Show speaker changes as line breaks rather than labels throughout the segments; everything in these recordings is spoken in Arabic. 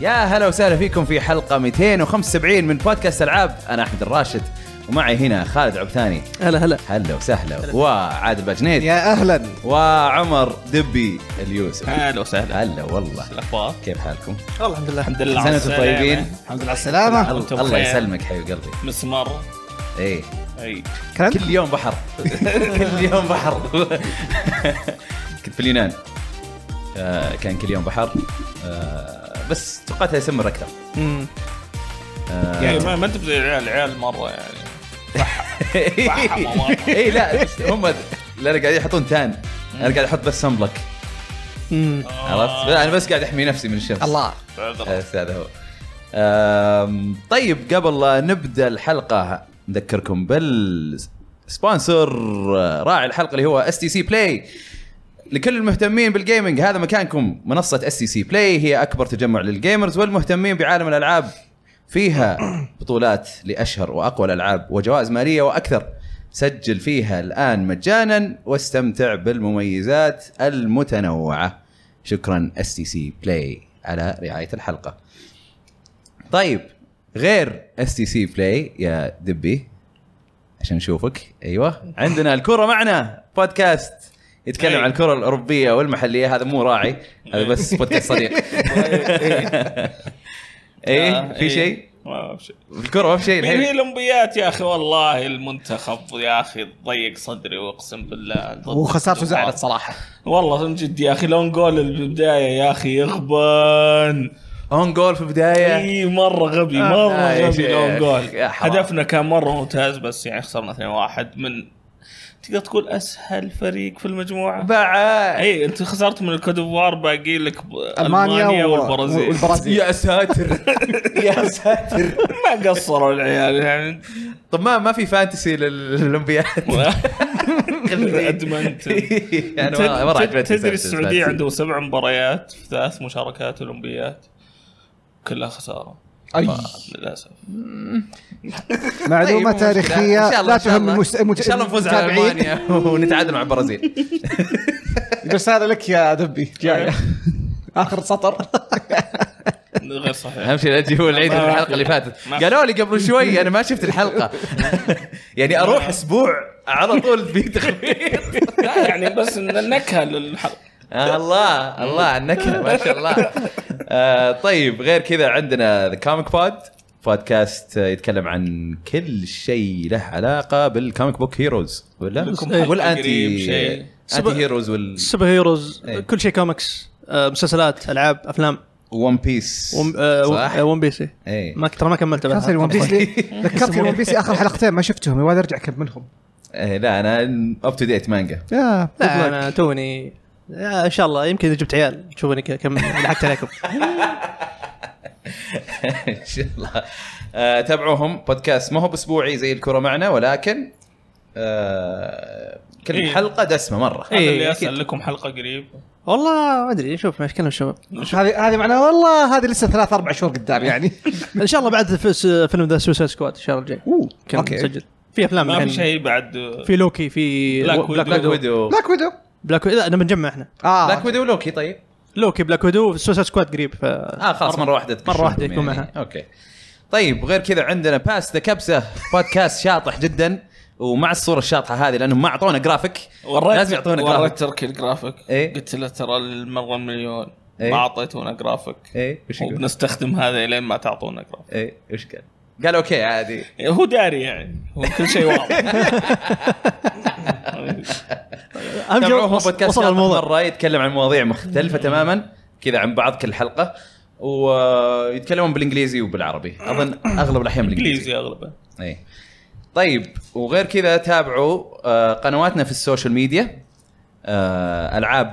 يا هلا وسهلا فيكم في حلقه 275 من بودكاست العاب انا احمد الراشد ومعي هنا خالد عبثاني
هلا هلا
هلا وسهلا وعاد بجنيد
يا اهلا
وعمر دبي اليوسف
اهلا وسهلا
هلا والله
الاخبار
كيف حالكم؟
والله الحمد لله
الحمد لله
زين
على
أنتم طيبين؟
السلامة.
الحمد لله على السلامة
الله-
وأنتم
الله
بخير.
يسلمك حبيب قلبي
مسمار
ايه
اي
كان
كل يوم بحر كل يوم بحر كنت في اليونان آه كان كل يوم بحر آه بس توقعتها يسمر اكثر
مم.
آه.
يعني ما ما انت زي العيال العيال مره يعني
اي إيه، لا هم لا انا قاعد يحطون تان انا قاعد احط بس سمبلك
مم.
عرفت لا، انا بس قاعد احمي نفسي من الشمس
الله
تعذر
بس هذا هو آم، طيب قبل لا نبدا الحلقه نذكركم بالسبونسر آه، راعي الحلقه اللي هو اس تي سي بلاي لكل المهتمين بالجيمنج هذا مكانكم منصه اس تي سي بلاي هي اكبر تجمع للجيمرز والمهتمين بعالم الالعاب فيها بطولات لاشهر واقوى الالعاب وجوائز ماليه واكثر سجل فيها الان مجانا واستمتع بالمميزات المتنوعه شكرا اس تي سي بلاي على رعايه الحلقه طيب غير اس تي سي بلاي يا دبي عشان نشوفك ايوه عندنا الكره معنا بودكاست يتكلم
أي.
عن الكره الاوروبيه والمحليه هذا مو راعي هذا بس بودكاست صديق ايه في شيء
آه، إيه. ما في شيء
الكره ما في شيء
هي هي
الحين
الاولمبيات يا اخي والله المنتخب يا اخي ضيق صدري واقسم بالله ضد
وخسارته
الدنمارك.
زعلت صراحة
والله من جد يا اخي لون جول البدايه يا اخي يغبن
اون جول في البدايه
اي مره إيه، غبي
إيه. آه،
مره
يا
غبي
شيخ،
لون جول
يا حرام.
هدفنا كان مره ممتاز بس يعني خسرنا 2-1 من تقدر تقول اسهل فريق في المجموعه
بعد
اي انت خسرت من الكودوفوار باقي لك ب-
المانيا,
المانيا
و-
والبرازيل
والبرازيل
يا ساتر يا ساتر
ما قصروا العيال يعني
طب ما ما في فانتسي للاولمبياد
ادمنت
يعني ما- ما راح
تد-
عجبتني
تدري
سالفة
السعوديه
الفانتسي.
عندهم سبع مباريات في ثلاث مشاركات اولمبيات كلها خساره
أي.
للاسف
طيب، مو
معلومة
مشكلة. إن شاء
تاريخية
الله-
لا
إن شاء
تهم
الله.
المس-
ان
المت-
شاء الله نفوز على
المتابعين.
المانيا ونتعادل مع البرازيل
رسالة لك يا دبي جاية آخر سطر
غير صحيح
اهم شيء لا تجيبوا العيد
ما-
في الحلقه اللي فاتت
ما-
قالوا لي قبل شوي انا ما شفت الحلقه يعني اروح اسبوع على طول في تخفيض
لا يعني بس إن النكهه للحلقه
آه الله الله النكهه ما شاء الله آه طيب غير كذا عندنا ذا كوميك بود بودكاست آه، يتكلم عن كل شيء له علاقه بالكوميك بوك هيروز ولا
لكم حلقة قريب
والانتي
شيء.
انتي هيروز وال
سوبر هيروز
إيه.
كل شيء كوميكس آه، مسلسلات العاب افلام
ون بيس
ون- آه،
صح؟
ون بيس إيه.
آه،
ايه
ما ترى ما كملت بعد.
خلاص ون بيس لي- ذكرتني ون بيس آخر حلقتين ما شفتهم يبغى ارجع اكملهم
إيه، لا انا اب تو ديت مانجا
يا
طيب، لا انا توني آه، ان شاء الله يمكن اذا جبت عيال تشوفوني ك- كم لحقت عليكم
ان شاء الله آه، تابعوهم بودكاست ما هو باسبوعي زي الكره معنا ولكن آه، كل
إيه.
حلقه دسمه مره
إيه.
هذا اللي
أكيد.
اسال لكم حلقه قريب
والله ما ادري نشوف ايش كلام الشباب
هذه هذه معناها والله هذه لسه ثلاث اربع شهور قدام يعني
ان شاء الله بعد في س- فيلم ذا سوسايد سكواد الشهر الجاي
اوه
كان
اوكي
مسجل في افلام
ما في
الحين.
شيء بعد
في لوكي في
بلاك
و-
ويدو.
بلاك ويدو
بلاك ويدو
بلاك ويدو لا انا بنجمع احنا
اه
بلاك ويدو لوكي طيب
لوكي بلاك ويدو سوسايد سكواد قريب ف
اه خلاص مره واحده تكشفهم
آه، مرة واحدة يكون
يعني.
معها.
اوكي طيب غير كذا عندنا باس ذا كبسه بودكاست شاطح جدا ومع الصوره الشاطحه هذه لانهم ما اعطونا جرافيك
وريت
لازم يعطونا
وريت
جرافيك
تركي الجرافيك
إيه.
قلت له ترى المره مليون
إيه.
ما اعطيتونا جرافيك
ايه وش يقول؟
وبنستخدم هذا لين ما تعطونا جرافيك
ايه وش قال؟ قال اوكي عادي
هو داري يعني هو كل شيء واضح
اهم شيء
تابعوهم
وص-
بودكاست
وصل
شاطح
الموضوع
مره يتكلم عن مواضيع مختلفه تماما كذا عن بعض كل حلقه ويتكلمون بالانجليزي وبالعربي اظن اغلب الاحيان بالانجليزي
انجليزي اغلبه
اي طيب وغير كذا تابعوا آه، قنواتنا في السوشيال ميديا آه، العاب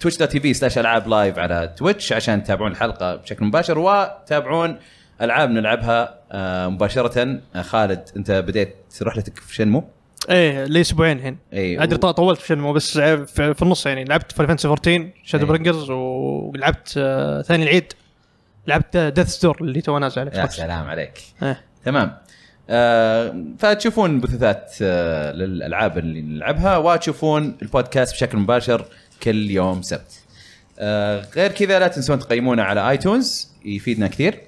تويتش دوت تي في سلاش العاب لايف على تويتش عشان تتابعون الحلقه بشكل مباشر وتابعون العاب نلعبها آه، مباشره آه، خالد انت بديت رحلتك في شنمو
ايه لي اسبوعين الحين
إيه،
ادري
و-
طو- طولت في مو بس ع- في في النص يعني لعبت فاينل فانتسي 14 شادو
إيه.
برينجرز ولعبت آه، ثاني العيد لعبت ديث ستور اللي تو نازل على
يا
Xbox.
سلام عليك
إيه.
تمام آه فتشوفون بثوثات آه للالعاب اللي نلعبها وتشوفون البودكاست بشكل مباشر كل يوم سبت آه غير كذا لا تنسون تقيمونا على ايتونز يفيدنا كثير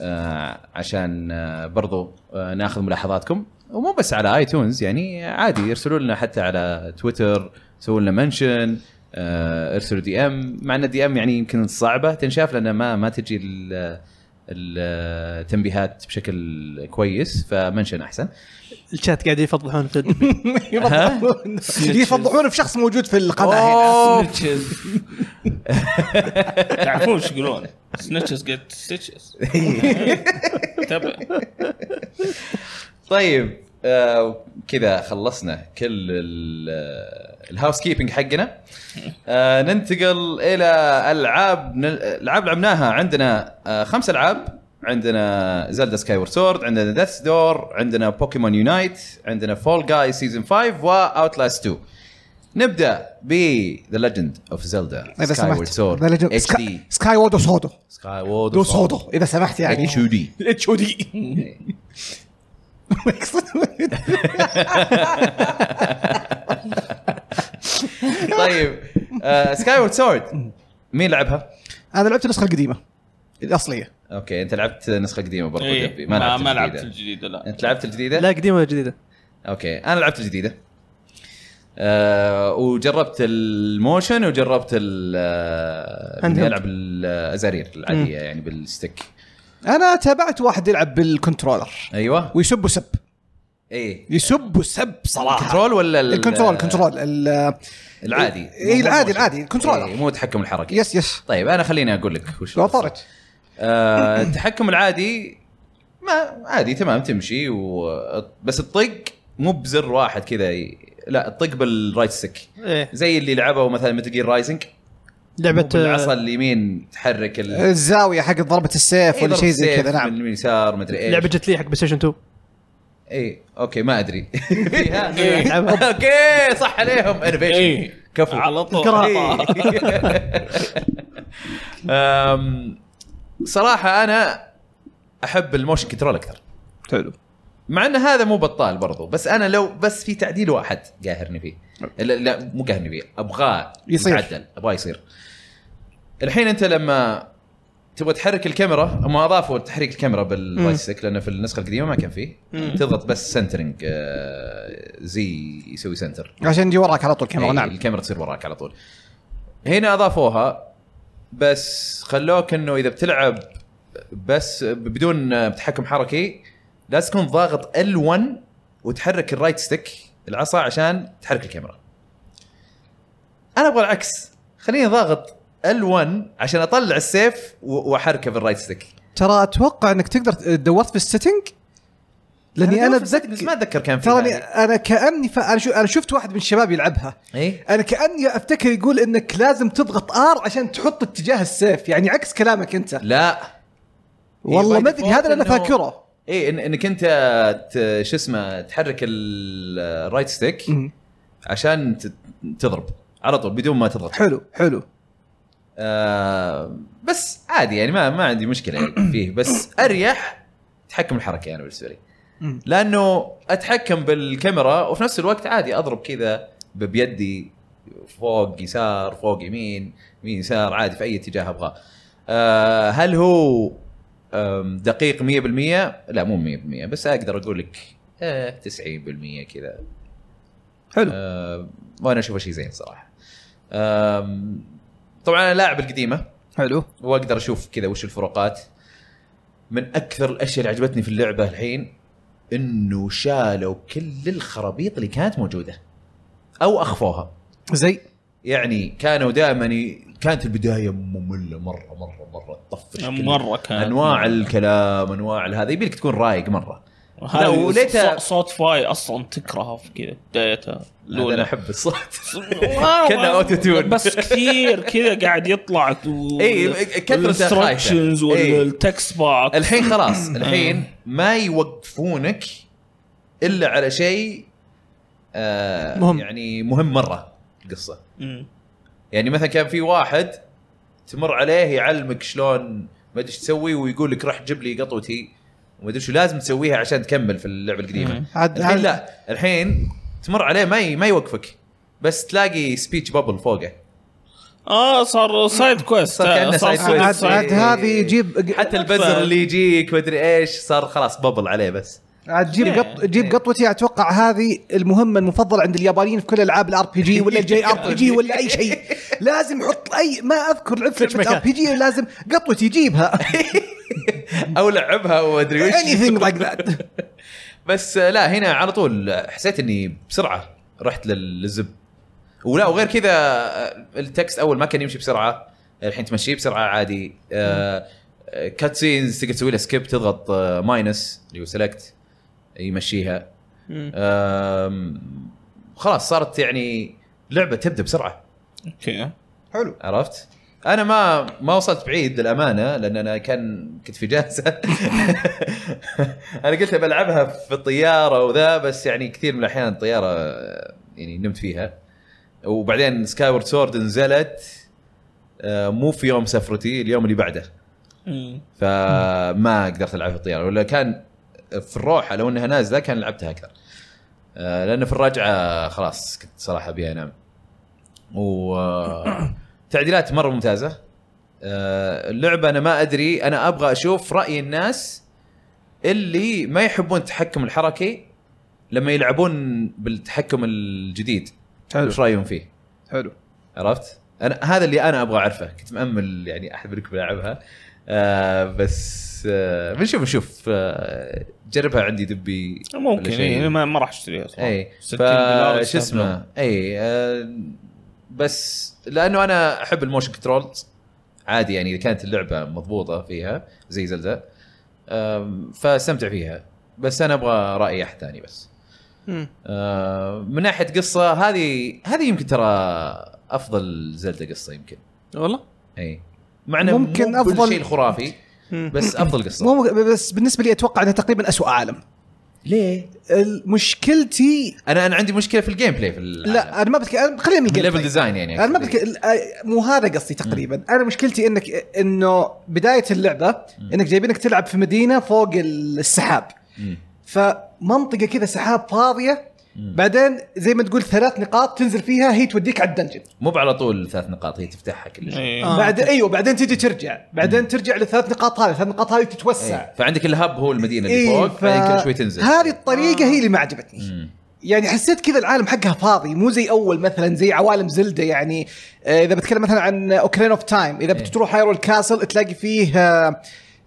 آه، عشان آه، برضو آه، ناخذ ملاحظاتكم ومو بس على اي تونز يعني عادي يرسلوا لنا حتى على تويتر سووا لنا منشن آه، ارسلوا دي ام مع ان الدي ام يعني يمكن صعبه تنشاف لان ما ما تجي ال- التنبيهات بشكل كويس فمنشن احسن
الشات قاعد يفضحون في الدبي.
يفضحون يفضحون في شخص موجود في القناه هنا
سنتشز تعرفون ايش يقولون سنتشز جت ستيتشز تبع
طيب آه كذا خلصنا كل الهاوس كيبنج حقنا آه ننتقل الى العاب نل- العاب لعبناها عندنا آه خمس العاب عندنا زلدا سكاي وورد سورد عندنا ديث دور عندنا بوكيمون يونايت عندنا فول جاي سيزون 5 واوتلاست 2 نبدا ب ذا ليجند اوف زلدا
اذا
سكاي وورد
سمحت
سورد اتش دي
سكاي وورد وسودو
سكاي وورد
دو سودو اذا سمحت يعني
اتش دي
اتش او دي
طيب سكاي وورد سورد مين لعبها؟
انا لعبت النسخه القديمه الاصليه
اوكي انت لعبت نسخه قديمه برضو دبي
إيه،
ما
ما
لعبت
ما لعبت
الجديده
الجديد لا
انت لعبت الجديده؟
لا قديمه ولا جديده؟
اوكي انا لعبت الجديده آه وجربت الموشن وجربت ال آه،
Handheld.
اني العب الازارير العاديه يعني بالستيك
انا تابعت واحد يلعب بالكنترولر
ايوه
ويسب وسب
اي
يسب وسب صراحه
إيه. كنترول ولا ال-
الكنترول الكنترول ال-
العادي
إيه، العادي، العادي، الكنترولر.
إيه، مو تحكم الحركه
يس يس
طيب انا خليني اقول لك وش
لو طرت
آه، التحكم العادي ما عادي تمام تمشي و... بس الطق مو بزر واحد كذا ي... لا الطق بالرايت ستيك
ايه
زي اللي لعبه مثلا متل جير رايزنج
لعبه
آه،
بالعصا اليمين تحرك ال...
الزاويه حق ضربه السيف
إيه،
ولا
ضرب
شيء زي
سيف
آه، كذا نعم
من اليسار مدري ايش
لعبه جت لي حق بلاي ستيشن 2
اي اوكي إيه، ما ادري فيها
إيه.
لعبها.
اوكي صح عليهم انوفيشن
إيه.
كفو
على طول
قراءة.
أم، صراحه انا احب الموشن كنترول اكثر
حلو
مع ان هذا مو بطال برضو بس انا لو بس في تعديل واحد قاهرني فيه لا, لا مو قاهرني فيه ابغاه
يصير.
يتعدل ابغاه يصير الحين انت لما تبغى تحرك الكاميرا هم اضافوا تحريك الكاميرا بالرايستيك لانه في النسخه القديمه ما كان فيه تضغط بس سنترنج آه، زي يسوي سنتر
عشان يجي وراك على طول الكاميرا
إيه،
نعم
الكاميرا تصير وراك على طول هنا اضافوها بس خلوك انه اذا بتلعب بس بدون تحكم حركي لازم تكون ضاغط L1 وتحرك الرايت ستيك العصا عشان تحرك الكاميرا انا ابغى العكس خليني ضاغط L1 عشان اطلع السيف و- واحركه بالرايت ستيك
ترى اتوقع انك تقدر دورت في السيتنج لاني انا
دورت في السيتنجز ما
اتذكر
اتذكر كان في يعني.
ترى انا كاني ف... انا شو- أنا شفت واحد من الشباب يلعبها
اي
انا كاني افتكر يقول انك لازم تضغط ار عشان تحط اتجاه السيف يعني عكس كلامك انت
لا
والله
by
ما ادري هذا اللي انا
default إنه-
فاكره
اي إيه، إن انك انت ت- شو اسمه تحرك ال- الرايت ستيك
مم.
عشان ت- تضرب على طول بدون ما تضغط
حلو حلو
آه بس عادي يعني ما ما عندي مشكله يعني فيه بس اريح تحكم الحركه انا بالنسبه يعني لي
مم.
لانه اتحكم بالكاميرا وفي نفس الوقت عادي اضرب كذا ب- بيدي فوق يسار فوق يمين يمين يسار عادي في اي اتجاه ابغاه آه هل هو آم، دقيق 100% لا مو 100% بس اقدر اقول لك آه 90% كذا
حلو
آه، وانا اشوفه شيء زين صراحه آم، طبعا انا لاعب القديمه
حلو
واقدر اشوف كذا وش الفروقات من اكثر الاشياء اللي عجبتني في اللعبه الحين انه شالوا كل الخرابيط اللي كانت موجوده او اخفوها
زي
يعني كانوا دائما ي- كانت البدايه ممله مره مره مره تطفش كل-
مره كان
انواع الكلام انواع هذا يبي لك تكون رايق مره لا، وليتها-
وليتها صوت فاي اصلا تكرهه في كذا بدايتها
هذا انا
لولا
احب الصوت كأنه
كنا
أوتو تيون.
بس كثير كذا قاعد يطلع و...
إي، إيه، كثرة إيه.
الانستركشنز
خايفة. إي.
والتكست باك
الحين خلاص الحين ما يوقفونك الا على شيء آه
مهم.
يعني مهم مره القصه يعني مثلا كان في واحد تمر عليه يعلمك شلون ما ادري إيش تسوي ويقول لك روح جيب لي قطوتي وما ادري شو لازم تسويها عشان تكمل في اللعبه القديمه
مم.
عاد
الحين
عاد-
لا الحين تمر عليه ما ي- ما يوقفك بس تلاقي سبيتش بابل فوقه
اه صار سايد كويست
صار كأنه سايد
صار
كويست.
عاد عاد هذه يجيب
حتى البزر اللي يجيك مدري ايش صار خلاص ببل عليه بس
عاد جيب
إيه.
قط جيب قطوتي اتوقع هذه المهمه المفضله عند اليابانيين في كل العاب الار بي جي ولا الجي ار بي جي ولا اي شيء لازم يحط اي ما اذكر لعبت لعبه ار
مكان.
بي جي لازم قطوتي يجيبها
او لعبها وادري وش
اني ثينج لايك ذات
بس آه، لا هنا على طول حسيت اني بسرعه رحت لل- للزب ولا وغير كذا آه، التكست اول ما كان يمشي بسرعه الحين تمشيه بسرعه عادي آه، آه، كاتسينز تقدر تسوي لها سكيب تضغط ماينس اللي هو سلكت يمشيها
مم.
آم، خلاص صارت يعني لعبه تبدا بسرعه إيه.
اوكي
حلو
عرفت؟ انا ما ما وصلت بعيد للامانه لان انا كان كنت في جلسه انا قلت بلعبها في الطياره وذا بس يعني كثير من الاحيان الطياره آه، يعني نمت فيها وبعدين سكاي وورد سورد نزلت آه، مو في يوم سفرتي اليوم اللي بعده
مم.
فما قدرت العبها في الطياره ولا كان في الروحه لو انها نازله كان لعبتها اكثر آه، لان في الرجعه خلاص كنت صراحه ابي انام و آه، تعديلات مره ممتازه آه، اللعبه انا ما ادري انا ابغى اشوف راي الناس اللي ما يحبون التحكم الحركي لما يلعبون بالتحكم الجديد
حلو
وش رايهم فيه
حلو
عرفت؟ انا هذا اللي انا ابغى اعرفه، كنت مامل يعني احد منكم يلعبها آه بس آه بنشوف نشوف آه جربها عندي دبي ولا
ممكن
شيء.
إيه، ما, ما راح اشتريها صراحه
اي
60
فا
دولار
شو اسمه اي آه بس لانه انا احب الموشن كنترولز عادي يعني اذا كانت اللعبه مضبوطه فيها زي زلدة آم، فاستمتع فيها بس انا ابغى راي احد ثاني بس
مم.
آه، من ناحيه قصه هذه هذه يمكن ترى افضل زلده قصه يمكن
والله
اي مع انه
ممكن
ممكن افضل
أفضل-
شيء خرافي
مم.
بس افضل قصه
مو بس بالنسبه لي اتوقع انها تقريبا أسوأ عالم
ليه؟
مشكلتي
انا انا عندي مشكله في الجيم بلاي في العالم.
لا انا ما بتكلم خلينا من الجيم
الليفل
بلاي.
ديزاين يعني
انا ما
قصدي.
بتك... ال- مو هذا قصدي تقريبا انا مشكلتي انك انه بدايه اللعبه انك جايبينك تلعب في مدينه فوق السحاب
مم.
فمنطقه كذا سحاب فاضيه
مم.
بعدين زي ما تقول ثلاث نقاط تنزل فيها هي توديك على الدنجن
مو على طول ثلاث نقاط هي تفتحها كل شيء
إيه.
آه.
بعد ايوه بعدين تجي ترجع بعدين ترجع للثلاث نقاط هذه الثلاث نقاط هذه تتوسع
إيه. فعندك الهب هو المدينه اللي
إيه،
فوق
ف-
بعدين كل شوي تنزل
هذه الطريقه هي اللي ما عجبتني
مم.
يعني حسيت كذا العالم حقها فاضي مو زي اول مثلا زي عوالم زلدة يعني آه، اذا بتكلم مثلا عن اوكرين اوف تايم
إيه.
اذا بتروح هايرول كاسل تلاقي فيه آه،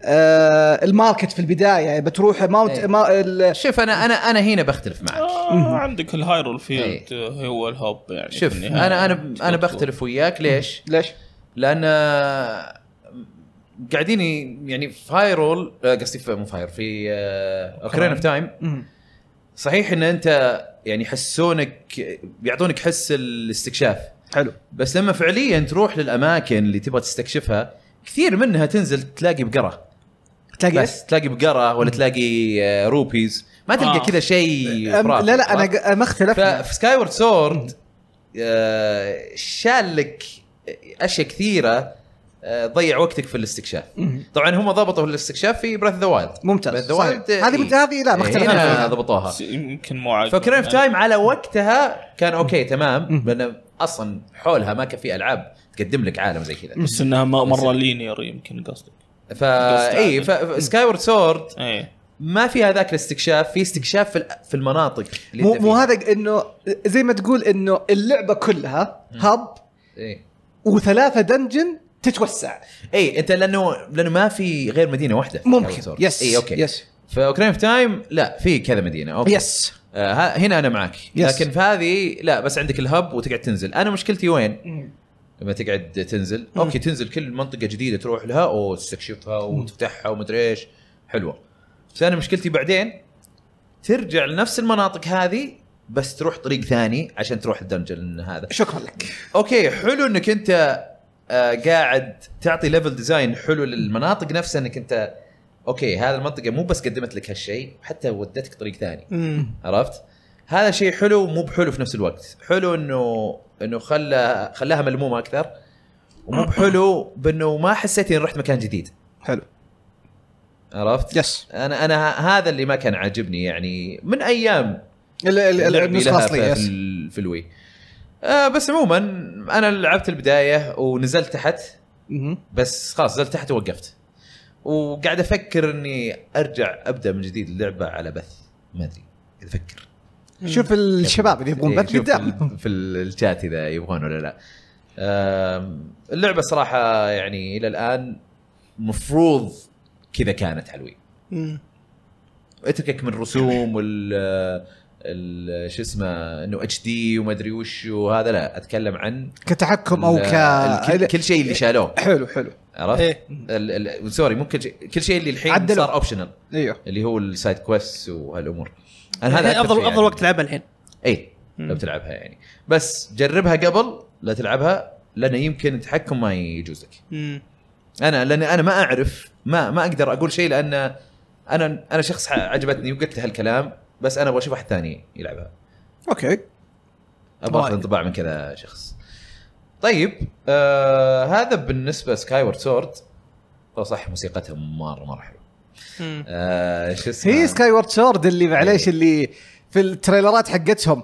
آه، الماركت في البدايه بتروح ماونت
إيه.
ما ال-
شوف انا انا انا هنا بختلف معك
آه عندك الهايرول فيلد هو الهب يعني
إيه. شوف
في النهاية.
انا انا انا بختلف وياك ليش؟
ليش؟
لان آه، قاعدين ي- يعني في هايرول آه، قصدي في- مو في هايرول في آه، اوكرين اوف تايم
مم.
صحيح ان انت يعني يحسونك يعطونك حس الاستكشاف
حلو
بس لما فعليا تروح للاماكن اللي تبغى تستكشفها كثير منها تنزل تلاقي بقره
تلاقي إيش؟
بس تلاقي بقره ولا تلاقي آه، روبيز ما تلقى
آه.
كذا شيء
أم-
خرافي،
لا لا انا
عرفت؟
ق- ما اختلفت
ففي سكاي وورد سورد آه، شال لك اشياء كثيره آه، ضيع وقتك في الاستكشاف
مم.
طبعا هم ضبطوا الاستكشاف في براذ ذا وايلد
ممتاز صحيح. هذه مت- هذه لا ما
إيه. هنا
اختلفنا فيها.
ضبطوها
بس يمكن مو عاجبني.
فكرين اوف تايم على وقتها كان اوكي تمام
مم.
لان اصلا حولها ما كان في العاب تقدم لك عالم زي كذا
بس انها ما- مره لينير يمكن قصدك
فا اي فسكاي وورد سورد
ايه
ما فيها ذاك الاستكشاف في استكشاف في, ال- في المناطق اللي
مو
أنت
مو
فيها.
هذا انه زي ما تقول انه اللعبه كلها هب
إيه.
وثلاثه دنجن تتوسع
اي انت لانه لانه ما في غير مدينه واحده في Skyward
ممكن
Sword. إيه،
يس
اي اوكي
يس
فاوكرين اوف تايم لا في كذا مدينه اوكي
يس
آه ها- هنا انا معك
يس.
لكن في هذه لا بس عندك الهب وتقعد تنزل انا مشكلتي وين لما تقعد تنزل اوكي تنزل كل منطقه جديده تروح لها وتستكشفها وتفتحها ومدري ايش حلوه بس انا مشكلتي بعدين ترجع لنفس المناطق هذه بس تروح طريق ثاني عشان تروح الدنجن هذا
شكرا لك
اوكي حلو انك انت آه، قاعد تعطي ليفل ديزاين حلو للمناطق نفسها انك انت اوكي هذه المنطقه مو بس قدمت لك هالشيء حتى ودتك طريق ثاني
مم.
عرفت؟ هذا شيء حلو ومو بحلو في نفس الوقت، حلو انه انه خلى خلاها ملمومه اكثر ومو بحلو بانه ما حسيت اني رحت مكان جديد،
حلو
عرفت؟
يس
انا انا ه- هذا اللي ما كان عاجبني يعني من ايام
ال- ال- ال-
لعبي
النسخه
لها في,
الاصليه
في,
يس
ال- في الوي آه بس عموما انا لعبت البدايه ونزلت تحت
مهم.
بس خلاص نزلت تحت ووقفت وقاعد افكر اني ارجع ابدا من جديد اللعبه على بث ما ادري قاعد افكر
شوف الشباب اللي يبغون
إيه،
بث
شوف
قدام
ال- في ال- الشات اذا يبغون ولا لا آم، اللعبه صراحه يعني الى الان مفروض كذا كانت حلوين
مم.
اتركك من الرسوم وال ال- شو اسمه انه اتش دي وما ادري وش وهذا لا اتكلم عن
كتحكم او
ال-
ك
الكل- كل شيء اللي شالوه
حلو حلو
عرفت؟
إيه.
ال- ال- سوري ممكن شيء- كل شيء اللي الحين
عدلوا.
صار اوبشنال
ايوه
اللي هو السايد كويست وهالامور انا
هذا
أكثر
افضل
شيء
افضل وقت
يعني.
تلعبها الحين
اي
مم.
لو بتلعبها يعني بس جربها قبل لا تلعبها لانه يمكن التحكم ما يجوز لك
مم.
انا لان انا ما اعرف ما ما اقدر اقول شيء لان انا انا شخص عجبتني وقلت لها الكلام بس انا ابغى اشوف واحد ثاني يلعبها
اوكي
ابغى اخذ
رائع.
انطباع من كذا شخص طيب آه هذا بالنسبه سكاي وورد سورد صح موسيقتها مره مره حلوه
مم.
آه إيه. شو اسمه
هي سكاي وورد سورد اللي معليش اللي في التريلرات حقتهم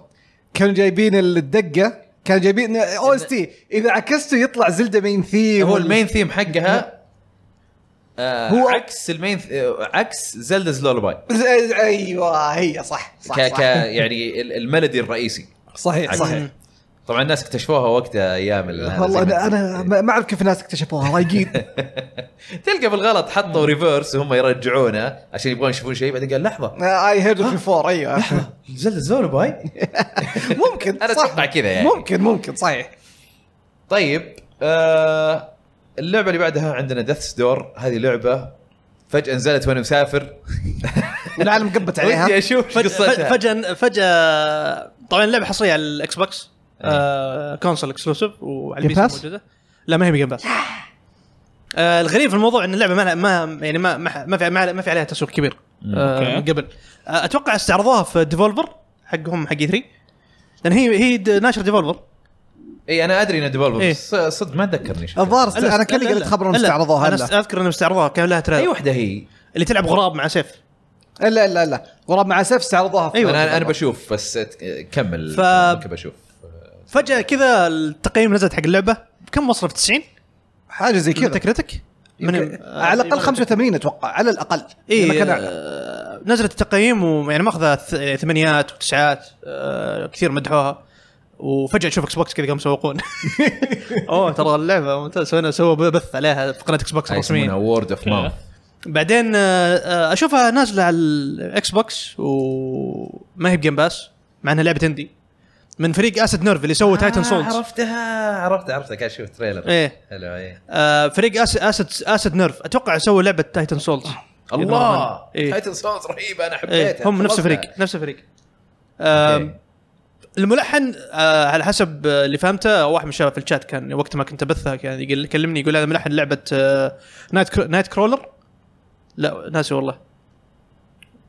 كانوا جايبين الدقه كانوا جايبين او اس تي اذا عكسته يطلع زلده مين ثيم
هو المين ثيم حقها آه هو
هو-
عكس المين ث... آه، عكس زلدز لولباي
ز- ايوه هي صح
ك...
صح,
ك...
صح.
يعني ال- الميلودي الرئيسي
صحيح
عكس-
صحيح
طبعا الناس اكتشفوها وقتها ايام ال-
والله
زي ما
انا
أنت-
انا ما- ما اعرف كيف الناس اكتشفوها رايقين
تلقى بالغلط حطوا ريفيرس وهم يرجعونه عشان يبغون يشوفون شيء بعدين قال لحظه
اي هيرد بيفور ايوه
زلدز لولباي
ممكن
أنا
صح.
أتوقع كذا يعني.
ممكن ممكن صحيح
طيب آه اللعبه اللي بعدها عندنا ديث دور هذه لعبه فجاه نزلت وانا مسافر
والعالم قبت
ودي
عليها
اشوف إيش
فجأة
قصتها
فجأة فجأة طبعا اللعبة حصرية على الاكس بوكس آه، كونسول اكسكلوسيف وعلى البي
Game
سي
Pass؟
موجودة لا ما هي بجيم باس آه، الغريب في الموضوع ان اللعبة ما لها- ما يعني ما ما ما في ما, في عليها تسويق كبير آه، من
أوكي.
قبل آه، اتوقع استعرضوها في ديفولفر حقهم حق 3 لان هي هي د- ناشر ديفولفر
اي انا ادري انه ديفولفر
إيه.
بس صدق ما تذكرني شكلها.
الظاهر است- انا كان قلت خبر انهم استعرضوها
انا
لا
است- اذكر انهم استعرضوها كان لها
اي
تريلر
وحده هي
اللي تلعب غراب مع سيف
لا لا لا ورا مع سيف استعرضوها في-
أيوة.
انا انا بشوف بس ت- كمل
ف-
ممكن بشوف
فجاه كذا التقييم نزلت حق اللعبه كم مصرف 90
حاجه زي كذا
تكريتك
يمكن- على
آه،
الاقل 85 اتوقع على الاقل
اي
لما كان أعلى.
إيه، آه، نزلت التقييم ويعني ماخذه ث- ثمانيات وتسعات آه، كثير مدحوها وفجاه تشوف اكس بوكس كذا قاموا يسوقون اوه ترى اللعبه ممتازه سوينا سووا بث عليها في قناه اكس بوكس
يسمونها
الرسميه
وورد اوف ماوث
بعدين آه، آه، اشوفها نازله على الاكس بوكس وما هي بجيم باس مع انها لعبه اندي من فريق اسد نيرف اللي
آه،
سووا تايتن سولز
عرفتها عرفت عرفت قاعد اشوف تريلر
إيه.
حلو ايه
آه، فريق اسد اسد اسد نيرف اتوقع سووا لعبه تايتن سولز
الله
إيه.
تايتن سولز رهيبه انا
ايه
حبيتها إيه.
هم نفس
خلصتها.
الفريق نفس الفريق آم، الملحن آه، على حسب آه، اللي فهمته واحد من الشباب في الشات كان وقت ما كنت ابثها كان يقل- يكلمني يقول هذا ملحن لعبه آه، نايت كرو... نايت كرولر لا ناسي والله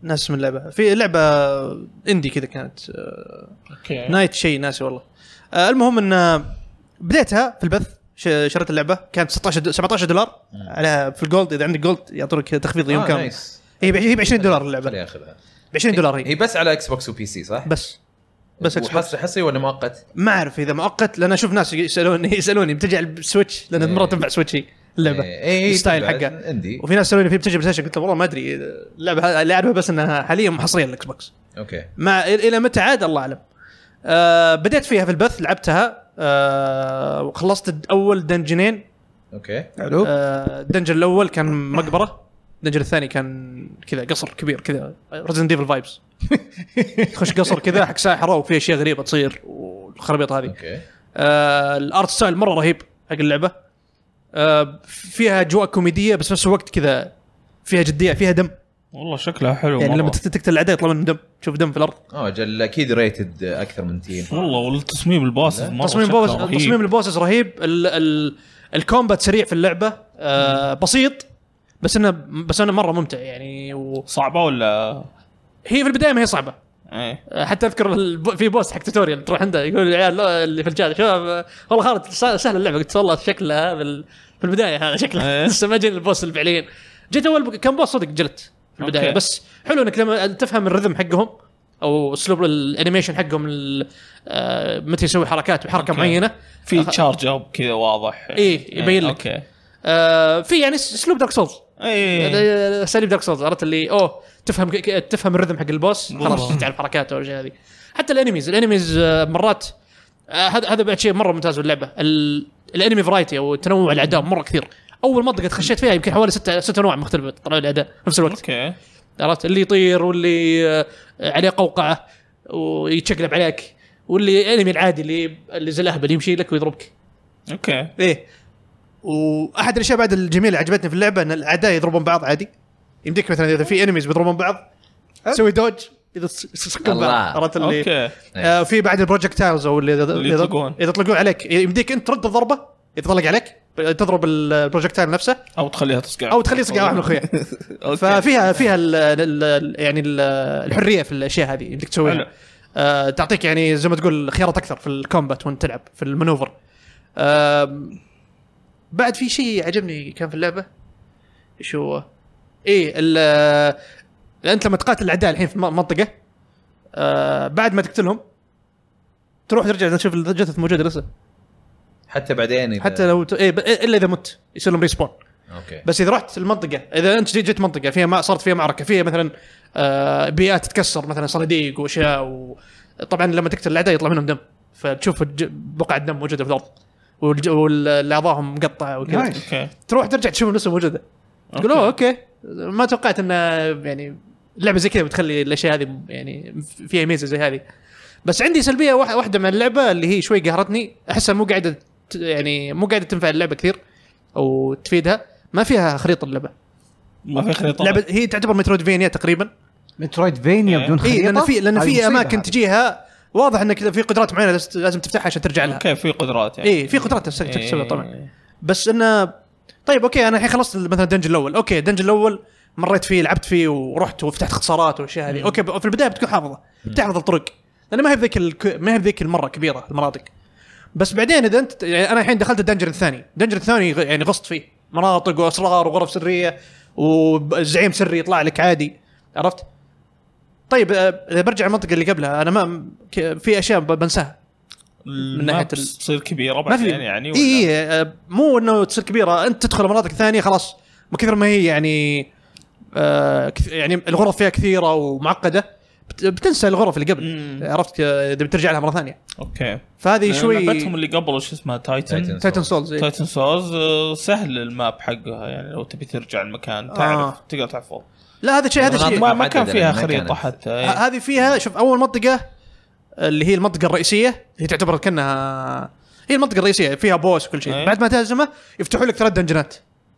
ناس من اللعبه في لعبه اندي كذا كانت آه،
اوكي
نايت شيء ناسي والله آه، المهم ان آه، بديتها في البث ش- شريت اللعبه كانت 16 دو- 17 دولار على في الجولد اذا عندك جولد يعطونك تخفيض يوم
آه،
كامل
نايس.
هي ب- هي ب 20 دولار اللعبه
خليني اخذها
ب 20 دولار هي
هي بس على اكس بوكس وبي سي صح؟
بس بس اكس بوكس
وحصري حصري ولا مؤقت؟
ما اعرف اذا مؤقت لان اشوف ناس يسالوني يسالوني بتجي على السويتش لان
إيه.
مره تنفع سويتش هي اللعبه
إيه، إيه، إيه،
الستايل
تبع
حقها
عندي
وفي ناس يسالوني في بتجي بلاي ستيشن قلت لهم والله ما ادري اللعبه هذه اللي اعرفها بس انها حاليا محصريه على الاكس بوكس
اوكي
مع الى متى عاد الله اعلم آه بديت فيها في البث لعبتها آه وخلصت الد- اول دنجنين
اوكي
حلو
آه الدنجن الاول كان مقبره الدنجن الثاني كان كذا قصر كبير كذا ريزن ديفل فايبس تخش قصر كذا حق ساحره وفي اشياء غريبه تصير والخرابيط هذه
اوكي
آه الارت ستايل مره رهيب حق اللعبه آه فيها اجواء كوميديه بس في نفس الوقت كذا فيها جديه فيها دم
والله شكلها حلو
يعني لما
مرة.
تقت- تقتل الاعداء يطلع منهم دم تشوف دم في الارض
اه اجل اكيد ريتد اكثر من تين
والله والتصميم الباص مره
تصميم
شكله
بوس
رهيب.
تصميم البوسز رهيب ال ال الكومبات سريع في اللعبه آه بسيط بس انه بس انه مره ممتع يعني و...
صعبه ولا
هي في البدايه ما هي صعبه
ايه
حتى اذكر الب- في بوست حق توتوريال تروح عنده يقول العيال لا- اللي في الجاد شباب آه، والله خالد سا- سهله اللعبه قلت والله شكلها في ال- في البدايه هذا شكلها
إيه.
لسه ما جينا البوس اللي فعليا جيت اول ب- كم بوس صدق جلت في البدايه
أوكي.
بس حلو انك لما تفهم الرذم حقهم او اسلوب الانيميشن حقهم ال- آه، متى يسوي حركات بحركه
أوكي.
معينه
في
أخ-
تشارج اب كذا واضح
إيه، يبين لك.
اوكي
آه، في يعني س- اسلوب دارك سولز
اي
هذا اساليب دارك يعني سولز عرفت اللي اوه تفهم ك- ك- تفهم الرذم حق البوس خلاص
بالضبط.
تعرف حركاته والاشياء هذه حتى الانميز الانميز آه، مرات آه، هذا هذا بعد شيء مره ممتاز باللعبه ال- الانمي فرايتي او تنوع الاعداء مره كثير اول منطقه خشيت فيها يمكن حوالي ستة ستة انواع مختلفه طلعوا الاعداء في نفس الوقت
اوكي
عرفت اللي يطير واللي آه، عليه قوقعه ويتشقلب عليك واللي انمي العادي اللي اللي زي الاهبل يمشي لك ويضربك
اوكي
ايه واحد الاشياء بعد الجميله اللي عجبتني في اللعبه ان الاعداء يضربون بعض عادي يمديك مثلا اذا في انميز بيضربون بعض
أه؟
تسوي دوج اذا تس- تسكر
الله.
بعض عرفت اللي
اوكي
آه في بعد البروجكتايلز او اللي اذا
اللي
إذا-
يطلقون.
اذا يطلقون عليك يمديك انت ترد الضربه يتطلق عليك تضرب ال- البروجكتايل نفسه
او تخليها تصقع
او تخليه يصقع واحد من اخويا
أوكي.
ففيها فيها ال ال يعني ال الحريه في الاشياء هذه انك
حلو.
تسويها آه تعطيك يعني زي ما تقول خيارات اكثر في الكومبات وانت تلعب في المانوفر آه بعد في شيء عجبني كان في اللعبه ايش هو؟ ايه ال- انت لما تقاتل الاعداء الحين في م- منطقه آه بعد ما تقتلهم تروح ترجع تشوف الجثث موجوده لسه
حتى بعدين إذا-
حتى لو ت... إيه ب- الا اذا مت يصير لهم ريسبون
اوكي
بس اذا رحت المنطقه اذا انت جيت, جيت منطقه فيها ما صارت فيها معركه فيها مثلا آه، بيئات تتكسر مثلا صناديق واشياء وطبعا لما تقتل الاعداء يطلع منهم دم فتشوف الج- بقعه دم موجوده في الارض والج- والاعضاءهم مقطعه وكذا
نايس.
اوكي
تروح ترجع تشوفهم لسه موجوده تقول اوه اوكي ما توقعت انه يعني لعبه زي كذا بتخلي الاشياء هذه يعني فيها ميزه زي هذه بس عندي سلبيه واح- واحده من اللعبه اللي هي شوي قهرتني احسها مو قاعده ت- يعني مو قاعده تنفع اللعبه كثير او تفيدها ما فيها خريطه اللعبه
ما في خريطه
لعبه هي تعتبر مترويد فينيا تقريبا
مترويد فينيا
إيه.
بدون خريطه
اي لان في لان
هذه
في
مصيبة
اماكن
هذه.
تجيها واضح انك في قدرات معينه لازم- لازم تفتحها عشان ترجع لها
اوكي في قدرات يعني
اي في قدرات تستك-
إيه.
تكتسبها طبعا بس انه طيب اوكي انا الحين خلصت مثلا الدنجن الاول اوكي الدنجن الاول مريت فيه لعبت فيه ورحت وفتحت خسارات والاشياء هذه اوكي ب- في البدايه بتكون حافظه بتحفظ الطرق لان ما هي بذيك الك... ما هي بذيك المره كبيره المناطق بس بعدين اذا انت يعني انا الحين دخلت الدنجن الثاني، الدنجن الثاني غ- يعني غصت فيه مناطق واسرار وغرف سريه وزعيم سري يطلع لك عادي عرفت؟ طيب آه، اذا برجع المنطقه اللي قبلها انا ما ك- في اشياء ب- بنساها
من
ناحية
ناحيه
ال-
تصير كبيره
ما في
بعدين يعني ولا-
اي إيه مو انه تصير كبيره انت تدخل مناطق ثانيه خلاص من كثر ما هي يعني آه كث- يعني الغرف فيها كثيره ومعقده بت- بتنسى الغرف اللي قبل
مم.
عرفت آه، اذا بترجع لها مره ثانيه
اوكي
فهذه إيه، شوي
لعبتهم اللي قبل وش اسمها تايتن
تايتن.
تايتن سولز إيه.
تايتن سولز آه، سهل الماب حقها يعني لو تبي ترجع المكان
آه.
تعرف تقدر تحفظ
لا هذا شيء هذا شيء
مناطق
ما, ما كان
محددة
فيها
يعني، ما
خريطه
كانت.
حتى
ه-
إيه.
هذه فيها شوف اول منطقه اللي هي المنطقه الرئيسيه هي تعتبر كانها هي المنطقه الرئيسيه فيها بوس وكل شيء
إيه.
بعد ما تهزمه يفتحوا لك ثلاث دنجنات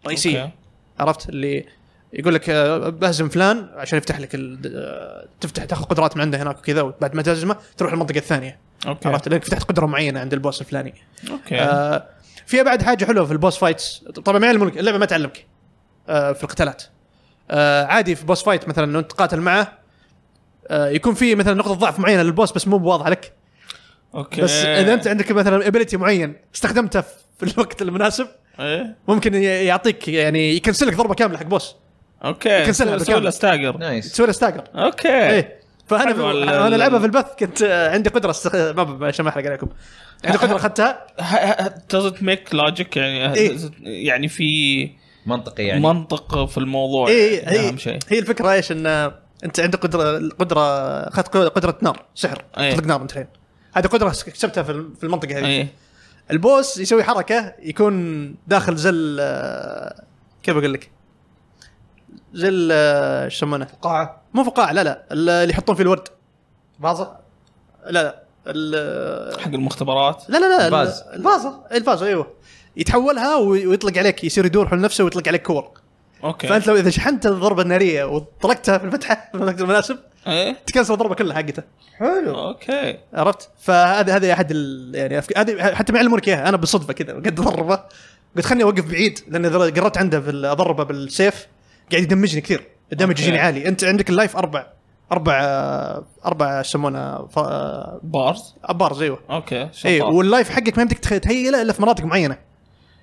رئيسيه
أوكي.
عرفت اللي يقول لك آه، بهزم فلان عشان يفتح لك ال... آه، تفتح تاخذ قدرات من عنده هناك وكذا وبعد ما تهزمه تروح المنطقه الثانيه
اوكي
عرفت لانك فتحت قدره معينه عند البوس الفلاني
اوكي
آه فيها بعد حاجه حلوه في البوس فايتس طبعا ما يعلمونك اللعبه ما تعلمك آه في القتالات آه عادي في بوس فايت مثلا لو انت تقاتل معه آه يكون في مثلا نقطه ضعف معينه للبوس بس مو واضحه لك
اوكي
بس اذا انت عندك مثلا ابيلتي معين استخدمته في الوقت المناسب
ايه
ممكن ي- يعطيك يعني يكنسلك ضربه كامله حق بوس
اوكي
يكنسلها
سوي-
بالكامل.
سوي له ستاجر
نايس
تسوي له ستاجر
اوكي
ايه فانا
إيه. حلو ال-
انا العبها في البث كنت آه، عندي قدره استخ... ما ب- عشان ما احرق عليكم عندي قدره اخذتها
does it make logic يعني
إيه.
does it- يعني في
منطقي
يعني
يعني
منطق في الموضوع
اي
يعني
إيه، هي
اهم شيء
هي الفكره ايش ان آه، انت عندك قدره القدره اخذت قدره نار سحر
إيه.
تطلق نار انت الحين هذه قدره كسبتها في الم- في المنطقه هذه
اي
البوس يسوي حركه يكون داخل زل آه، كيف اقول لك؟ زل آه، ايش يسمونه؟
قاعه
مو فقاعه لا لا اللي يحطون فيه الورد
بازا
لا لا ال-
حق المختبرات
لا لا لا
الفاز.
ال- الفازة الفازة ايوه يتحولها وي- ويطلق عليك يصير يدور حول نفسه ويطلق عليك كور
اوكي
فانت لو اذا شحنت الضربه الناريه وطلقتها في الفتحه في الوقت المناسب
ايه
تكنسل الضربه كلها حقته
حلو
اوكي
عرفت؟ فهذا هذا احد ال- يعني أفك- هذه حتى ما يعلمونك اياها انا بالصدفه كذا قد ضربه قلت خلني اوقف بعيد لان إذا قربت عنده في ال- اضربه بالسيف قاعد يدمجني كثير الدمج
أوكي.
يجيني عالي انت عندك اللايف اربع اربع اربع إيش يسمونه ف- آه،
بارز
بارز ايوه
اوكي شطار.
اي واللايف حقك ما يمديك تخ- تهيئه الا في مناطق معينه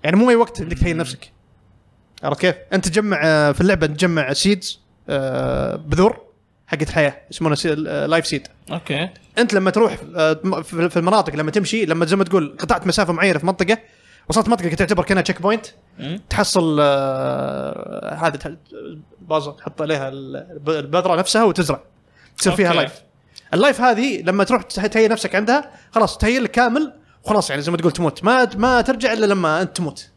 يعني مو اي وقت بدك تهيئ نفسك عرفت كيف؟ انت تجمع آه، في اللعبه تجمع سيدز بذور حقت حياه يسمونها لايف سيد
اوكي
انت لما تروح آه، في في المناطق لما تمشي لما زي ما تقول قطعت مسافه معينه في منطقه وصلت منطقه تعتبر كانها تشيك بوينت
مم.
تحصل آه، هذه تح- باظه تحط عليها الب- البذره نفسها وتزرع تصير فيها
أوكي.
لايف اللايف هذه لما تروح ته- تهيئ نفسك عندها خلاص تهيئ لك كامل وخلاص يعني زي ما تقول تموت ما ما ترجع الا لما انت تموت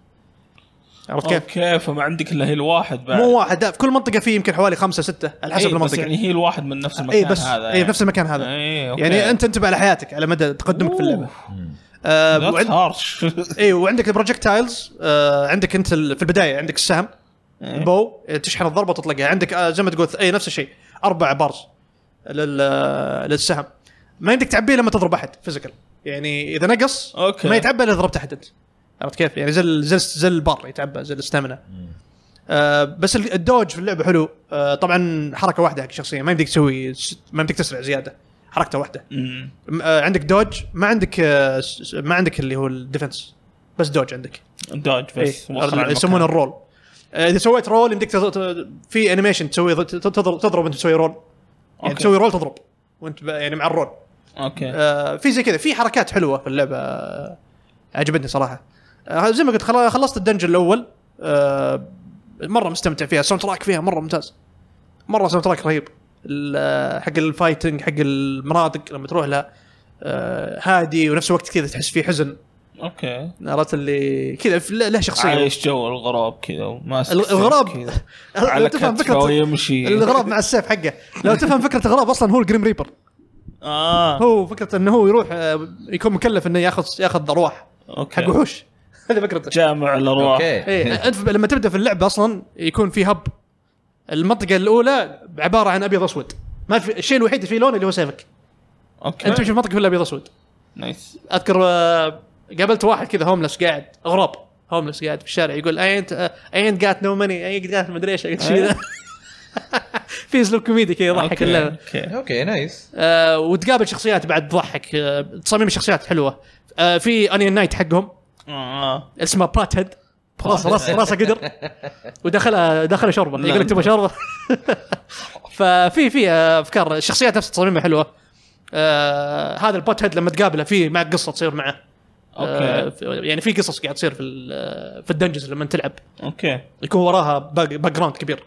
عرفت كيف؟
اوكي فما عندك الا هيل واحد بعد
مو واحد لا في كل منطقه فيه يمكن حوالي خمسه سته على حسب
إيه، بس
المنطقه
يعني هيل واحد من نفس المكان
اي إيه، بس
هذا
اي نفس المكان هذا
إيه، أوكي.
يعني انت انتبه على حياتك على مدى تقدمك في اللعبه آه
That's
وعند...
harsh.
اي وعندك البروجكتايلز آه عندك انت ال... في البدايه عندك السهم
إيه.
البو تشحن الضربه وتطلقها عندك آه زي ما تقول اي نفس الشيء اربع بارز لل... آه، للسهم ما عندك تعبيه لما تضرب احد فيزيكال يعني اذا نقص
أوكي.
ما يتعبى الا إذا ضربت احد انت عرفت كيف؟ يعني زي ال- زي ال- زي البار يتعبى زي الاستامنا آه بس ال- الدوج في اللعبه حلو آه طبعا حركه واحده حق شخصيه ما يمديك تسوي س- ما يمديك تسرع زياده حركته واحده
مم.
م- آه، عندك دوج ما عندك آه، س- س- ما عندك اللي هو الديفنس بس دوج عندك
دوج بس
إيه،
وصل على المكان.
يسمونه الرول آه، اذا سويت رول يمديك تض- ت- في انيميشن تسوي ض- ت- تضرب تضرب وانت تسوي رول يعني
أوكي.
تسوي رول تضرب وانت ب- يعني مع الرول
اوكي
آه، في زي كذا في حركات حلوه في اللعبه آه، عجبتني صراحه آه، زي ما قلت خلا- خلصت الدنجن الاول آه، مره مستمتع فيها الساوند تراك فيها مره ممتاز مره ساوند تراك رهيب ال- آه، حق الفايتنج حق المناطق لما تروح لها آه، هادي ونفس الوقت كذا تحس فيه حزن
اوكي
عرفت اللي كذا في- له شخصيه
عايش جو الغراب كذا وماسك
ال- الغراب
سيف كذا.
لو
على
تفهم
كتفه
فكرة-
ويمشي
الغراب مع السيف حقه لو تفهم فكره الغراب اصلا هو الجريم ريبر
اه
هو فكره انه هو يروح آه، يكون مكلف انه ياخذ ياخذ ارواح
اوكي
حق وحوش هذه فكرته
جامع الارواح
إيه.
ايه انت لما تبدا في اللعبه اصلا يكون في هب المنطقه الاولى عباره عن ابيض اسود ما في الشيء الوحيد اللي فيه لون اللي هو سيفك
اوكي
انت تمشي في المنطقه كلها ابيض اسود
نايس
اذكر آه، قابلت واحد كذا هوملس قاعد غراب هوملس قاعد في الشارع يقول آه، اي انت اي انت جات نو ماني اي انت جات مدري ايش قلت شي ذا. في اسلوب كوميدي كذا يضحك
أوكي،
اللعبه
اوكي
اوكي نايس
آه وتقابل شخصيات بعد تضحك آه تصاميم الشخصيات حلوه آه في انيون نايت حقهم
اه
اسمه بات هيد راس راس راسه قدر ودخلها دخل شوربه يقول لك تبغى شوربه ففي في افكار الشخصيات نفسها تصاميمها حلوه آه هذا البوت هيد لما تقابله في معك قصه تصير معه آه
اوكي
في- يعني في قصص قاعد تصير في ال- آه، في الدنجز لما تلعب
اوكي
يكون وراها باك باك جراوند كبير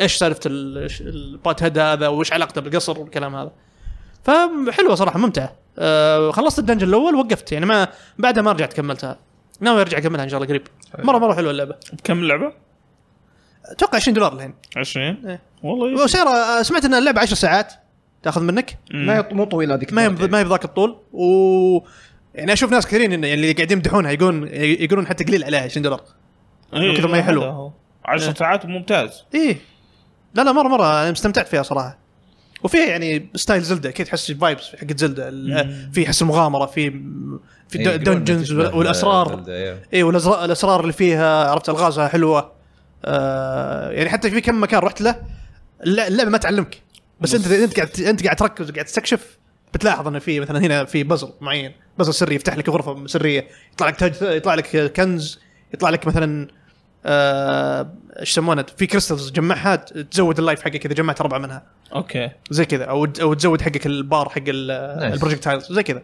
ايش سالفه ال- ش- البوت هيد هذا وايش علاقته بالقصر والكلام هذا فحلوه صراحه ممتعه آه خلصت الدنجن الاول وقفت يعني ما بعدها ما رجعت كملتها ناوي ارجع اكملها ان شاء الله قريب مره مره حلوه اللعبه
بكم لعبه؟
اتوقع 20 دولار الحين
20
إيه.
والله يس-
وسعرها سمعت ان اللعبه 10 ساعات تاخذ منك
مم.
ما هي- مو طويله هذيك
ما هي ما هي بذاك الطول و يعني اشوف ناس كثيرين إن- يعني اللي قاعدين يمدحونها يقولون يقولون حتى قليل عليها 20 دولار
إيه،
كثر ما هي حلوة. إيه.
هذا هو. 10 ساعات ممتاز
ايه لا لا مره مره انا استمتعت فيها صراحه وفيها يعني ستايل زلدة كذا تحس فايبس حقت زلدة ال- في حس المغامره في في
إيه،
د- دنجنز
يقولون تشبه
والاسرار
زلدة، إيه.
اي والأزرا- الاسرار اللي فيها عرفت الغازها حلوه آه يعني حتى في كم مكان رحت له اللع- اللعبه ما تعلمك بس انت انت قاعد انت قاعد تركز وقاعد تستكشف بتلاحظ انه في مثلا هنا في بزر معين بزر سري يفتح لك غرفه سريه يطلع لك تاج يطلع لك كنز يطلع لك مثلا آه، ايش يسمونه في كريستلز تجمعها تزود اللايف حقك اذا جمعت اربعه منها
اوكي
زي كذا او او تزود حقك البار حق
Nice.
البروجكتايلز زي كذا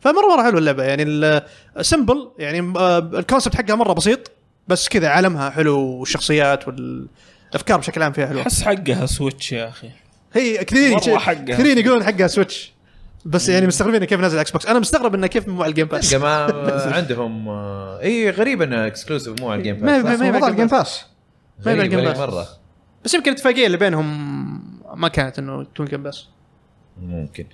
فمره مره حلوه اللعبه يعني ال- سمبل يعني آه، الكونسبت حقها مره بسيط بس كذا عالمها حلو والشخصيات والافكار بشكل عام فيها حلوه
احس حقها سويتش يا اخي
هي كثيرين
مرة حقها.
كثيرين يقولون حقها سويتش بس يعني مستغربين كيف نازل اكس بوكس انا مستغرب انه كيف مو على الجيم باس
تلقى ما عندهم آه، اي غريب انه اكسكلوسيف مو على الجيم
ما- ما-
باس
ما-
موضوع الجيم باس
صح؟
ما- ما-
غريب،
Game
غريب
Pass.
مره
بس يمكن الاتفاقيه اللي بينهم ما كانت انه تكون جيم باس
ممكن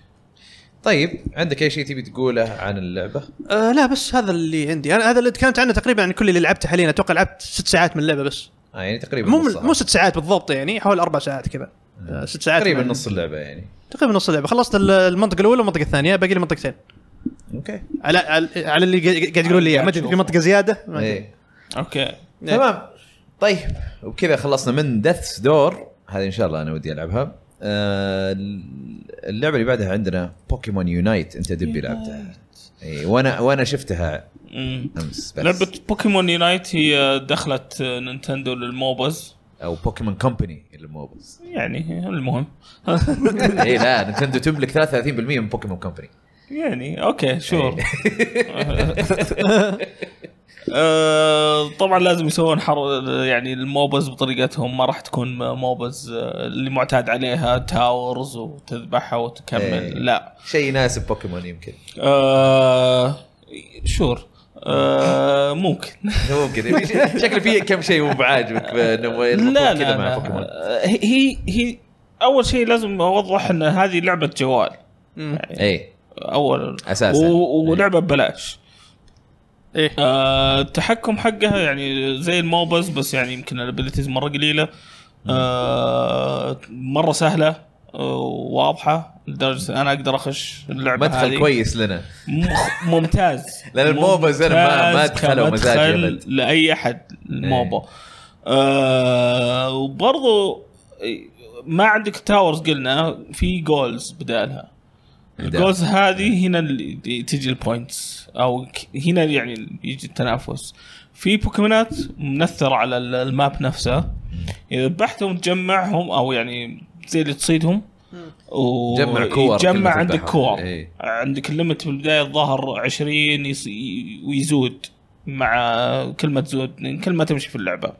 طيب عندك اي شيء تبي تقوله عن اللعبه؟
آه لا بس هذا اللي عندي انا هذا اللي تكلمت عنه تقريبا عن كل اللي لعبته حاليا اتوقع لعبت ست ساعات من اللعبه بس
آه يعني تقريبا
مو
نصها.
مو ست ساعات بالضبط يعني حوالي اربع ساعات كذا آه، ست ساعات
تقريبا
من-
نص اللعبه يعني
تقريبا نص اللعبه خلصت ال- المنطقه الاولى والمنطقه الثانيه باقي لي منطقتين
اوكي
على على على اللي قاعد- قاعد يقولون لي إياه، ما ادري في منطقه زياده ما أدري.
إيه.
اوكي
إيه.
تمام طيب وبكذا خلصنا من دث دور هذه ان شاء الله انا ودي العبها آه، اللعبه اللي بعدها عندنا بوكيمون يونايت انت دبي لعبتها اي وانا وانا شفتها
مم.
امس بس
uh, لعبة بوكيمون يونايت هي دخلت نينتندو للموبز
او بوكيمون كومباني اللي مو بس
يعني المهم
اي لا نتندو تملك 33% من بوكيمون كومباني
يعني اوكي شور آه، طبعا لازم يسوون حر يعني الموبز بطريقتهم ما راح تكون موبز آه، اللي معتاد عليها تاورز وتذبحها
إيه.
وتكمل لا
شيء يناسب بوكيمون يمكن
آه، شور آه، ممكن
ممكن شكله في كم شيء مو بعاجبك انه المفروض
لا
كذا
لا,
مع
لا.
بوكيمون
آه، هي هي اول شيء لازم اوضح ان هذه لعبه جوال إيه.
اي
اول
أساساً. إيه.
و- ولعبه ببلاش
ايه
آه، التحكم حقها يعني زي الموبز بس يعني يمكن الابيلتيز مره قليله آه، مره سهله آه، واضحه لدرجه انا اقدر اخش اللعبه
مدخل
هذه.
كويس لنا
مخ- ممتاز
لأن الموبز أنا ما- ما أدخله
ممتاز
مزاجي
كمدخل
أبد. إيه.
لاي احد الموبا آه وبرضو ما عندك تاورز قلنا في جولز بدالها الجولز هذه هنا اللي تجي البوينتس او ك- هنا يعني يجي التنافس في بوكيمونات منثرة على ال- الماب نفسه اذا ذبحتهم تجمعهم او يعني زي اللي تصيدهم و-
جمع كور كلمة
يجمع عندك
تذبحهم.
كور
إيه.
عندك الليمت في البدايه الظاهر 20 يص... ي- ويزود مع كل ما تزود يعني كل ما تمشي في اللعبه.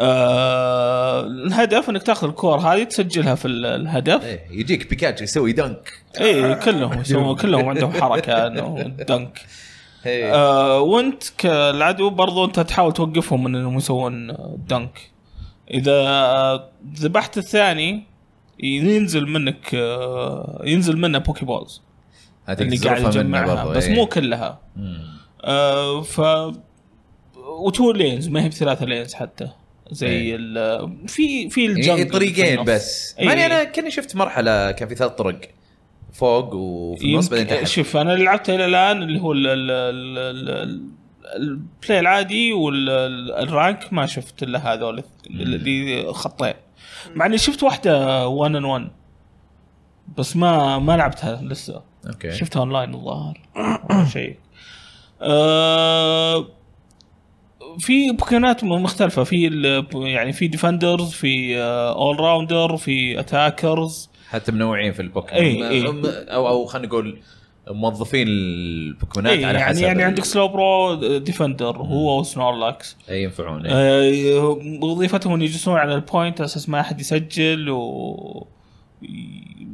آه... الهدف انك تاخذ الكور هذه تسجلها في ال- الهدف
إيه، يجيك بيكاتشو يسوي دنك
اي إيه، كلهم يسوون كلهم عندهم حركه انه دنك
إيه.
آه وانت كالعدو برضو انت تحاول توقفهم من انهم يسوون دنك اذا ذبحت الثاني ينزل منك آه، ينزل منه بوكي بولز
هذيك
اللي قاعد
ظروفها منا
يجمعها
برضو،
بس
إيه.
مو كلها
مم.
آه ف وتو لينز ما هي بثلاثه لينز حتى زي
إيه.
ال آه، في في
يعني
الجنك
طريقين بس
إيه.
ماني انا كني شفت مرحله كان في ثلاث طرق فوق وفي النص بعدين
يمكن
تحت
شوف انا اللي لعبته الى الان اللي هو ال- ال- ال- ال- ال- البلاي العادي والرانك ما شفت الا هذول اللي خطين مع اني شفت واحده 1 ان 1 بس ما ما لعبتها لسه
اوكي
شفتها اونلاين الظاهر أو شيء آه، في بوكيمونات مختلفة في ال- يعني في ديفندرز في اول راوندر في اتاكرز
حتى منوعين في البوكيمون
إيه، إيه.
أم- او او خلينا نقول موظفين البوكيمونات
إيه
على
يعني
حسب
يعني
ال-
عندك سلو برو ديفندر هو وسنورلاكس
اي ينفعون إيه.
آه، وظيفتهم ان يجلسون على البوينت على اساس ما احد يسجل و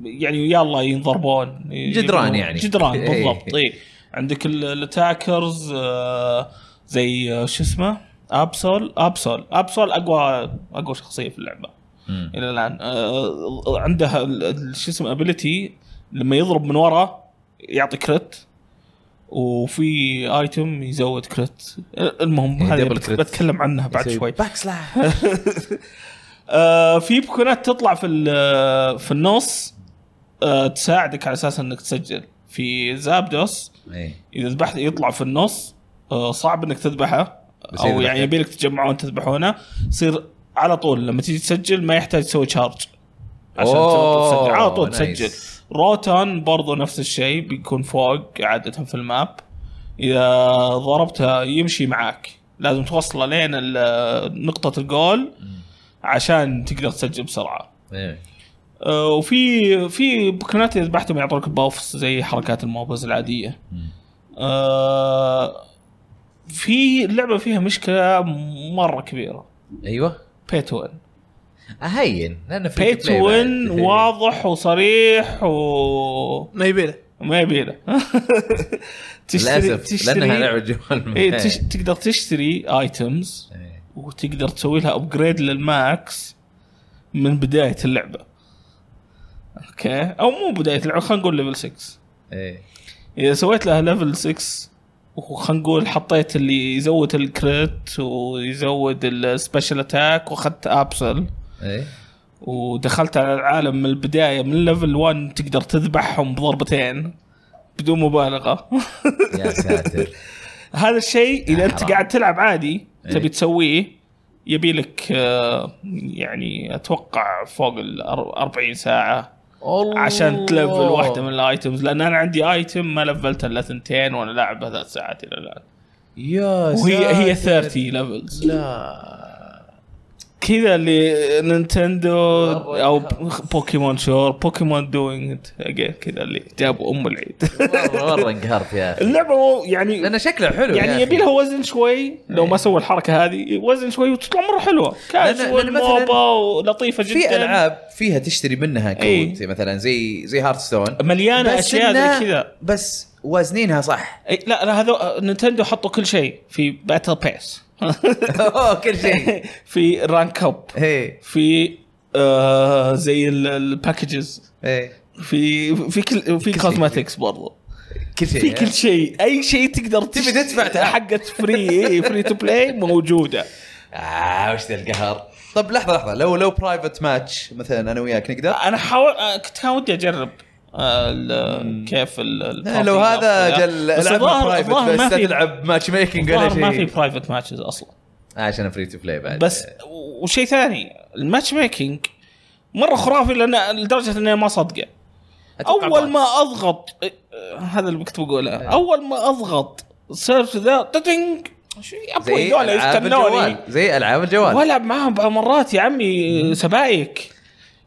يعني يلا ينضربون
جدران يعني.
جدران
إيه.
بالضبط اي عندك ال- الاتاكرز آه، زي آه، شو اسمه ابسول ابسول ابسول اقوى اقوى شخصيه في اللعبه
مم.
الى الان آه، عندها ال- ال- شو اسمه ابيلتي لما يضرب من ورا يعطي كريت وفي ايتم يزود كريت آه، المهم
إيه،
هذه
دبل
بت-
كريت.
بتكلم عنها بعد
يسوي
شوي
باك سلاش
آه، في بوكونات تطلع في ال- في النص آه، تساعدك على اساس انك تسجل في زابدوس
إيه.
اذا ذبحت يطلع في النص آه، صعب انك تذبحه
بس
او
إذا
يعني
ذبحته-
يبيلك تجمعون تذبحونه يصير على طول لما تيجي تسجل ما يحتاج تسوي تشارج عشان
أوه،
تسجل على طول
نايس.
تسجل روتان برضو نفس الشيء بيكون فوق عاده في الماب اذا ضربته يمشي معاك لازم توصله لين ال- نقطه الجول عشان تقدر تسجل بسرعه
إيه.
آه، وفي في بوكنات اذا ذبحتهم يعطوك بافس زي حركات الموبز العاديه
مم.
آه، في اللعبه فيها مشكله مره كبيره
ايوه
بي تو وين
اهين لانه في
بي تو وين واضح وصريح و
ما يبي له
ما يبيله تشتري
للاسف لانها
تشتري
لعبه جوال
إيه، تش... تقدر تشتري ايتمز
إيه.
وتقدر تسوي لها ابجريد للماكس من بدايه اللعبه اوكي او مو بدايه اللعبه خلينا نقول ليفل 6
إيه.
اذا سويت لها ليفل 6 وخلينا نقول حطيت اللي يزود الكريت ويزود السبيشل اتاك واخذت ابسل
إيه.
ودخلت على العالم من البدايه من ليفل 1 تقدر تذبحهم بضربتين بدون مبالغه
يا ساتر
هذا الشيء اذا انت
آه، حرام.
قاعد تلعب عادي
إيه.
تبي تسويه يبي لك آه، يعني اتوقع فوق ال 40 ساعه
الله
عشان تلفل واحده من الايتمز لان انا عندي ايتم ما لفلت الا ثنتين وانا لاعبها ثلاث ساعات الى الان
يا
وهي هي
ساتر.
30 ليفلز
لا
كذا اللي نينتندو او بوكيمون شور بوكيمون دوينج ات اجين كذا اللي جابوا ام العيد
مره مره انقهرت يا اخي
اللعبه مو- يعني
لان شكله حلو
يعني
يا
يبي
أخي.
لها وزن شوي لو ما سوى الحركه هذه وزن شوي وتطلع مره حلوه
لأن
كاجوال
مثلاً
موبا ولطيفه جدا
في العاب فيها تشتري منها
إيه.
كود زي مثلا زي زي هارت ستون
مليانه اشياء زي كذا
بس وازنينها صح
إي، لا لا هذو نينتندو حطوا كل شيء في باتل باس
اوه كل شيء
في رانك اب
ايه
في آه زي ال- الباكجز
ايه
في في كل في كوزماتكس برضو
كل شيء إيه.
في كل شيء اي شيء تقدر
تبي
تشت-
تدفع تعال.
حقت فري إي، فري تو بلاي موجوده آه،
اه وش ذا القهر طب لحظه لحظه لو لو برايفت ماتش مثلا انا وياك نقدر
انا حاول آه، كنت ودي اجرب آه، ال- كيف ال- ال-
إيه، لو هذا جل
بس
لعبنا
الظاهر-
برايفت
الظاهر
بس
ما
لا
في
تلعب ماتش ميكنج ولا
الظاهر
شيء
ما في برايفت ماتشز اصلا
آه، عشان فري تو بلاي بعد آه،
بس و- وشيء ثاني الماتش ميكنج مره خرافي لان لدرجه انها ما صدقه
أتوقع
اول
بعد. إيه.
ما اضغط إيه، آه، هذا اللي كنت بقوله اول ما اضغط سيرش ذا تتنج شو يا ابوي
زي
ذولا
العاب
يستنوني
الجوال زي العاب الجوال
والعب معاهم بعض مرات يا عمي سبايك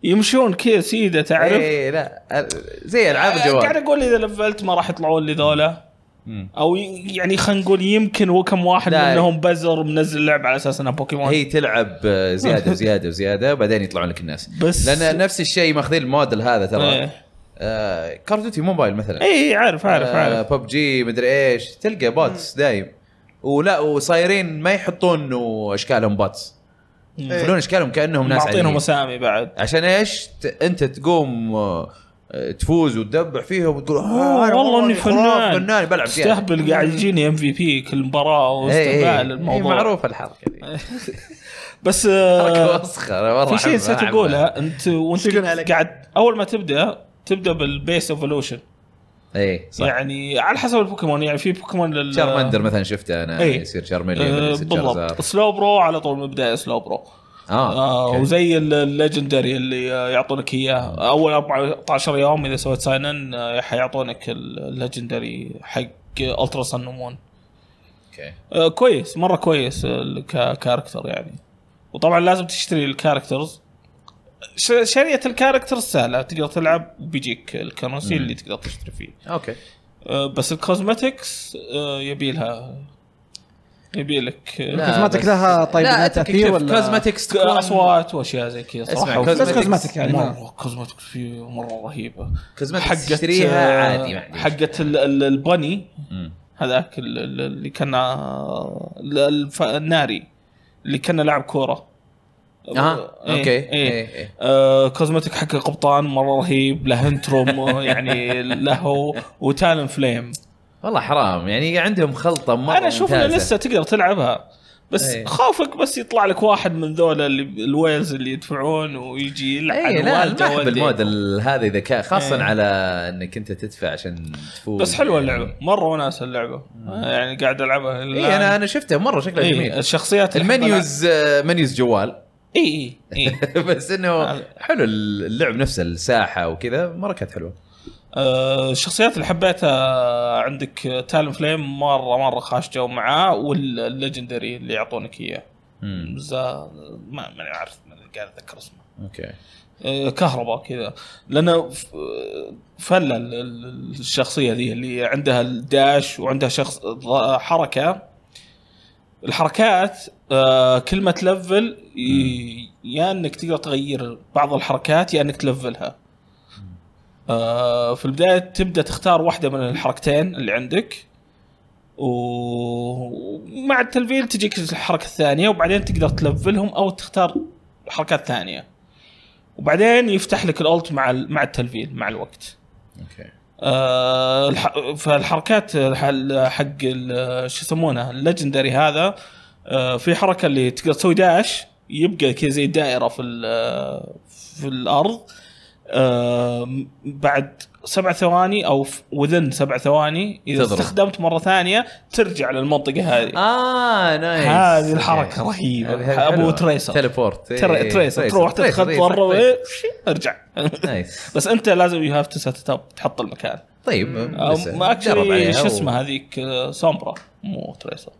يمشون كذا سيده تعرف
اي إيه، لا ال- زي العاب
أه، قاعد
الجوال
اقول اذا لفلت ما راح يطلعون لي ذولا او ي- يعني خلينا نقول يمكن وكم واحد
لا.
منهم بزر منزل لعبه على اساس انها بوكيمون
هي تلعب آه، زياده وزياده وزياده بعدين يطلعون لك الناس
بس-
لان نفس الشيء ماخذين الموديل هذا ترى
إيه.
آه كار دوتي موبايل مثلا
اي إيه، عارف عارف
أه،
عارف
ببجي آه، مدري ايش تلقى بوتس دايم ولا وصايرين ما يحطون إنه اشكالهم بوتس يخلون اشكالهم كانهم إيه. ناس
معطينهم
عاديين
اسامي بعد
عشان ايش ت... انت تقوم آه، تفوز وتدبح فيهم وتقول آه، أنا
والله اني
خراف،
فنان
فنان بلعب زيادة.
استهبل قاعد يجيني ام في بي كل مباراه واستهبال الموضوع
إيه. معروف الحركه دي
بس آه،
حركه وسخه أنا والله
في شيء
أحب-
نسيت
أحبها.
اقوله انت وانت
يقولون عليك؟
قاعد اول ما تبدا تبدا بالبيس ايفولوشن
اي صح
يعني على حسب البوكيمون يعني في بوكيمون لل-
شارمندر مثلا شفته انا
إيه.
يصير شارميليون
آه،
يصير شارزار
بالضبط سلو برو على طول من البدايه سلو برو
اه
آه
أوكي.
وزي ال- الليجندري اللي آه، يعطونك اياه اول 14 يوم اذا سويت ساين ان حيعطونك ال- الليجندري حق الترا سن ومون
اوكي
آه، كويس مره كويس ال- ككاركتر يعني وطبعا لازم تشتري الكاركترز ش- شرية الكاركترز سهله تقدر تلعب وبيجيك الكرنسي اللي تقدر تشتري فيه
اوكي
آه، بس الكوزمتكس يبي لها يبي لك آه،
كوزماتيك لها طيب لها تاثير ولا
كوزماتكس
ك- اصوات واشياء زي كذا صراحه
اسمع،
بس
كوزماتيك-
كوزماتيك يعني ما-
مره كوزمتكس فيه مره رهيبه
كوزماتيك تشتريها عادي ما عندي
آه، حقت ال- ال- البني
مم.
هذاك ال- ال- اللي كان آه، ال- الف- الناري اللي كان لاعب كوره
اها
إيه،
اوكي
إيه.
آه، إيه، إيه.
آه كوزمتك حق القبطان مره رهيب له انتروم يعني له وتالن فليم
والله حرام يعني عندهم خلطه مره
انا اشوف انه
ممتازة.
لسه تقدر تلعبها بس
إيه.
خوفك بس يطلع لك واحد من ذولا اللي الويلز اللي يدفعون ويجي يلعن
اي إيه، لا
والده
ما احب
والديه.
الموديل هذا اذا كان خاصه
إيه.
على انك انت تدفع عشان تفوز
بس حلوه اللعبه مره وناسه اللعبه يعني قاعد العبها
اي انا انا شفته مره شكله
إيه
جميل
الشخصيات اللي
المنيوز آه، منيوز جوال
أحب ألعب- إيه، اي اي اي
بس انه
آه.
حلو اللعب نفسه الساحه وكذا مره كانت حلوه
آه، الشخصيات اللي حبيتها عندك تالن فليم مره مره خاش جو معاه والليجندري اللي يعطونك اياه
مم.
زا ما ماني عارف ماني قاعد اتذكر اسمه
اوكي
آه، كهرباء كذا لانه ف- فله ال- ال- الشخصيه ذي اللي عندها الداش وعندها شخص ض- حركه الحركات آه، كل ما تلفل ي- يا انك تقدر تغير بعض الحركات يا انك تلفلها آه، في البدايه تبدا تختار واحده من الحركتين اللي عندك و- ومع التلفيل تجيك الحركه الثانيه وبعدين تقدر تلفلهم او تختار حركات ثانيه وبعدين يفتح لك الالت مع ال- مع التلفيل مع الوقت
اوكي
آه، الح- فالحركات الح- حق ال- شو يسمونه الليجندري هذا آه، في حركه اللي تقدر تسوي داش يبقى كذا زي دائره في ال- في الارض آه، بعد سبع ثواني او وذن سبع ثواني اذا
تضرب.
استخدمت مره ثانيه ترجع للمنطقه هذه
اه نايس
آه، هذه
إيه.
الحركه رهيبه ابو تريسر
تليبورت
ترى- تريسر تروح تتخطى ارجع
نايس
بس انت لازم يو هاف تو سيت اب تحط المكان
طيب
أو
لسه.
ما
جرب
اكشلي
عليها
شو
و-
اسمه هذيك آه، سومبرا مو تريسر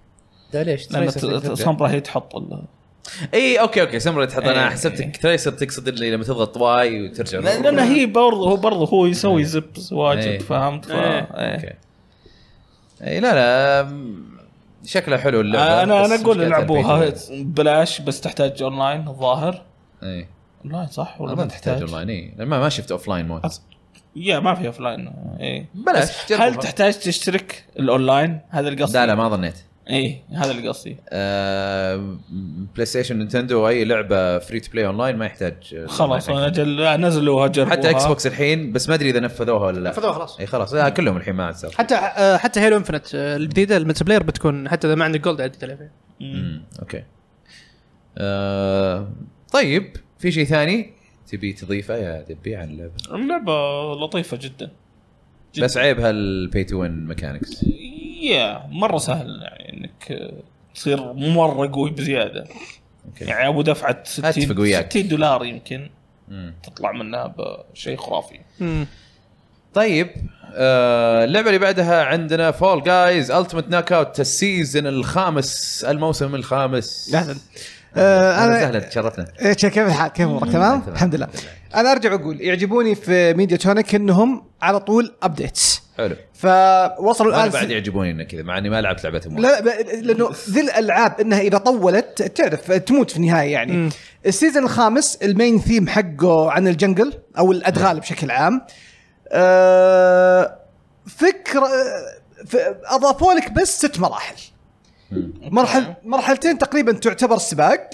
لا ليش
لان
تريسر
ت-
ترجع.
سومبرا هي تحط ال-
اي اوكي اوكي سمره تحط انا
إيه.
حسبتك تريسر تقصد اللي لما تضغط واي وترجع
لان لأن هي برضه هو برضه هو يسوي زبز
إيه.
واجد فهمت؟ ف-
إيه.
إيه.
اوكي اي لا لا أم، شكلها حلو اللعبه
انا انا
بس
اقول
مشكلتها
العبوها
البيت.
بلاش بس تحتاج اونلاين الظاهر
اي
اونلاين صح ولا
ما تحتاج اونلاين اي لأن ما ما شفت اوف لاين مود
أص- يا ما في اوف لاين ايه
بلاش جربها.
هل تحتاج تشترك الاونلاين هذا القصد
لا لا ما ظنيت
ايه هذا اللي قصدي
آه، بلاي ستيشن نينتندو اي لعبه فري تو بلاي اونلاين ما يحتاج آه،
خلاص
ما
انا
يحتاج.
جل... نزلوها جربوها
حتى اكس بوكس الحين بس ما ادري اذا نفذوها ولا لا
نفذوها خلاص.
اي خلاص لا كلهم الحين ما عاد صار
حتى آه، حتى هيلو انفنت آه، الجديده الملتي بلاير بتكون حتى اذا ما عندك جولد عادي تلعب فيها.
مم.
مم، اوكي آه، طيب في شيء ثاني تبي تضيفه يا دبي عن اللعبه
اللعبه لطيفه جدا جداً.
بس عيبها البي تو وين ميكانكس
يا مره سهل يعني انك آه، تصير مره قوي بزياده
أوكي.
يعني ابو دفعه 60
أتفق وياك.
60 دولار يمكن تطلع منها بشيء خرافي
مم.
طيب آه، اللعبه اللي بعدها عندنا فول جايز التيمت ناك اوت السيزون الخامس الموسم الخامس
لحظه آه،
انا
انا
سهله تشرفنا
إيه، كيف الحال كيف امورك تمام الحمد لله انا ارجع اقول يعجبوني في ميديا تونيك انهم على طول ابديتس
حلو
فوصلوا
انا
الان
بعد يعجبوني انه كذا مع اني ما لعبت لعبتهم وايد.
لا لا ب- لانه ذي الالعاب انها اذا طولت تعرف تموت في النهايه يعني
مم.
السيزون الخامس المين ثيم حقه عن الجنجل او الادغال بشكل عام آه، فكره ف- اضافوا لك بس ست مراحل مرحل مرحلتين تقريبا تعتبر سباق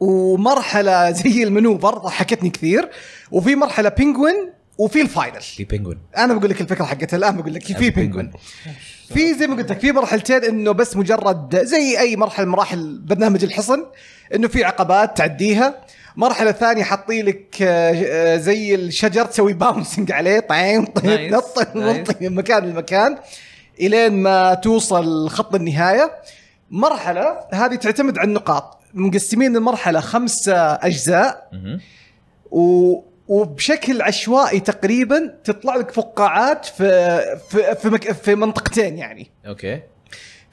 ومرحله زي المنوفر ضحكتني كثير وفي مرحله بينجوين وفي الفاينل
في بينجوين
انا بقول لك الفكره حقتها الان بقول لك في بينجوين في زي ما قلت لك في مرحلتين انه بس مجرد زي اي مرحله من مراحل برنامج الحصن انه في عقبات تعديها مرحله ثانيه حاطين لك آه، آه، زي الشجر تسوي باونسنج عليه طعيم طيب
نايس،
نط
نايس.
نط من مكان لمكان الين ما توصل خط النهايه مرحله هذه تعتمد على النقاط مقسمين المرحله خمسه اجزاء
مهم.
و وبشكل عشوائي تقريبا تطلع لك فقاعات في في في, مك... في منطقتين يعني
اوكي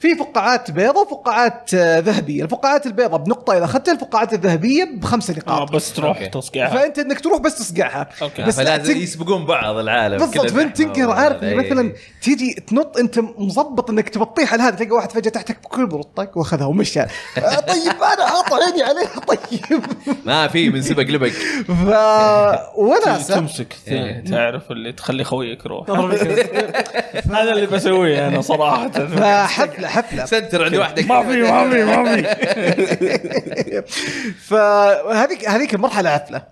في فقاعات بيضة وفقاعات آه، ذهبية الفقاعات البيضة بنقطة إذا أخذت الفقاعات الذهبية بخمسة
اه
نقاط
بس تروح
أوكي.
تصقيعها
فأنت إنك تروح بس تصقعها
اوكي
بس-
بس
لا
لازم
تن-
يسبقون بعض العالم إيه.
بالضبط
كذا
فانت
زحمة
تنقهر
وهذا.
عارف إنه
إي.
مثلا تيجي تنط انت مظبط انك تبطيح على هذا تلقى واحد فجاه تحتك بكل بروطك واخذها ومشى آه، طيب انا حاط عيني عليها طيب
ما في من سبق لبق
ف وناسه
تمسك
إيه.
الثاني، تعرف اللي تخلي خويك يروح هذا اللي بسويه انا صراحه
فحفله حفله
سنتر عند وحدك
ما في ما في ما في
فهذيك هذيك المرحله عفله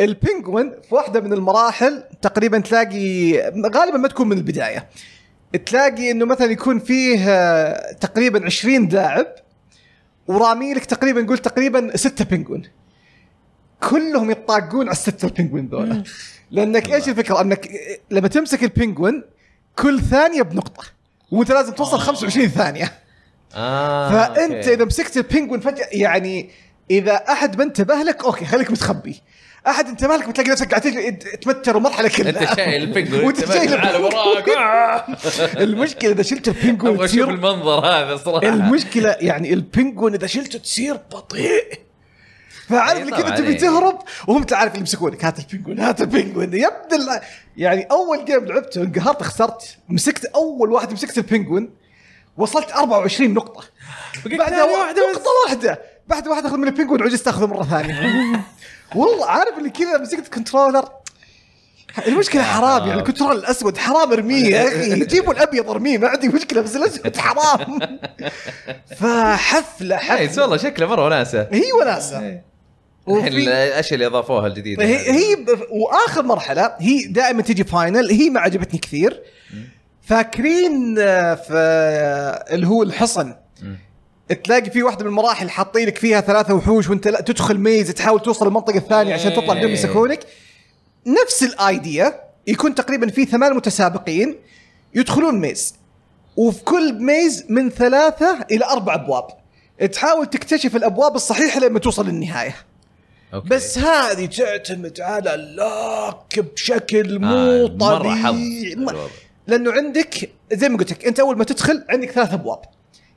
البنجوين في واحده من المراحل تقريبا تلاقي غالبا ما تكون من البدايه تلاقي انه مثلا يكون فيه آه، تقريبا 20 داعب ورامي لك تقريبا قول تقريبا ستة بنجوين كلهم يطاقون على الستة البنجوين ذولا لانك ايش الفكره انك لما تمسك البنجوين كل ثانيه بنقطه وانت لازم توصل 25 ثانيه
آه،
فانت
أوكي.
اذا مسكت البنجوين فجاه يعني اذا احد ما انتبه لك اوكي خليك متخبي احد انتبه لك بتلاقي نفسك قاعد تجري- تمتر المرحله كلها
انت شايل البنجوين
وانت شايل
العالم وراك آه.
المشكله اذا شلت البنجوين
ابغى اشوف
تصير
المنظر هذا صراحه
المشكله يعني البنجوين اذا شلته تصير بطيء فعارف
أي
اللي
طبعاً،
كذا تبي
أي.
تهرب وهم تعرف يمسكونك هات البنجوين هات البنجوين يا ابن الله. يعني اول جيم لعبته انقهرت خسرت مسكت اول واحد مسكت البنجوين وصلت 24 نقطة بعدها
ثانية
واحدة نقطة واحدة بعد واحد اخذ من البنجوين وعجزت اخذه مرة ثانية والله عارف اللي كذا مسكت كنترولر المشكلة حرام يعني الكنترول الاسود حرام ارميه يا اخي جيبوا الابيض ارميه ما عندي مشكلة بس الاسود حرام فحفلة
نايس
حفلة
إيه، والله شكله مره وناسه
هي وناسة
الحين
وفي-
الاشياء اللي اضافوها الجديده
هي هي ب- واخر مرحله هي دائما تجي فاينل هي ما عجبتني كثير فاكرين آه، في آه، اللي هو الحصن تلاقي في واحده من المراحل حاطين لك فيها ثلاثه وحوش وانت لا تدخل ميز تحاول توصل المنطقه الثانيه عشان تطلع بدون ما يسكونك نفس الايديا يكون تقريبا في ثمان متسابقين يدخلون ميز وفي كل ميز من ثلاثه الى اربع ابواب تحاول تكتشف الابواب الصحيحه لما توصل للنهايه
أوكي.
بس هذه تعتمد على اللوك بشكل
آه،
مو
مرة حظ
طبيعي
الوضع.
لانه عندك زي ما قلت لك انت اول ما تدخل عندك ثلاث ابواب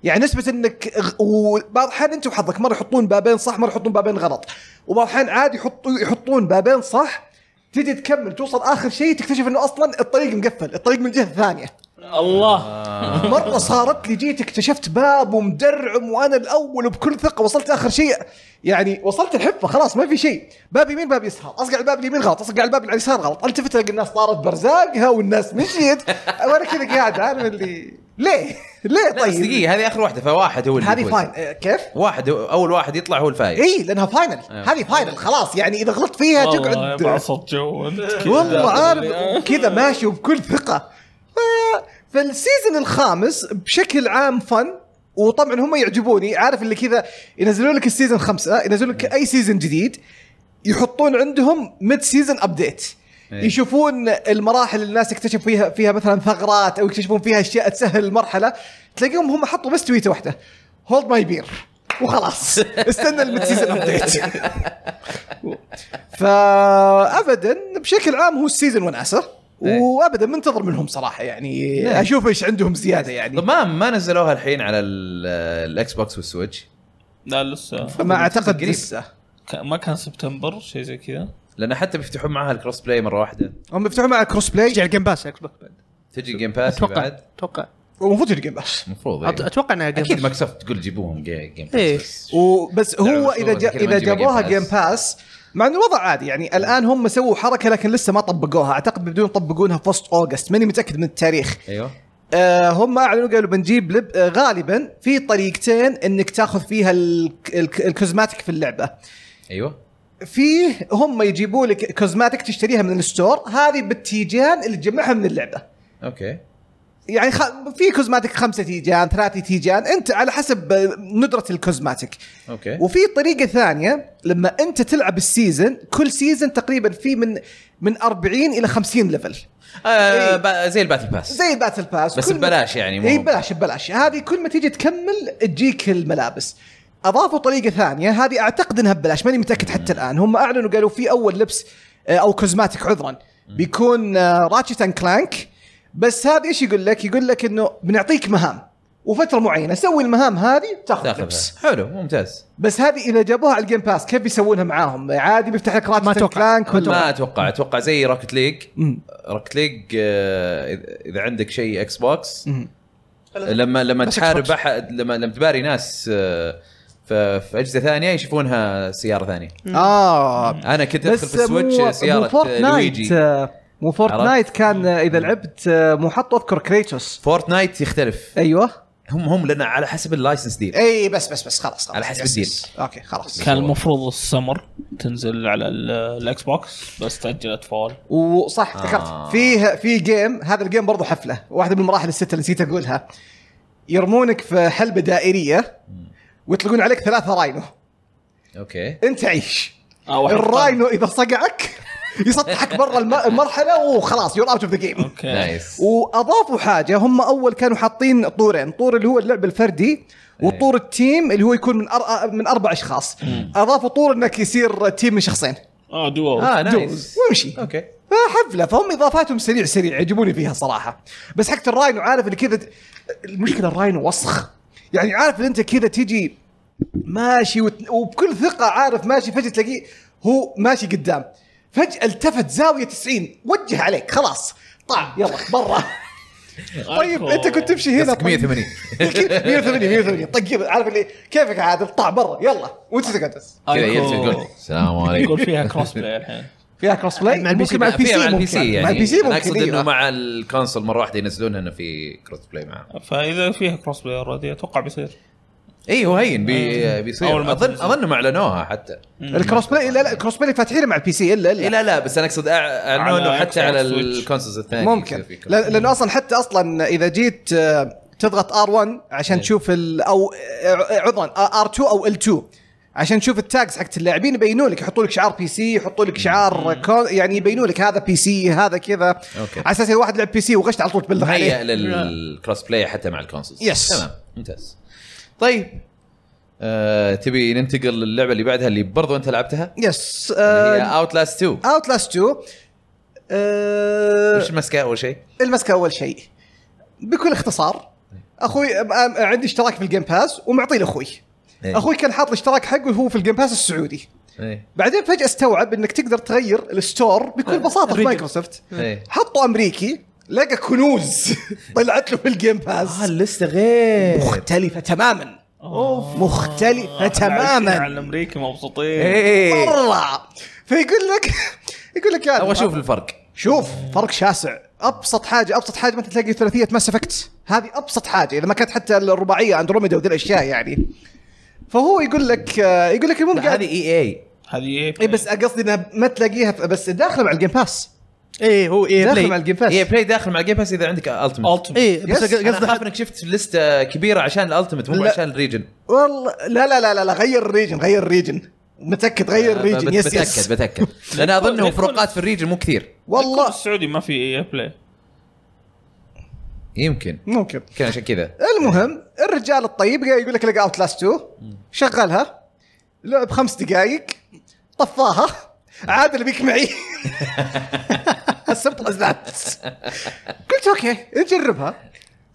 يعني نسبه انك غ- وبعض الاحيان انت وحظك مره يحطون بابين صح مره يحطون بابين غلط وبعض الاحيان عادي يحطوا يحطون بابين صح تجي تكمل توصل اخر شيء تكتشف انه اصلا الطريق مقفل الطريق من الجهه الثانيه
الله
مره صارت لي جيت اكتشفت باب ومدرعم وانا الاول وبكل ثقه وصلت اخر شيء يعني وصلت الحفه خلاص ما في شيء باب يمين باب يسار اصقع الباب اليمين غلط اصقع الباب اليسار غلط التفت الاقي الناس طارت برزاقها والناس مشيت وانا كذا قاعد عارف اللي ليه ليه
لا، بس
طيب
دقيقه هذه اخر واحده فواحد هو اللي
هذه إيه.
يفوز.
فاين آه، كيف
واحد هو- اول واحد يطلع هو الفايز
اي لانها فاينل هذه فاينل خلاص يعني اذا غلطت فيها
والله
تقعد
بعصت جو أنت.
والله عارف كذا ماشي وبكل ثقه ف- فالسيزون الخامس بشكل عام فن وطبعا هم يعجبوني عارف اللي كذا ينزلون لك السيزون خمسه ينزلون لك اي سيزون جديد يحطون عندهم ميد سيزون ابديت يشوفون المراحل اللي الناس يكتشف فيها فيها مثلا ثغرات او يكتشفون فيها اشياء تسهل المرحله تلاقيهم هم حطوا بس تويته واحده هولد ماي بير وخلاص استنى الميد سيزون ابديت فابدا بشكل عام هو السيزون وناسه
إيه.
وابدا منتظر منهم صراحه يعني
نعم.
اشوف ايش عندهم زياده يعني
طب ما ما نزلوها الحين على ال- الاكس بوكس والسويتش
لا لسه
ما اعتقد
قريب.
لسه
ك- ما كان سبتمبر شيء زي كذا
لان حتى بيفتحون معها الكروس بلاي مره واحده
هم بيفتحون مع كروس بلاي
تجي على الجيم باس اكس بوكس بعد
تجي جيم باس
اتوقع
بعد
اتوقع
المفروض يجي جيم باس
المفروض
أت-
إيه.
اتوقع انها
اكيد
Game Pass.
مايكروسوفت تقول جيبوهم جي- جيم
إيه.
باس
وبس
لا،
هو
بس
اذا
هو
جا
كل ما
اذا
نجيبها
جابوها
Game
جيم
Pass.
باس مع انه الوضع عادي يعني الان هم سووا حركه لكن لسه ما طبقوها اعتقد بدون يطبقونها في وسط اوغست ماني متاكد من التاريخ
ايوه
آه هم اعلنوا قالوا بنجيب لب آه غالبا في طريقتين انك تاخذ فيها الك- الك- الكوزماتيك في اللعبه
ايوه
فيه هم يجيبوا لك كوزماتيك تشتريها من الستور هذه بالتيجان اللي تجمعها من اللعبه
اوكي
يعني خ... في كوزماتيك خمسة تيجان ثلاثة تيجان انت على حسب آه، ندرة الكوزماتيك
اوكي
وفي طريقة ثانية لما انت تلعب السيزن كل سيزن تقريبا في من من 40 الى 50 ليفل
آه
إيه.
ب- زي الباتل باس
زي الباتل باس
بس
كل ما-
ببلاش يعني مو-
اي ببلاش ببلاش هذه كل ما تيجي تكمل تجيك الملابس اضافوا طريقه ثانيه هذه اعتقد انها ببلاش ماني متاكد حتى الان هم اعلنوا قالوا في اول لبس آه، او كوزماتيك عذرا بيكون آه، راتشت اند كلانك بس هذا ايش يقول لك؟ يقول لك انه بنعطيك مهام وفتره معينه سوي المهام هذه تاخذ لبس
تاخذها حلو ممتاز
بس هذه اذا جابوها على الجيم باس كيف بيسوونها معاهم؟ عادي بيفتح لك راتشت اند
أتوقع.
كلانك
ما اتوقع اتوقع زي راكت ليج
مم.
راكت ليج آه، إذا- اذا عندك شيء اكس بوكس
مم.
لما لما
بس
تحارب
Xbox.
احد لما لما تباري ناس آه، ف- في اجهزه ثانيه يشوفونها سياره ثانيه
اه
انا كنت ادخل في
بس
السويتش سياره آه،
فورتنايت
لويجي
مو فورتنايت
عرفت؟
كان آه، اذا لعبت آه، مو حطوا اذكر كريتوس
فورتنايت يختلف
ايوه
هم هم لنا على حسب اللايسنس ديل
اي بس بس بس خلاص خلاص
على حسب
يس،
الديل.
يس. اوكي خلاص
كان المفروض السمر تنزل على ال- الاكس بوكس بس تاجلت فول
وصح افتكرت آه. فيه في جيم هذا الجيم برضو حفله واحده من المراحل السته اللي نسيت اقولها يرمونك في حلبه دائريه ويطلقون عليك ثلاثه راينو
اوكي
انت عيش
آه، واحد
الراينو اذا صقعك يسطحك برا الم- المرحله وخلاص يور اوت اوف ذا جيم
اوكي
نايس
واضافوا حاجه هم اول كانوا حاطين طورين طور اللي هو اللعب الفردي وطور التيم اللي هو يكون من أر... من اربع اشخاص اضافوا طور انك يصير تيم من شخصين
اه دو
اه
دوز
نايس
وامشي
اوكي
حفله فهم اضافاتهم سريع سريع يعجبوني فيها صراحه بس حقت الراينو عارف اللي كذا المشكله الراينو وسخ يعني عارف اللي انت كذا تجي ماشي وت... وبكل ثقه عارف ماشي فجاه تلاقيه هو ماشي قدام فجاه التفت زاويه 90 وجه عليك خلاص طع يلا برا
آه،
طيب انت كنت تمشي هنا
قصدك
طيب.
180
180 180 طيب عارف اللي كيفك عادل طع برا يلا وانت تقعد
كذا يجلس يقول السلام عليكم
يقول فيها كروس بلاي الحين
فيها كروس بلاي
مع البي سي،
ممكن مع البي
فيها
سي
مع البي
ممكن.
سي يعني
مع البي سي
انا اقصد
ممكن
انه
أيوة.
مع الكونسول مره واحده ينزلونها انه في كروس بلاي معاه
فاذا فيها كروس بلاي اوريدي اتوقع بيصير
اي إيه، هو هين بي بيصير
أول ما
اظن
تنزل.
اظنهم اعلنوها حتى
الكروس بلاي لا لا الكروس بلاي فاتحينه مع البي سي الا
اي
الا
لا لا بس انا اقصد أع- اعلنوا
على
انه حتى على
Xbox Switch.
الكونسولز الثانيه
ممكن
يصير في
لا- لانه اصلا حتى اصلا اذا جيت آه، تضغط ار1
إيه.
عشان تشوف ال او آه، عذرا ار2 او ال2 عشان تشوف التاجز حقت اللاعبين يبينوا لك يحطوا لك شعار بي سي يحطوا لك شعار كون يعني يبينوا لك هذا بي سي هذا كذا
أوكي.
على اساس الواحد لعب بي سي وغشت على طول تبلغ
مهيئ
عليه
للكروس بلاي حتى مع الكونسولز
Yes.
تمام ممتاز طيب آه، تبي ننتقل للعبه اللي بعدها اللي برضو انت لعبتها
يس
اللي هي اوتلاست 2
اوت لاست 2 آه،
آه، وش مسكه اول شيء؟
المسكه اول شيء بكل اختصار اخوي أم- أم- عندي اشتراك في الجيم باس ومعطيه لاخوي
إيه.
اخوي كان حاط الاشتراك حقه هو في الجيم باس السعودي
ايه
بعدين فجاه استوعب انك تقدر تغير الستور
إيه.
بكل بساطه في
ريجل.
مايكروسوفت
ايه
حطه امريكي لقى كنوز طلعت له في الجيم
اه
باس
لسه غير
مختلفه تماما اوف مختلفه
على
تماما
الامريكي مبسوطين
إيه.
ايه
مره فيقول لك يقول لك يا
ابغى
أبو-
اشوف الفرق
شوف فرق شاسع ابسط حاجه ابسط حاجه مثلا تلاقي ثلاثيه ماس افكت هذه ابسط حاجه اذا ما كانت حتى الرباعيه اندروميدا وذي الاشياء يعني فهو يقول لك آه، يقول لك المهم
لا، هذه E
قاعد
اي اي
هذه إيه.
اي إيه، بس قصدي انها ما تلاقيها في- بس داخله مع الجيم باس
ايه هو ايه
داخله مع
بلاي
الجيم باس
اي بلاي E داخل مع جيم باس اذا عندك التمت
التمت
ايه بس
يس،
قصدي
قصدي اخاف
قصدك
انك شفت لسته كبيره عشان الالتمت مو
لا.
عشان الريجن
والله لا لا لا لا, لا غير الريجن غير الريجن متاكد غير إيه، الريجن
بت-
يس يس
بتاكد بتاكد لان اظنهم
ليكون-
فروقات في الريجن مو كثير
والله
السعودي ما في إيه اي بلاي
يمكن
ممكن
يمكن عشان كذا
المهم الرجال الطيب قاعد يقول لك لقى اوت لاست 2 شغلها لعب خمس دقائق طفاها عاد اللي بيك معي السبت غزلات قلت اوكي نجربها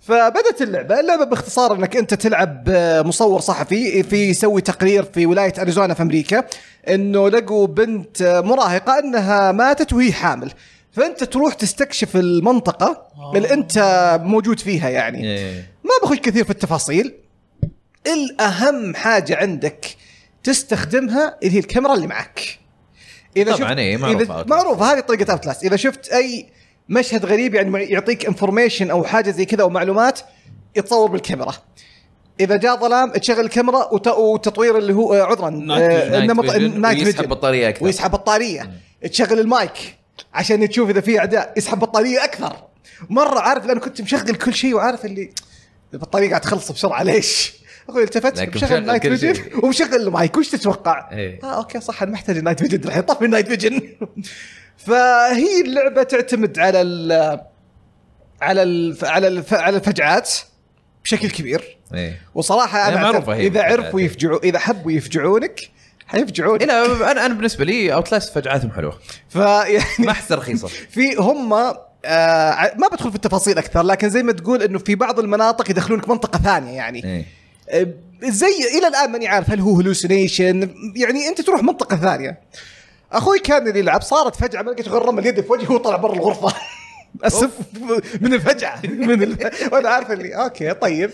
فبدت اللعبه اللعبه باختصار انك انت تلعب آه، مصور صحفي في يسوي تقرير في ولايه اريزونا في امريكا انه لقوا بنت آه، مراهقه انها ماتت وهي حامل فانت تروح تستكشف المنطقه اللي انت موجود فيها يعني
إيه.
ما بخش كثير في التفاصيل الاهم حاجه عندك تستخدمها اللي هي الكاميرا اللي معك اذا
طبعاً إيه، معروفة
إذا
Outlast.
معروفه هذه طريقه اوتلاست اذا شفت اي مشهد غريب يعني يعطيك انفورميشن او حاجه زي كذا ومعلومات يتصور بالكاميرا اذا جاء ظلام تشغل الكاميرا وت- وتطوير اللي هو آه، عذرا
Night vision.
آه، النمط-
فيجن
Night
ويسحب
vision.
بطاريه اكثر
ويسحب بطاريه تشغل المايك عشان تشوف اذا في اعداء يسحب بطاريه اكثر مره عارف لان كنت مشغل كل شيء وعارف اللي البطاريه قاعد تخلص بسرعه ليش؟ اخوي التفت
لكن
مشغل
مشغل
نايت
كل
فيجن
شيء.
ومشغل المايك وش تتوقع؟
إيه.
اه اوكي صح انا محتاج النايت فيجن راح يطفي النايت فيجن فهي اللعبه تعتمد على ال على ال على الف على الفجعات بشكل كبير
إيه.
وصراحه
هي
انا
معروفة
أعترف
هي
اذا
الفجعات،
عرفوا
إيه.
يفجعوا اذا حبوا يفجعونك حيفجعونك
إيه، لا انا انا بالنسبه لي اوتلاست فجعاتهم حلوه
فيعني
ما احسها رخيصه
في هم آه ع- ما بدخل في التفاصيل اكثر لكن زي ما تقول انه في بعض المناطق يدخلونك منطقه ثانيه يعني
إيه.
آه، زي الى الان ماني عارف هل هو هلوسينيشن يعني انت تروح منطقه ثانيه اخوي كان اللي يلعب صارت فجعه ما لقيت غرم اليد في وجهه وطلع برا الغرفه اسف من الفجعه من الف... وانا عارف اللي اوكي طيب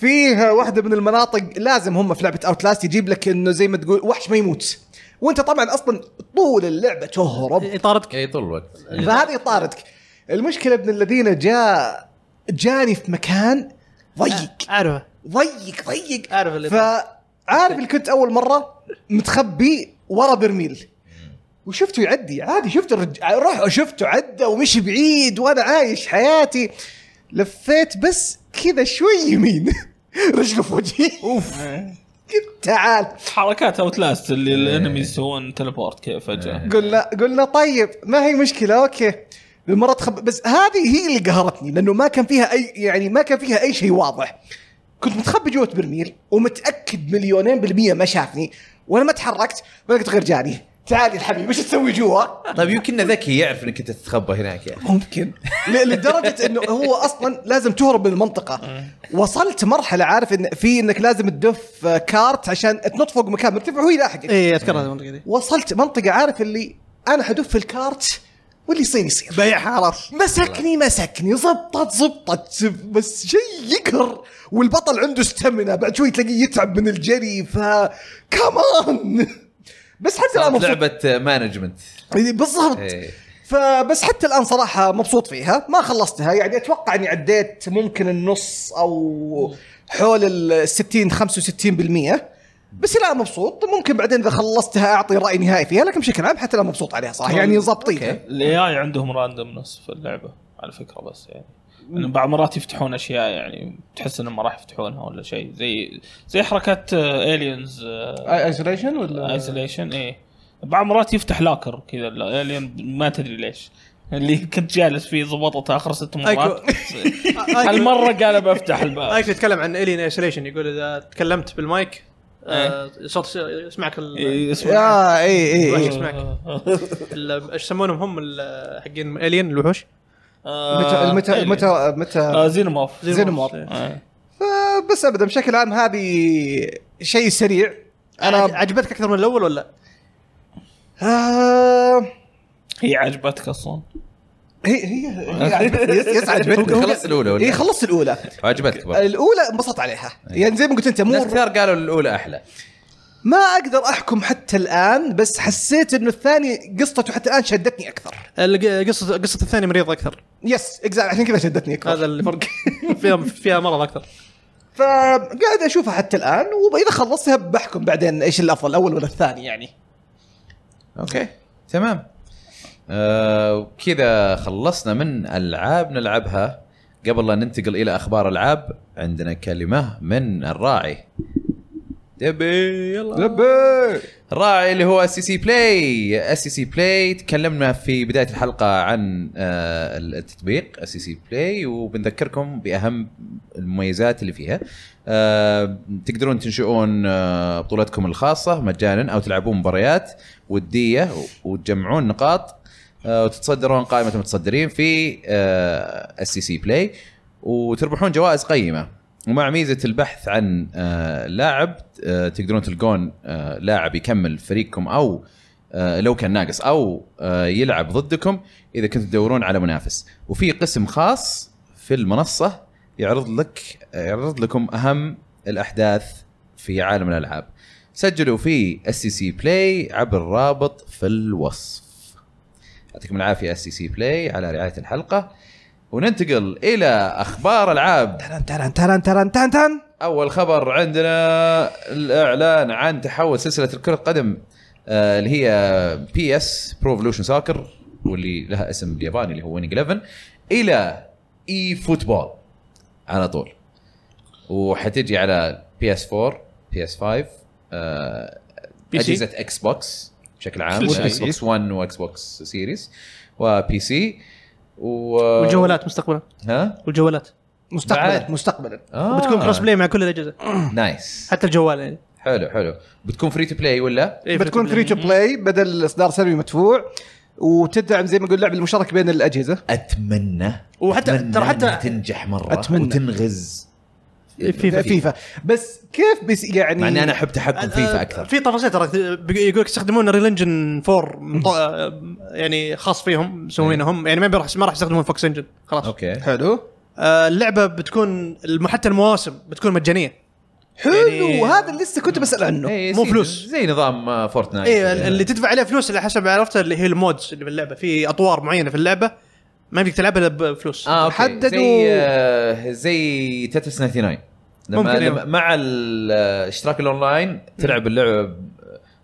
فيه واحده من المناطق لازم هم في لعبه اوتلاست يجيب لك انه زي ما تقول وحش ما يموت وانت طبعا اصلا طول اللعبه تهرب
يطاردك
اي إيه، طول الوقت
إيه.
فهذه طاردك المشكله ابن الذين جاء جاني في مكان ضيق
عارفه
ضيق ضيق
أعرف اللي
فعارف اللي كنت اول مره متخبي ورا برميل وشفته يعدي عادي شفت الرج... راح شفته عدى ومشي بعيد وانا عايش حياتي لفيت بس كذا شوي يمين رجله في وجهي اوف قلت تعال
حركات اوتلاست اللي الانمي يسوون تليبورت كيف فجاه
قلنا قلنا طيب ما هي مشكله اوكي المره تخب بس هذه هي اللي قهرتني لانه ما كان فيها اي يعني ما كان فيها اي شيء واضح كنت متخبي جوه برميل ومتاكد مليونين بالميه ما شافني وانا ما تحركت ولا قلت غير جاني تعالي الحبيب ايش تسوي جوا؟
طيب يمكن ذكي يعرف انك انت تتخبى هناك يعني
ممكن ل- لدرجه انه هو اصلا لازم تهرب من المنطقه وصلت مرحله عارف ان في انك لازم تدف آه، كارت عشان تنط فوق مكان مرتفع وهو يلاحقك
ايه اذكر هذه المنطقه دي
وصلت منطقة عارف اللي أنا هدف الكارت واللي يصير يصير بيع خلاص مسكني مسكني زبطت زبطت بس شيء يقهر والبطل عنده استمنة بعد شوي تلاقيه يتعب من الجري ف كمان بس حتى الآن
صارت
مبسوط
لعبه مانجمنت
بالضبط
إيه.
فبس حتى الآن صراحة مبسوط فيها ما خلصتها يعني أتوقع أني عديت ممكن النص أو حول ال 60 65% بس لا مبسوط ممكن بعدين اذا خلصتها اعطي راي نهائي فيها لكن بشكل عام حتى لا مبسوط عليها صراحه يعني ظابطينها
الاي اي عندهم راندومنس في اللعبه على فكره بس يعني إنه بعض مرات يفتحون اشياء يعني تحس انهم ما راح يفتحونها ولا شيء زي زي حركات آه، الينز
ايزوليشن ولا
ايسوليشن ايه بعض مرات يفتح لاكر كذا الالين ما تدري ليش اللي كنت جالس فيه ضبطت اخر ست مرات هالمره قال بفتح الباب
ايك يتكلم عن الين ايسوليشن يقول اذا تكلمت بالمايك آه، صوت يسمعك ال-
إيه، اسمع
يا اي اي
الوحش
اي
يسمعك ال- ايش يسمونهم هم ال- حقين الين الوحوش
آه،
متى متى
Alien.
متى متى
آه، زينومورف
زينومورف.
إيه.
آه بس ابدا بشكل عام هذه شيء سريع
انا
انا
عجبتك اكثر من الاول ولا؟
آه
هي عجبتك اصلا
هي هي هي عجبتني. يس يس عجبتني
خلصت الأولى ولا؟
اي إيه، خلصت الاولى
عجبتك برضه
الاولى انبسطت عليها يعني زي ما قلت انت
ناس
مو
كثير قالوا الاولى احلى
ما اقدر احكم حتى الان بس حسيت انه الثاني قصته حتى الان شدتني اكثر
الق- قصه قصه الثانيه مريضه اكثر
يس اكزاكت عشان كذا شدتني اكثر
هذا الفرق فيها فيها مرض اكثر
فقاعد اشوفها حتى الان واذا خلصتها بحكم بعدين ايش الافضل الاول ولا الثاني يعني
اوكي تمام آه وكذا خلصنا من العاب نلعبها قبل لا ننتقل الى اخبار العاب عندنا كلمه من الراعي دبي يلا دبي الراعي اللي هو اس سي بلاي اس سي بلاي تكلمنا في بدايه الحلقه عن آه، التطبيق اس سي بلاي وبنذكركم باهم المميزات اللي فيها آه، تقدرون تنشئون آه، بطولتكم الخاصه مجانا او تلعبون مباريات وديه وتجمعون نقاط آه، وتتصدرون قائمه المتصدرين في آه، اس سي بلاي وتربحون جوائز قيمه ومع ميزه البحث عن آه، لاعب آه، تقدرون تلقون آه، لاعب يكمل فريقكم او آه، لو كان ناقص او آه، يلعب ضدكم اذا كنتوا تدورون على منافس وفي قسم خاص في المنصه يعرض لك يعرض لكم اهم الاحداث في عالم الالعاب سجلوا في اس سي سي بلاي عبر الرابط في الوصف يعطيكم العافيه اس سي سي بلاي على رعايه الحلقه وننتقل الى اخبار العاب
تران تران تران تران تران تران
اول خبر عندنا الاعلان عن تحول سلسله الكره القدم آه، اللي هي بي اس برو ايفولوشن ساكر واللي لها اسم الياباني اللي هو وينج 11 الى اي فوتبول على طول وحتجي على بي اس 4 بي اس 5 آه،
PC.
اجهزه اكس بوكس بشكل عام
وال
اكس بوكس 1 واكس بوكس سيريز وبي سي و
آه. والجوالات مستقبلا
ها
والجوالات
مستقبلا
بعد.
مستقبلا
آه.
بتكون كروس بلاي مع كل الاجهزه
نايس
حتى الجوال يعني
حلو حلو بتكون فري تو بلاي ولا؟
إيه،
بتكون فري تو بلاي بدل الاصدار سلبي مدفوع وتدعم زي ما قلنا اللعب المشترك بين الاجهزه
اتمنى
وحتى ترى
إنها
حتى
تنجح مره
أتمنى.
وتنغز
فيفا.
فيفا بس كيف بس يعني
مع اني انا احب تحكم فيفا اكثر
آه، في تفاصيل ترى بيق- يقول لك يستخدمون ريل انجن 4 مط- يعني خاص فيهم مسوينه هم يعني ما راح ما راح يستخدمون فوكس انجن خلاص
اوكي
حلو
آه، اللعبه بتكون الم- حتى المواسم بتكون مجانيه
حلو
يعني-
هذا اللي لسه كنت بسال عنه
إيه،
مو
زي-
فلوس.
زي نظام آه، فورتنايت
اي إيه، اللي تدفع عليها فلوس على حسب عرفتها اللي هي المودز اللي باللعبه في اطوار معينه في اللعبه ما يمديك تلعبها الا بفلوس
اه اوكي
حددوا-
حددوا زي آه، زي تتس 99 لما
ممكن،
لما
إيه.
مع ال- آه، اشتراك الاونلاين تلعب اللعبه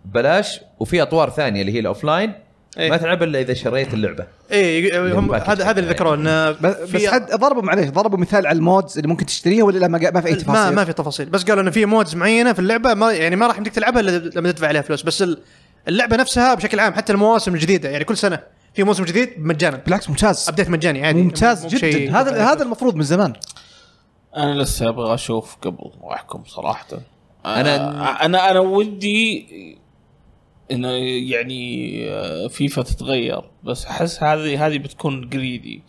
ببلاش وفي اطوار ثانيه اللي هي الاوفلاين
إيه.
ما تلعب الا اذا شريت اللعبه
اي إيه، هم
باكج.
هذا هذا اللي ذكروه انه
بس, بس
في-
حد ضربوا معليش ضربوا مثال على المودز اللي ممكن تشتريها ولا لا ما, ما في اي تفاصيل
ما ما في تفاصيل بس قالوا انه في مودز معينه في اللعبه ما يعني ما راح يمديك تلعبها الا لما تدفع عليها فلوس بس ال- اللعبه نفسها بشكل عام حتى المواسم الجديده يعني كل سنه في موسم جديد مجانا
بالعكس ممتاز
ابديت مجاني عادي
ممتاز
مو
جدا
بشيء-
هذا هذا المفروض من زمان
انا لسه ابغى اشوف قبل واحكم صراحه
أنا-
انا انا انا آه، ودي انه يعني آه، فيفا تتغير بس احس هذه هذه بتكون جريدي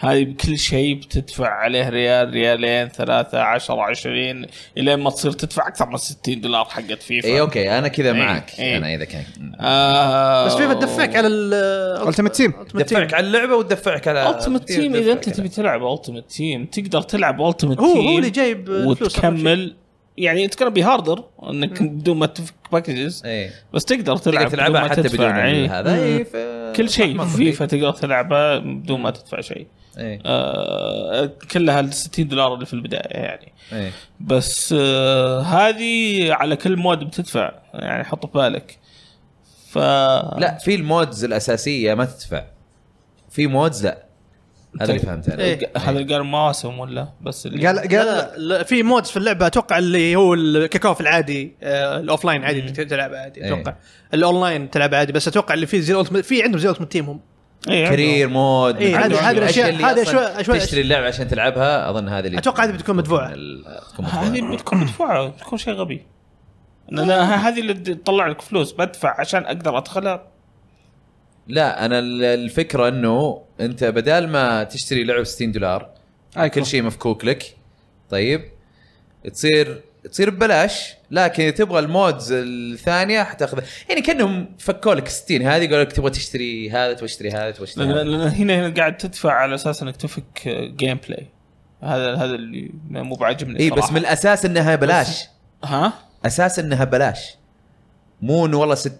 هذه بكل شيء بتدفع عليه ريال ريالين ثلاثة عشرة عشرين إلين ما تصير تدفع أكثر من 60 دولار حقت فيفا
اي اوكي انا كذا
إيه،
معك
إيه.
انا اذا كان
آه
بس فيفا تدفعك على ال
Ultimate Team.
تدفعك على اللعبه وتدفعك على
التيمت تيم اذا انت تبي تلعب التيمت تيم تقدر تلعب التيمت
هو-
تيم
هو اللي جايب فلوس
وتكمل يعني اتس بي هاردر انك بدون ما تفك باكجز
ايه
بس تقدر
تقدر
تلعب بدون
تلعبها
ما
حتى
تدفع.
بدون
إيه.
هذا إيه، ف-
كل شيء
منطقي.
في فيفا تقدر تلعبها بدون ما تدفع شيء
إيه،
آه كلها ال 60 دولار اللي في البدايه يعني
إيه.
بس آه هذه على كل مود بتدفع يعني حط في بالك ف
لا في المودز الاساسيه ما تدفع في مودز لا هذا اللي فهمته انا
إيه.
هذا اللي قال مواسم ولا بس اللي
قال
لا
قال
لا لا، في مودز في اللعبه اتوقع اللي هو الكيكوف العادي آه، الاوفلاين عادي اللي تلعب عادي
إيه.
اتوقع الاونلاين تلعب عادي بس اتوكع اللي فيه زي الألتيميت- في عندهم زي التيم هم
إيه، عنده.
كارير مود
إيه، هذه-
عندهم
هذه الأشياء-
اللي
هذه
أصلاً
شوي- شوي-
تشتري اللعبه عشان تلعبها اظن هذه اللي
أتوقع هذه بتكون مدفوعة.
ال- تكون مدفوعه
هذه بتكون مدفوعه بتكون شيء غبي انا
آه.
لا هذه اللي تطلع لك فلوس بدفع عشان اقدر ادخلها
آه. لا انا ال- الفكره انه انت بدال ما تشتري لعب 60 دولار كل شيء مفكوك لك طيب تصير تصير ببلاش لكن اذا تبغى المودز الثانيه حتاخذها يعني كانهم فكوا لك 60 هذه قالوا لك تبغى تشتري هذا تبغى تشتري هذا تبغى تشتري
لأن
هذا.
لأن هنا هنا قاعد تدفع على اساس انك تفك جيم بلاي آه، هذا هذا اللي مو بعاجبني
اي إيه، بس من الاساس انها بلاش
ها
اساس انها بلاش مو انه والله 60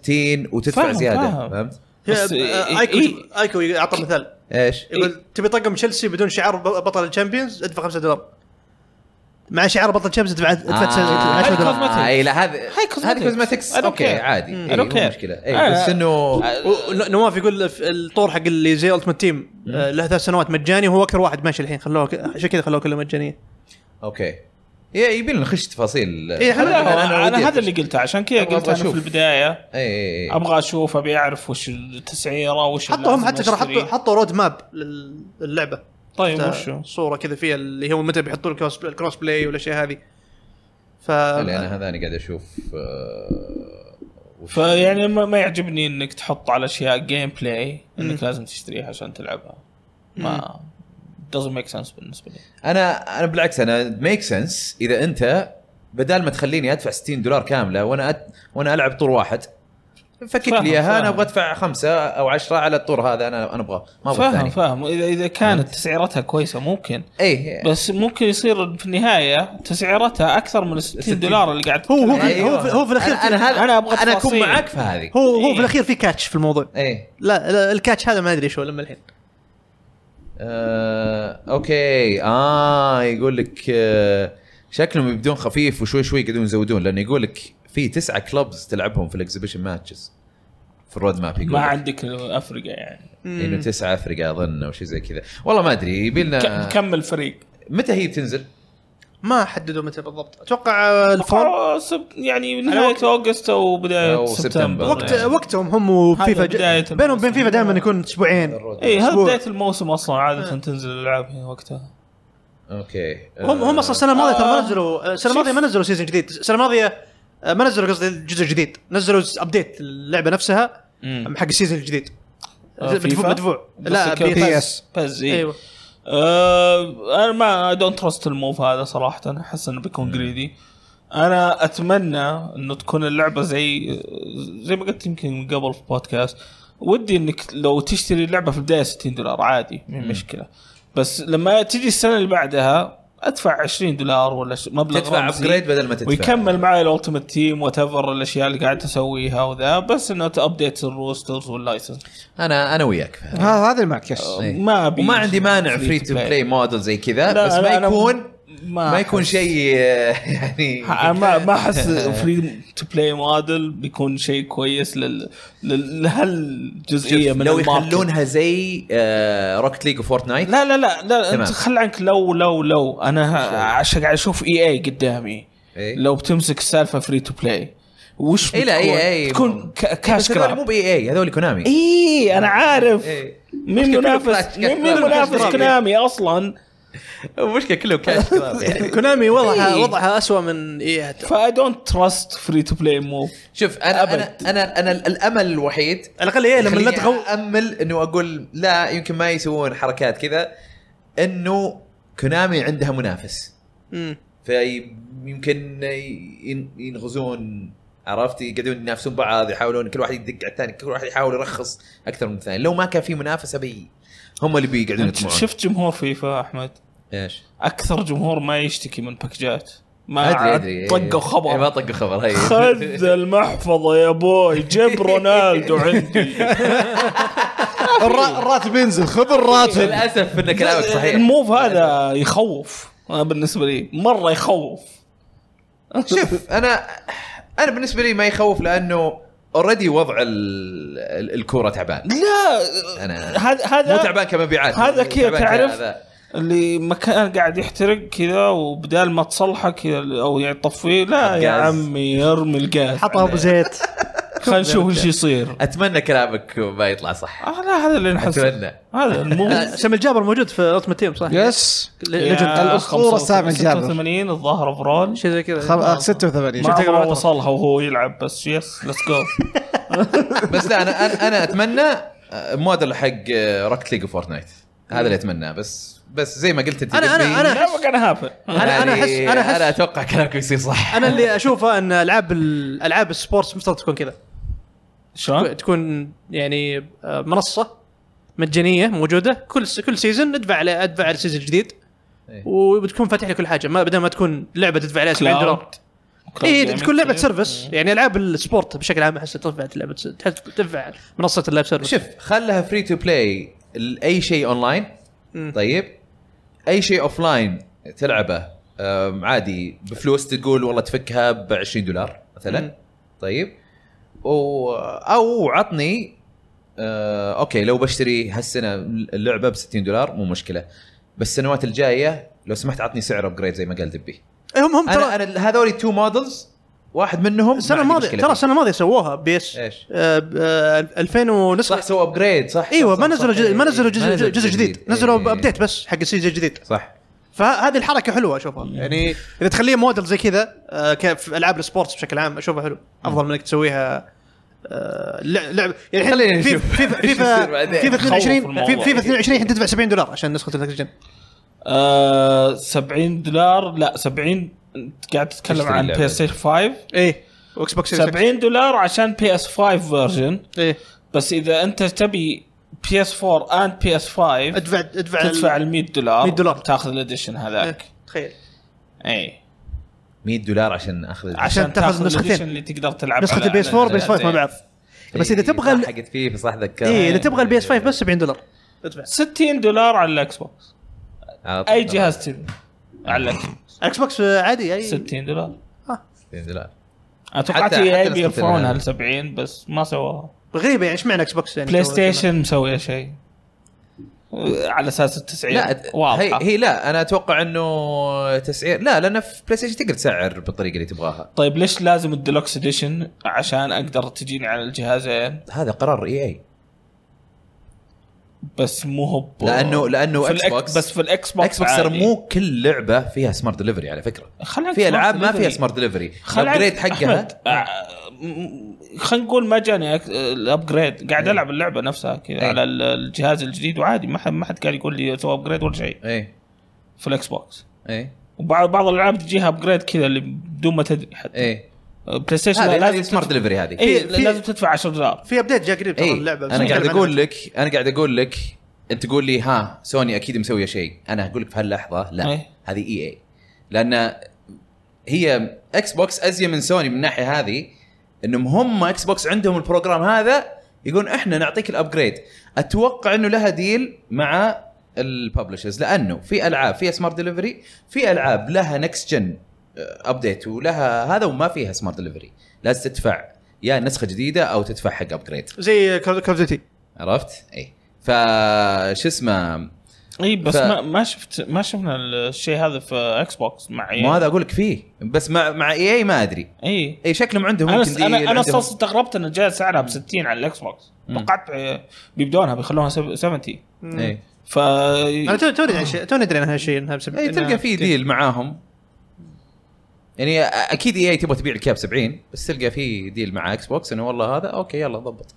وتدفع
فاهم،
زياده
فاهم.
فهمت؟
بس-
آه، ايكو
إيه.
ايكو اعطى مثال
ايش؟
يقول تبي طقم تشيلسي بدون شعار ب- بطل الشامبيونز ادفع 5 دولار مع شعار بطل الشامبيونز ادفع ادفع 10
هذه
دولار
كوزمتكس.
اي آه. لا هذه
هاي كوزمتكس.
هذه كوزمتكس
I don't
اوكي
care.
عادي
Mm.
إي،
I don't
مو
care.
مشكله اي بس
آه.
انه
و- ون- نواف يقول ف- الطور حق اللي زي التمت تيم آه، له ثلاث سنوات مجاني وهو اكثر واحد ماشي الحين خلوه ك- عشان كذا خلوه كله مجانيه
اوكي يا- يبي لنا نخش تفاصيل
إي، حلو.
لا،
أنا-
انا,
أنا
أنا
ودي
هذا
أخش.
اللي قلته عشان كذا
أبغى
قلت انا
أشوف.
في البدايه
اي اي اي
ابغى اشوف ابي اعرف وش التسعيره وش
حطوا هم
اللازم
حتى ترى
أشتريه.
حطوا حطوا رود ماب لل- للعبه
طيب
حتى
وشو؟
صوره كذا فيها اللي هو متى بيحطون الكروس الكروس بلاي والاشياء هذه ف
اللي انا هذاني قاعد اشوف آه، وش-
فيعني ما ما يعجبني انك تحط على اشياء جيم بلاي انك لازم تشتريها عشان تلعبها ما doesn't make sense بالنسبه لي
انا انا بالعكس انا ميك سنس اذا انت بدال ما تخليني ادفع 60 دولار كامله وانا أت... وانا العب طور واحد فكك
فاهم،
لي اياها
فاهم.
انا ابغى ادفع خمسه او عشرة على الطور هذا انا انا ابغاه ما ابغى
فاهم
الثاني
فاهم اذا اذا كانت تسعيرتها كويسه ممكن
اي
بس ممكن يصير في النهايه تسعيرتها اكثر من ال 60 دولار اللي قاعد أيوة.
هو- هو
تدفعها.
في- هو في- هو في الأخير
انا أيوة. هذا
أنا
انا
أبغى
ابغى انا اكون
تفاصيل.
معك في هذه إيه.
هو هو
إيه.
في الاخير في كاتش في الموضوع
اي
لا, لا الكاتش هذا ما ادري شو لما الحين
آه، اوكي اه يقول لك آه، شكلهم يبدون خفيف وشوي شوي يقدرون يزودون لانه يقول لك في تسعه كلوبز تلعبهم في الاكزبيشن ماتشز في الرود ماب يقول
ما
لك.
عندك افرقه يعني
انه تسعة افرقه اظن او شيء زي كذا والله ما ادري يبي
ك-
آه.
لنا
كم الفريق؟
متى هي بتنزل؟
ما حددوا متى بالضبط اتوقع آه، الفون
آه، سب- يعني نهايه اوغست او بدايه
أو
سبتمبر
سبتمبر.
وقت
يعني.
وقتهم هم وفيفا
هذا بداية
ج... بينهم وبين
الموسم.
فيفا دائما يكون اسبوعين
اي إيه، هذا
أسبوع. آه.
بدايه الموسم اصلا عاده تنزل الالعاب هنا وقتها
اوكي
هم هم اصلا السنه الماضيه ترى ما نزلوا السنه الماضيه ما نزلوا سيزون جديد السنه الماضيه آه، ما نزلوا قصدي جزء جديد نزلوا ابديت اللعبه نفسها
مم.
حق السيزون الجديد
آه، فيفا؟
مدفوع مدفوع
بس
لا
كيف-
بي اس
بس- بس إيه.
ايوه
آه انا ما دونت ترست الموف هذا صراحه احس انه بيكون جريدي انا اتمنى انه تكون اللعبه زي زي ما قلت يمكن من قبل في بودكاست ودي انك لو تشتري اللعبه في البدايه 60 دولار عادي ما هي مشكله بس لما تجي السنه اللي بعدها ادفع 20 دولار ولا ش- مبلغ
تدفع
رمزي.
ابجريد بدل ما تدفع
ويكمل معي الالتيميت تيم وات ايفر الاشياء اللي قاعد تسويها وذا بس انه تابديت الروسترز واللايسنس
انا انا وياك في هذا.
هذا اللي معك يس
ما ابي
وما عندي مانع فري تو بلاي موديل زي كذا بس ما يكون ما يكون شيء آه، يعني
انا ما ما احس فري تو بلاي موديل بيكون شيء كويس لل لل- لهالجزئيه من
لو
الماركت.
يخلونها زي آه، روكت ليج وفورتنايت
لا لا لا لا
تمام.
انت خل عنك لو لو لو انا ه- عشان قاعد اشوف اي اي قدامي
إيه.
لو بتمسك السالفه فري تو بلاي وش
إيه لا،
بتكون؟
إيه، إيه.
تكون ك- كاش
بس هذول مو
كراب
باي اي هذول كونامي
اي انا عارف
إيه.
مين
مشكلة
منافس
كله
مين
كله
مين منافس
كله
كنامي اصلا
المشكله كله كاش كراب يعني
كونامي وضعها
إيه.
وضعها اسوء من إيه. اي
فاي دونت تراست فري تو بلاي موف
شوف انا
أبد.
انا انا, أنا الامل الوحيد
على الاقل ايه لما
خليني
ندغوا
امل انه اقول لا يمكن ما يسوون حركات كذا انه كونامي عندها منافس
مم.
في يمكن ين- ينغزون عرفت يقعدون ينافسون بعض يحاولون كل واحد يدق على الثاني كل واحد يحاول يرخص اكثر من الثاني لو ما كان في منافسه بي هم اللي بيقعدون يطمعون
شفت جمهور فيفا احمد
ايش
اكثر جمهور ما يشتكي من باكجات ما
ادري ادري
طقوا
إيه، ما
خبر
طقوا خبر هي
خذ المحفظه يا بوي جيب رونالدو عندي
الرا- الراتب ينزل خذ الراتب
للاسف ان كلامك صحيح
الموف هذا يخوف أنا بالنسبه لي مره يخوف
شوف انا انا بالنسبه لي ما يخوف لانه اوريدي وضع ال- ال- الكوره تعبان
لا
أنا-
هذا
مو
هذا
تعبان كمبيعات
هذا كذا
تعبان
تعرف؟
هذا.
اللي مكان قاعد يحترق كذا وبدال ما تصلحه كذا او يعني تطفيه لا يا
الغاز.
عمي ارمي الغاز
حطها ابو زيت
خلينا نشوف ايش يصير
اتمنى كلامك ما يطلع صح
آه لا هذا اللي نحس
اتمنى
هذا المو
سامي الجابر موجود في التمت تيم صح؟
يس
ليجند
الأسطورة سامي الجابر.
86 الظاهر برول
شيء زي كذا
خم- آه، 86
ما
تقرأ
عمره
وتر.
وصلها وهو يلعب بس يس ليتس جو
بس لا آه، انا انا, أنا اتمنى آه، موديل حق روكت ليج وفورتنايت هذا اللي اتمناه بس بس زي ما قلت انت
أنا- أنا-
قبل.
أنا-
Never gonna happen.
انا انا
يعني
احس انا احس
انا اتوقع كلامك بيصير صح
انا اللي اشوفه ان العاب ال- العاب السبورتس مفترض تكون كذا
شلون؟
تكون يعني آه، منصه مجانيه موجوده كل س- كل سيزون ادفع على ادفع على السيزون الجديد
إيه.
وبتكون فاتح لك كل حاجه ما بدل ما تكون لعبه تدفع عليها 70 دولار
إيه،
اي تكون لعبه سيرفس يعني العاب السبورت بشكل عام احس تدفع لعبه س- تح- تدفع منصه اللايف سيرفس
شوف خلها فري تو بلاي اي شيء اونلاين
مم.
طيب اي شيء اوف لاين تلعبه أم، عادي بفلوس تقول والله تفكها ب 20 دولار
مم.
مثلا طيب و... او عطني آه، اوكي لو بشتري هالسنه اللعبه ب 60 دولار مو مشكله بس السنوات الجايه لو سمحت عطني سعر ابجريد زي ما قال دبي
هم هم
انا
ترى
انا هذول تو مودلز واحد منهم ما
السنه
عندي
الماضيه
مشكلة
ترى
فيه.
السنه الماضيه سووها بيس
إيش؟
آه، آه، 2000
صح
ونص
سووا ابجريد صح
ايوه
صح،
ما
صح،
نزلوا
صح. إيه،
جزء ما نزلوا
ما
جزء جزء جديد نزلوا
إيه.
ابديت بس حق السيزون الجديد
صح
فهذه الحركه حلوه اشوفها يعني اذا تخليه موديل زي كذا آه، كيف العاب السبورتس بشكل عام اشوفها حلو افضل من انك تسويها آه، لع- لعب يعني
خلينا
الحين في-
نشوف
فيفا
إيش يصير
فيفا
بعدين.
فيفا
خوف
22
الموضوع.
في- فيفا 22 الحين تدفع 70 دولار عشان نسخه النكست جن
70 آه، دولار لا 70 انت قاعد تتكلم
تشتري
عن
لعبة.
بلاي ستيشن 5
إيه.
ايه واكس بوكس سيريس إكس.
70 دولار عشان بي اس 5 فيرجن
إيه.
ايه
بس اذا انت تبي بي اس 4 اند بي اس 5
ادفع ادفع ال-
تدفع ال 100 دولار
100 دولار.
تاخذ الاديشن
إيه،
هذاك
تخيل
اي
100 دولار عشان اخذ
عشان
تاخذ
تاخذ
نسختين.
الاديشن اللي تقدر تلعب
نسخه
على-
البي اس
على
4 بي اس 5 مع
الجهازين.
بعض بس اذا تبغى ال-
حقت فيفا صح ذكرت
ايه اذا تبغى
يعني
البي اس 5 بس 70 دولار ادفع
60 دولار على الاكس بوكس اي جهاز تبي إيه. على الاكس بوكس
الاكس بوكس آه، عادي اي
60 دولار
دولار
انا توقعت
حتى- حتى
اي
نسخة
بيرفعونها
الألعاب.
ل 70 بس ما سووها
غريبه يعني ايش معنى اكس بوكس يعني
بلاي ستيشن مسويه شيء على اساس التسعير
لا هي,
واضحه
هي لا انا اتوقع انه تسعير لا لان في بلاي ستيشن تقدر تسعر بالطريقه اللي تبغاها
طيب ليش لازم الديلوكس اديشن عشان اقدر تجيني على إيه؟ الجهازين
هذا قرار اي اي
بس مو هو ب-
لانه لانه
في
اكس
الأك-
بوكس
بس في الاكس بوكس
اكس بوكس ترى
عادي.
مو كل لعبه فيها سمارت دليفري على فكره
خلها
في
smart
العاب ما فيها
delivery.
سمارت دليفري
خلها-
الابجريد حقها
أحمد، آه، م- خلينا نقول ما جاني أك- الابجريد قاعد العب اللعبه نفسها كذا
إيه.
على ال- الجهاز الجديد وعادي ما حد ما حد قاعد يقول لي سوى ابجريد ولا شيء
اي
في الاكس بوكس
اي
وبعض بعض الالعاب تجيها ابجريد كذا اللي بدون ما تدري حتى
اي
بلاي ستيشن
إيه. هذه
لازم
هذه سمارت دليفري هذه
اي
في- في-
لازم تدفع 10 دولار
في ابديت جاء قريب
إيه،
ترى
اي
اللعبه بس
انا إيه، قاعد
نتكلم
اقول
عنها.
لك انا قاعد اقول لك انت تقول لي ها سوني اكيد مسويه شيء انا اقول لك في هاللحظه لا
إيه.
هذه اي اي لان هي اكس بوكس ازين من سوني من الناحيه هذه انهم هم اكس بوكس عندهم البروجرام هذا يقول احنا نعطيك الابجريد اتوقع انه لها ديل مع الببلشرز لانه في العاب فيها سمارت دليفري في العاب لها نكست جن ابديت ولها هذا وما فيها سمارت دليفري لازم تدفع يا نسخه جديده او تدفع حق ابجريد
زي كول اوف ديوتي
عرفت؟ اي فش اسمه
اي إيه، بس
ف-
ما ما شفت ما شفنا الشيء هذا في اكس بوكس مع
ما هذا اقول لك فيه بس مع مع اي اي ما ادري
اي
اي شكلهم عندهم
انا
يمكن
إيه. س- انا
ديل عندهم-
انا اصلا استغربت ان الجهاز سعرها ب 60 على الاكس بوكس توقعت آه، بيبدونها بيخلوها سب- 70
اي
ف
انا تو توني ادري عن شيء- توني ادري عن هالشيء انها بسبب
إيه،
اي
إنها-
تلقى في ديل معاهم يعني أ- اكيد اي اي تبغى تبيع الكاب 70 بس تلقى في ديل مع اكس بوكس انه والله هذا اوكي يلا ضبط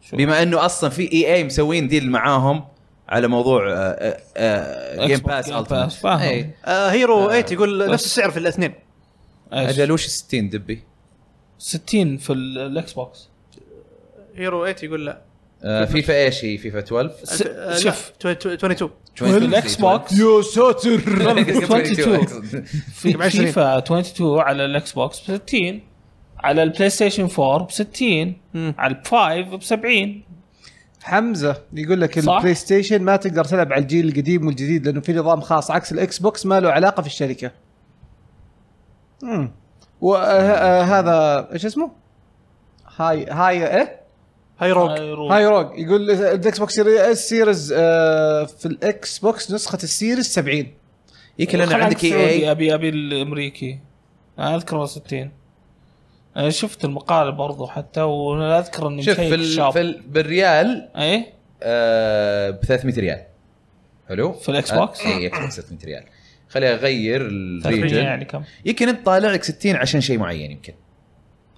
شو.
بما انه اصلا في اي اي مسوين ديل معاهم على موضوع جيم
Xbox
باس
Game Pass، فاهم.
اي
آه هيرو 8 يقول نفس السعر في الاثنين
إيش؟
اجل وش 60 دبي؟
60 في ال- الاكس بوكس
هيرو 8 يقول لا
آه، فيفا ايش هي؟ فيفا 12
س-
الف- آه، لا،
شوف
تو- تو- 22
في الاكس بوكس
يا ساتر
22.
22
في
بعشرين.
فيفا 22 على الاكس بوكس ب 60 على البلاي ستيشن 4 ب 60
مم.
على الفايف ب 70
حمزه يقول لك
صح.
البلاي ستيشن ما تقدر تلعب على الجيل القديم والجديد لانه في نظام خاص عكس الاكس بوكس ما له علاقه في الشركه. امم آه، وهذا ايش اسمه؟ هاي هاي ايه؟
هيرو
آه،
هاي روج يقول الاكس بوكس سيريز سيريز آه، في الاكس بوكس نسخه السيريز 70
يمكن لان
خلنا
عندك إيه اي
السعودي،
اي
ابي ابي الامريكي انا اذكره 60 انا شفت المقال برضو حتى وانا اذكر اني
شوف
مشيك
في, ال...
الشاب.
في ال... بالريال
اي
آه ب 300 ريال حلو
في الإكس بوكس؟
آه، اي اكس بوكس 300 ريال خليني اغير
تقريبا
الريجن
يعني كم
يمكن انت طالع لك 60 عشان شيء معين يمكن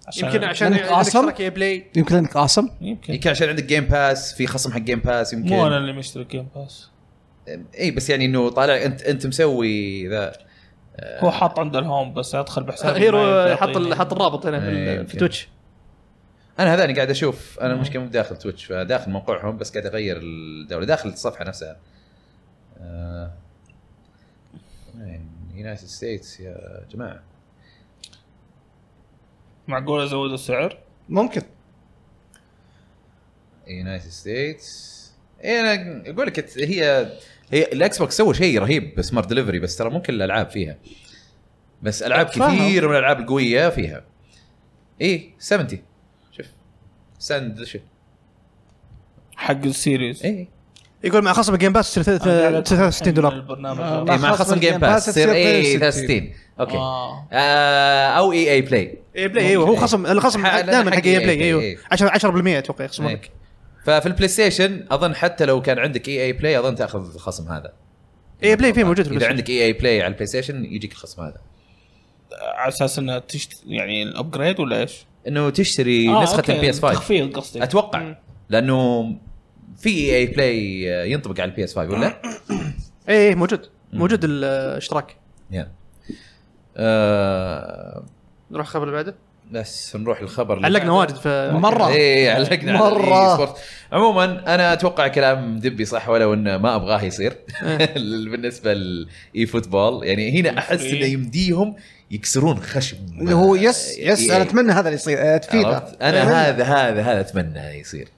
عشان-
يمكن عشان
لأنك
عندك
أصم؟
شبكة بلاي
يمكن لانك قاسم
يمكن
يمكن عشان عندك جيم باس في خصم حق جيم باس يمكن
مو انا اللي مشتري جيم باس
اي بس يعني انه طالع انت انت مسوي ذا
هو حاط عنده الهوم بس ادخل بحسابي
غير
ما
آه، حط ال-
يعطيني.
حط الرابط هنا في,
إيه،
ال- في
يمكن.
تويتش
انا هذاني قاعد اشوف انا المشكله مو داخل تويتش فداخل موقعهم بس قاعد اغير الدوله داخل الصفحه نفسها آه، وين؟ يونايتد ستيتس يا جماعه
معقول ازود السعر؟
ممكن
يونايتد ستيتس اي انا اقول إيه، لك ات- هي هي الاكس بوكس سووا شيء رهيب سمارت دليفري بس ترى مو كل الالعاب فيها بس العاب
فاهم.
كثير من الالعاب القويه فيها اي 70 شوف سند إيه. شوف
حق السيريز
إيه،
اي
يقول مع خصم الجيم باس تصير ثلاث-
أنا قاعد أدخل
63 دولار
البرنامج
آه،
هذا.
إيه مع خصم جيم باس تصير اي 63 اوكي
آه.
آه، او اي اي بلاي
اي بلاي ايوه هو خصم الخصم
حق-
دائما حق
حق
اي
EA
بلاي
إيه.
ايوه 10 10% اتوقع يخصمون
إيه.
لك
ففي البلاي ستيشن اظن حتى لو كان عندك اي اي بلاي اظن تاخذ الخصم هذا
اي بلاي فيه إيه، موجود في
اذا
البلاي
عندك اي اي بلاي على البلاي ستيشن يجيك الخصم هذا
على اساس انها تشت... يعني الابجريد ولا ايش؟
انه تشتري
آه،
نسخه
أوكي،
البي اس 5
تخفيض قصدي
اتوقع لانه في اي اي بلاي ينطبق على البي اس 5 ولا؟
آه.
اي إي، إيه، موجود موجود الاشتراك
يلا. آه،
نروح الخبر اللي بعده
بس نروح الخبر اللي
علقنا
بعده.
واجد في
مرة.
ايه علقنا إيه،
مرة.
مرة عموما انا اتوقع كلام دبي صح ولو انه ما ابغاه يصير
إيه.
بالنسبه للاي فوتبول يعني هنا احس انه يمديهم يكسرون خشم
اللي إيه. هو يس يس
EA.
انا اتمنى هذا اللي يصير آه، فيفا
آه، إيه. عرفت؟ انا هذا هذا هذا اتمنى يصير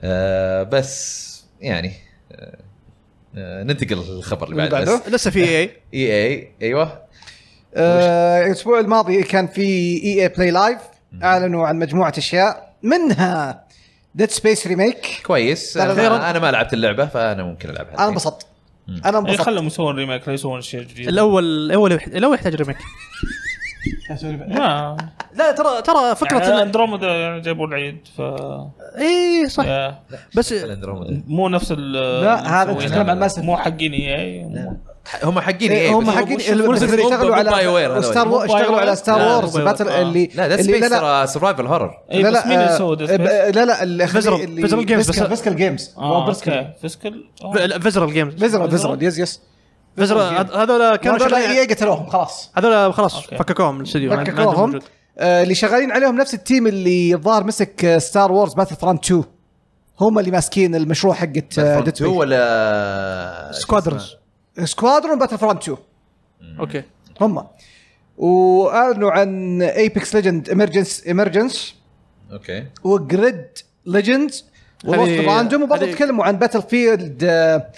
آه بس يعني آه، آه ننتقل للخبر اللي
اللي
بعده
بعده؟
بس
لسه في إيه. اي
اي اي ايوه
آه، الاسبوع الماضي كان في إيه اي اي بلاي لايف اعلنوا عن مجموعه اشياء منها ديد سبيس ريميك
كويس انا,
أخيراً.
أنا ما لعبت اللعبه فانا ممكن العبها
انا
الحين.
انبسطت انا
إيه
انبسطت
خلهم يسوون ريميك لا يسوون شيء جديد
الاول الاول يحت- الاول يحتاج ريميك
ما
لا ترى ترى فكره
يعني
إن-
اندروميدا يعني جابوا العيد ف
اي إيه، صح
يا.
بس
الأندروميدا.
مو نفس ال
لا هذا
مسوينها.
تتكلم عن ماس
مو حقين اي
هم حقين اي
إيه، هم حقين
إيه، بس
اللي اشتغلوا على ستار
وورز
وورز اشتغلوا على ستار
لا،
وورز
Mobile
باتل
War. آه.
اللي
لا ذا
اللي-
سبيس ترى سرفايفل هورر
اي إيه، بس مين اللي سوى
آه، ب- لا لا اللي
Visceral- Visceral Games بس-
فيزرال جيمز
اوكي فيسكل
فيزرال جيمز
فيزرال فيزرال يس يس
فيزرال هذول كانوا
كانوا
شغالين-
اي إيه قتلوهم خلاص
هذول خلاص
أوكي.
فككوهم من الاستوديو ما- ما عندهم
فككوهم
موجود.
آه، اللي شغالين عليهم نفس التيم اللي الظاهر مسك آه، ستار وورز باتل فرونت 2 هم اللي ماسكين المشروع آه، حقت
فرونت 2 ولا
سكوادرونز سكوادرون باتل فرونت 2
اوكي
هم واعلنوا عن ايبكس ليجند امرجنس امرجنس
اوكي
وجريد ليجندز وروك
هذه-
راندوم وبرضه
هذه-
تكلموا عن باتل فيلد آه،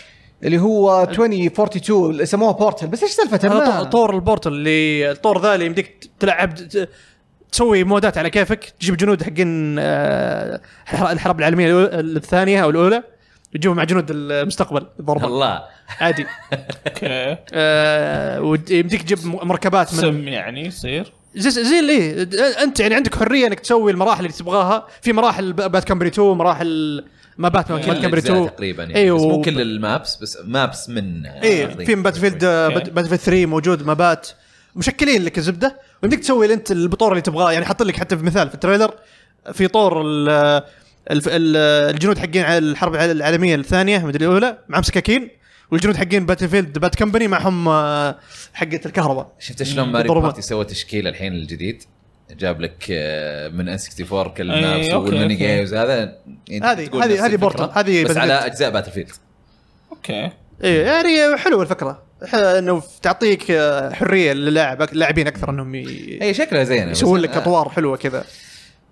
اللي هو 2042 اللي سموها بورتل بس ايش سالفتها؟
هذا
ما-
طو- طور البورتل اللي الطور ذا اللي يمديك ت- تلعب ت- تسوي مودات على كيفك تجيب جنود حقين آه، الحر- الحرب العالميه الأولى- الثانيه او الاولى تجيبهم مع جنود المستقبل ضربه
الله
عادي
اوكي
آه، ويمديك تجيب م- مركبات من
سم يعني يصير
زي زي اللي إيه، انت يعني عندك حريه انك تسوي المراحل اللي تبغاها في مراحل ب- بات كمبري 2 مراحل ما باتمان
كل
بات كمبري
يعني الأجزاء
2
تقريبا يعني
إيه،
ايوه
بس مو
وب-
كل المابس بس مابس من
اي في بات فيلد إيه، آه، بات بات فيلد 3 موجود مبات مشكلين لك الزبده ويمديك تسوي اللي انت البطور اللي تبغاه يعني حاط لك حتى في مثال في التريلر في طور ال الف- ال- الجنود حقين على الحرب الع- العالميه الثانيه مدري الاولى معهم سكاكين والجنود حقين باتل فيلد بات كمباني معهم آه، حقه الكهرباء
شفت شلون ماري
بالضربة.
بارتي سوى تشكيله الحين الجديد جاب لك آه، من ان 64 كل
أي،
مابس
أوكي،
والميني
أوكي.
جيمز هذا يعني
إيه، هذه-
تقول
هذه-
نفس
هذه
الفكرة،
بورتال، هذه إيه.
بس
باتل
على
فيلد.
اجزاء باتل فيلد
اوكي
ايه يعني حلوه الفكره ح- انه تعطيك آه، حريه للاعب اللاعبين اكثر انهم ي-
هي شكلها زينه أيوة، بس
يسوون لك
أنا-
اطوار حلوه كذا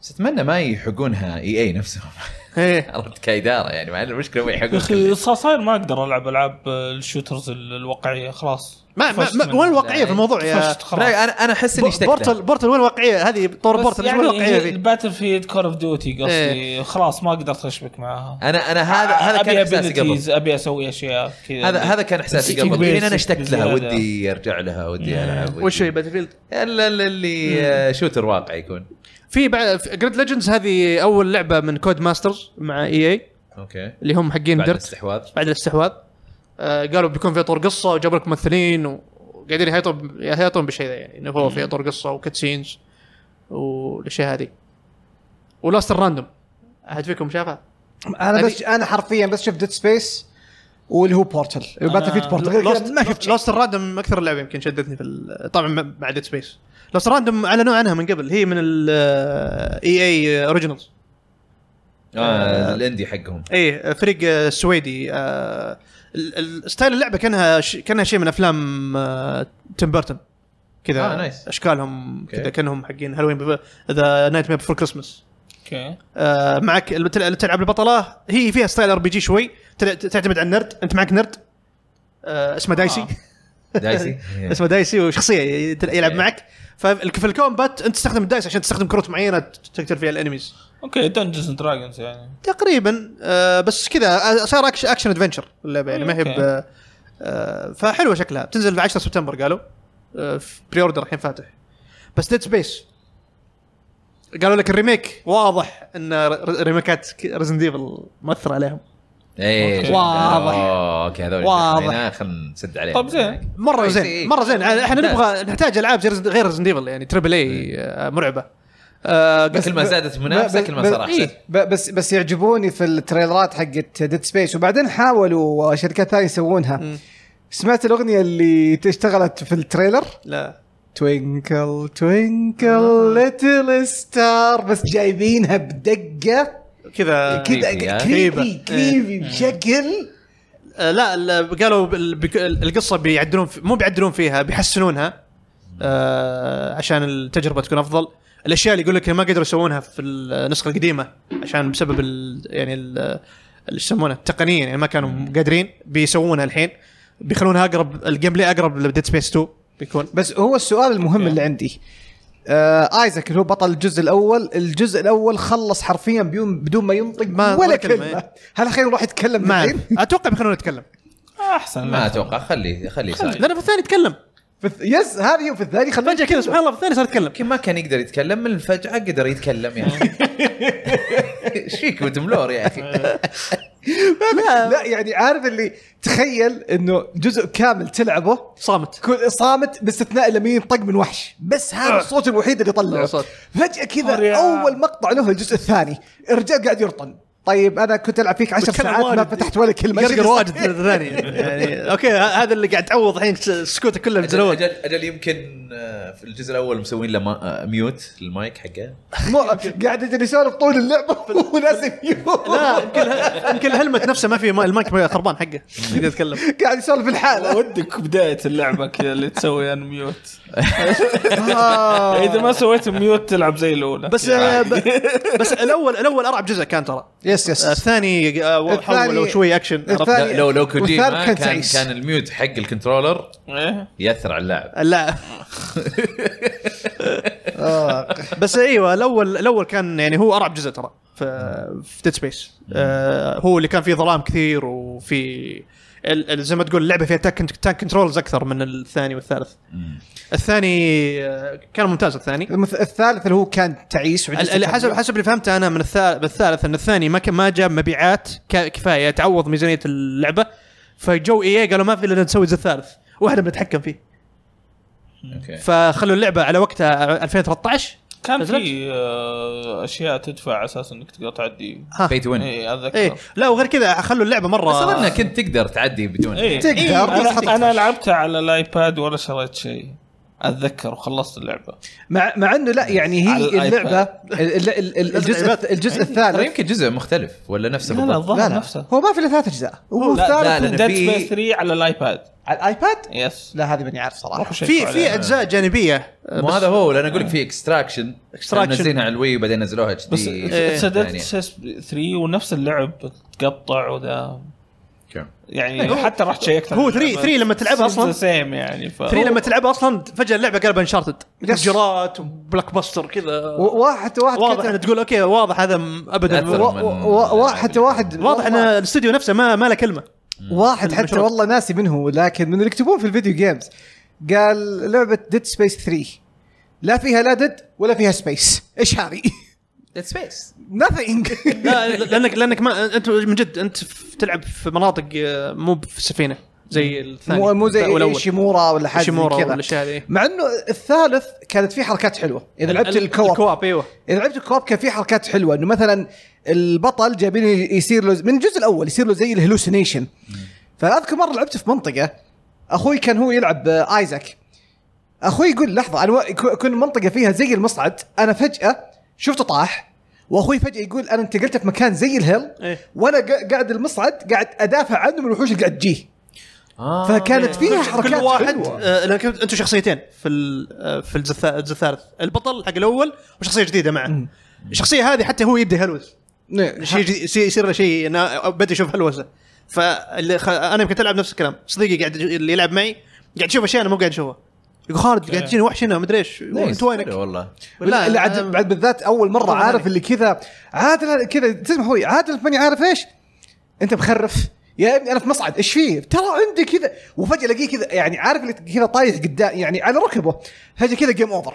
بس اتمنى ما يحقونها اي اي نفسهم
ايه
عرفت كاداره يعني مع إن المشكله ما
يا
يحقون
اخي صا- صاير ما اقدر العب العاب الشوترز ال- الواقعيه خلاص
ما ما,
فشت
ما
من-
وين الواقعيه في الموضوع يا
فشت
لا،
خلاص
انا انا احس اني
ب-
اشتقت
بورتل
لها.
بورتل وين الواقعيه هذه طور
بس
بورتل وين
يعني
الواقعيه
هي
ذي
الباتل فيلد كول اوف ديوتي قصدي خلاص ما قدرت اشبك معاها
انا انا هذا هذا كان
ابي
احساسي قبل
abilities، ابي اسوي اشياء كذا
هذا هذا كان احساسي قبل
بيسك
الحين انا اشتقت لها
بزيادة.
ودي ارجع لها ودي العب ودي-
إيه. وش هي باتل فيلد؟
الا اللي- اللي آه، شوتر واقع يكون
في بعد جريد ليجندز هذه اول لعبه من كود ماسترز مع اي اي
اوكي
اللي هم حقين
بعد
ديرت
الاستحواذ
بعد الاستحواذ آه قالوا بيكون في طور قصه وجابوا لك ممثلين و- وقاعدين يهيطون يهيطون بالشيء ذا يعني انه هو في طور قصه وكاتسينز والاشياء هذه ولاست الراندوم احد فيكم شافها؟
انا بس انا حرفيا بس شفت ديد سبيس واللي هو بورتل باتل فيت بورتل غير كذا ما شفت شيء.
لوست الراندوم اكثر لعبه يمكن شدتني في ال- طبعا ما- بعد ديد سبيس لوست الراندوم اعلنوا عنها من قبل هي من آه، الاي اي اوريجينالز
آه الاندي حقهم
اي فريق آه، سويدي آه، ال- ال- ستايل اللعبه كانها ش- كانها شيء من افلام آه، تيم بيرتون كذا
آه، نايس.
اشكالهم كذا كانهم حقين هالوين ذا نايت مير فور كريسمس
اوكي
آه، معك الب- تل- تلعب البطله هي فيها ستايل ار بي جي شوي تل- تعتمد على النرد انت معك نرد آه، اسمه دايسي
دايسي إيه.
اسمه دايسي وشخصيه ي- تل- يلعب معك ففي الكومبات انت تستخدم الدايس عشان تستخدم كروت معينه تقتل فيها الانميز
اوكي دنجنز دراجونز يعني
تقريبا آه بس كذا آه، صار أكش- اكشن ادفنشر اللعبه يعني ما هي
أوكي.
ب- آه، فحلوه شكلها بتنزل في 10 سبتمبر قالوا آه، في بري اوردر الحين فاتح بس ديد سبيس قالوا لك الريميك واضح ان ر- ريميكات ريزن ديفل مؤثر عليهم
ايه
واضح.
أوه، اوكي آه، هذول
واضح.
واضح خلينا نسد عليهم
طب زين
مره
كويس،
زين
إيه.
مره زين احنا
ممتاز.
نبغى نحتاج العاب زي Resident- غير ريزن ديفل يعني تربل اي مرعبه آه،
كل ما زادت المنافسه كل ما صار احسن
إيه.
ب- بس بس يعجبوني في التريلرات حقت ديد سبيس وبعدين حاولوا شركات ثانيه يسوونها سمعت الاغنيه اللي اشتغلت في التريلر
لا
توينكل توينكل ليتل ستار بس جايبينها بدقه
كذا
كذا
creepy،
كريبي
creepy.
كريبي بشكل
آه، لا ال- قالوا بال- بك- القصه بيعدلون في- مو بيعدلون فيها بيحسنونها آه، عشان التجربه تكون افضل الاشياء اللي يقول لك ما قدروا يسوونها في النسخه القديمه عشان بسبب ال يعني ال- اللي يسمونه التقنيا يعني ما كانوا قادرين بيسوونها الحين بيخلونها اقرب الجيم بلاي اقرب لديد سبيس 2 بيكون
بس هو السؤال المهم اللي عندي آه ايزاك اللي هو بطل الجزء الاول الجزء الاول خلص حرفيا بيوم بدون ما ينطق
ما-
ولا,
ولا كلمة،
كلمه,
إيه.
هل الحين راح يتكلم
ما
الحين
أعرف. اتوقع بيخلونا نتكلم
احسن
ما
لا
اتوقع خليه خليه سايد
لانه في الثاني تكلم
في الث- يس هذه وفي الثاني خلنا
فجاه كذا سبحان الله في الثاني صار يتكلم
يمكن ما كان يقدر يتكلم من الفجعه قدر يتكلم يا اخي ايش فيك وتملور يا اخي
لا يعني عارف اللي تخيل انه جزء كامل تلعبه
صامت
كل صامت باستثناء لما ينطق من وحش بس
آه.
هذا الصوت الوحيد اللي طلعه
صوت.
فجاه كذا اول مقطع له الجزء الثاني الرجال قاعد يرطن طيب انا كنت العب فيك عشر
وتكلم
ساعات ما
واجد.
فتحت ولا كلمه إيش
يقرقر
اللي
واجد
صار؟
الثاني يعني اوكي ه- هذا اللي قاعد تعوض الحين سكوتك كله
اجل
بالجلوات
اجل, أجل يمكن آه، في الجزء الاول مسوين له ما- آه، ميوت المايك حقه
مو قاعد يجري يسولف طول اللعبه وناس يموت.
لا يمكن ه- يمكن الهلمت نفسه ما في ما- المايك خربان حقه يقدر يتكلم
قاعد يسولف الحالة
ودك بدايه اللعبه كذا اللي تسوي ان ميوت
آه.
اذا ما سويت ميوت تلعب زي الاولى
بس آه، ب- بس الاول الاول ارعب جزء كان ترى
يس
آه، الثاني آه، حولوا
الثاني-
شوي اكشن عرفت؟
الثاني-
لا، لو لو كوجيما
والثالث كان
كان
تعيس.
كان الميوت حق الكنترولر
إيه.
ياثر على اللاعب
لا
آه.
بس ايوه الاول الاول كان يعني هو ارعب جزء ترى في في ديد سبيس هو اللي كان فيه ظلام كثير وفي ال- ال- زي ما تقول اللعبه فيها تاك تاك كنترولز اكثر من الثاني والثالث الثاني آه، كان ممتاز الثاني
المث- الثالث اللي هو كان تعيس
ال- اللي حسب حسب اللي فهمته انا من الثالث بالثالث ان الثاني ما كان- ما جاب مبيعات ك- كفايه تعوض ميزانيه اللعبه فجو اي قالوا ما في الا نسوي زي الثالث واحنا بنتحكم فيه
اوكي
فخلوا اللعبه على وقتها 2013
كان
نزلت؟
في آه، اشياء تدفع على اساس انك تقدر تعدي إيه،
ها.
بي تو وين
اي اتذكر
ايه لا وغير كذا خلوا اللعبه مره
بس اظن كنت تقدر تعدي بدون
إيه.
تقدر،
إيه،
بس
أنا,
تقدر.
انا لعبتها على الايباد ولا شريت شيء اتذكر وخلصت اللعبه
مع مع انه لا يعني
على
هي
الآيباد.
اللعبه ال- ال- ال- الجزء
ترى
الجزء الثالث
يمكن جزء مختلف ولا نفسه
لا لا
بالضبط
لا
الظاهر
لا
نفسه
هو ما في الا ثلاث اجزاء هو
لا
لا،
الثالث
لا،
ديد
في-
سبيس 3 على الايباد
على الايباد
يس
لا هذه ماني عارف صراحه
في في اجزاء جانبيه
مو هذا هو لان اقول لك في اكستراكشن
Extraction.
نزلينها على الوي وبعدين نزلوها اتش
بس إيه،
دي
اتس ديد سبيس 3 ونفس اللعب تقطع وذا يعني حتى رحت شيكت
إيه، هو 3 3 لما تلعبها اصلا
سيم يعني ف
3 لما تلعبها اصلا فجاه اللعبه قلبها انشارتد
Yes.
جرات وبلاك باستر كذا
و- واحد واحد
واضح
كتب-
ان تقول اوكي واضح هذا م- ابدا
أثر.
وا-
و- و- و- حتى واحد
واضح ان الاستوديو نفسه ما ما له كلمه
واحد حتى
المشروع.
والله ناسي من هو لكن من اللي يكتبون في الفيديو جيمز قال لعبه ديد سبيس 3 لا فيها لا ديد ولا فيها سبيس ايش هذه؟
ديد سبيس
nothing
لا لانك لانك ما انت من جد انت ف- تلعب في مناطق آه، مو في سفينه زي الثاني
مو مو زي
والاول
شيمورا ولا حاجه زي
شيمورا
كذا.
والأشياء هذه.
مع انه الثالث كانت فيه حركات حلوه اذا لعبت
ال-
الكواب
الكواب ايوه
اذا لعبت الكواب كان في حركات حلوه انه مثلا البطل جايبينه يصير له من الجزء الاول يصير له زي الهلوسينيشن فاذكر مره لعبت في منطقه اخوي كان هو يلعب آه، ايزاك اخوي يقول لحظه انا و- ك- كنا منطقه فيها زي المصعد انا فجاه شفته طاح واخوي فجاه يقول انا انتقلت في مكان زي الهيل
إيه.
وانا قا- قاعد المصعد قاعد ادافع عنه من الوحوش اللي قاعد تجيه
آه.
فكانت فيها حركات
كل واحد
حلوة.
آه، لان كنت انتم شخصيتين في ال- آه، في الجثا- الجثارث البطل حق الاول وشخصيه جديده معه الشخصيه هذه حتى هو يبدا هلوس
نعم.
شيء جديد- يصير يصير له شيء نا- بدا يشوف هلوسه فاللي خ... انا يمكن العب نفس الكلام صديقي قاعد اللي يلعب معي قاعد يشوف اشياء انا مو قاعد اشوفها يقول خالد
آه.
قاعد تجيني وحش هنا مدري ايش انت وينك؟
حلو والله
لا،
لا اللي عاد
أنا-
بعد بالذات اول مره
طبعاً
عارف
عليك.
اللي كذا عاد كذا تسمع اخوي عاد ماني عارف ايش انت مخرف يا ابني انا في مصعد ايش فيه ترى عندي كذا وفجاه الاقيه كذا يعني عارف اللي كذا طايح قدام يعني على ركبه فجاه كذا جيم اوفر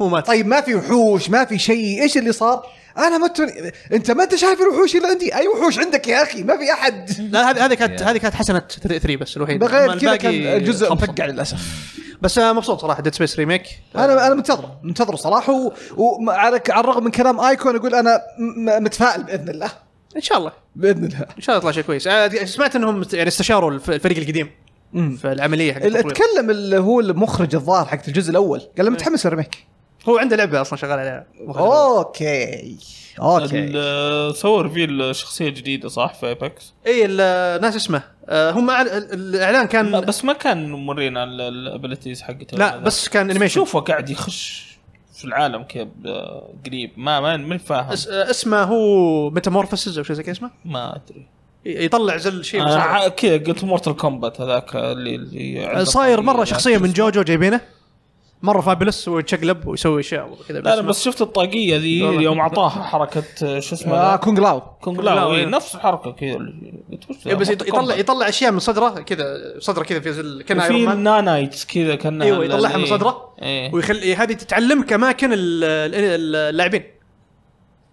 هو مات
طيب ما في وحوش ما في شيء ايش اللي صار انا ما تن... انت ما انت شايف الوحوش اللي عندي اي وحوش عندك يا اخي ما في احد
لا هذه هذه كانت هذه كانت حسنه 3 بس الوحيده طيب، أما
بغير كذا
الباقي
كان الجزء
خمسة.
مفقع للاسف
بس آه، مبسوط صراحه ديد سبيس ريميك
انا انا منتظره منتظره صراحه و- وعلى على الرغم من كلام ايكون اقول انا م- م- متفائل باذن الله
ان شاء الله
باذن الله
ان شاء الله يطلع شيء كويس آه، سمعت انهم يعني استشاروا الف- الفريق القديم في العمليه حق
اللي
التطوير.
اتكلم اللي هو المخرج الظاهر حق الجزء الاول قال له متحمس الريميك
هو عنده لعبه اصلا شغال عليها مخرج.
اوكي اوكي
ال- سووا ريفيل شخصيه جديده صح في ايباكس
اي إيه، ال- ناس اسمه آه، هم أعل- ال- الاعلان
ما-
كان
بس ما كان مورينا الابيلتيز حقته
لا بس كان انيميشن
شوفه قاعد يخش في العالم كذا ب- قريب ما ما ما فاهم
اس- آه، اسمه هو ميتامورفوسز او شيء زي كذا اسمه
ما ادري
ي- يطلع زي الشيء اللي
أنا
صار.
ع- كذا قلت مورتال كومبات هذاك اللي, اللي عنده
صاير مره
طبيعة.
شخصيه من جوجو جايبينه مره فابلس ويتشقلب ويسوي اشياء كذا
لا انا بس شفت الطاقيه ذي
والله.
يوم اعطاها حركه شو اسمه
آه
ذا؟
كونغ لاو
كونغ
لا،
لاو
إيه.
إيه، نفس الحركه كذا اللي- قلت وش ذا؟
إيه، بس يط-
مورتال
يطلع
كومبات.
يطلع اشياء من صدره كذا صدره كذا في زي ال- كان
في
ايرون مان
النانايتس كذا كان
ايوه يطلعها من صدره
ايه
ويخلي إيه، هذه تتعلمك اماكن ال- ال- اللاعبين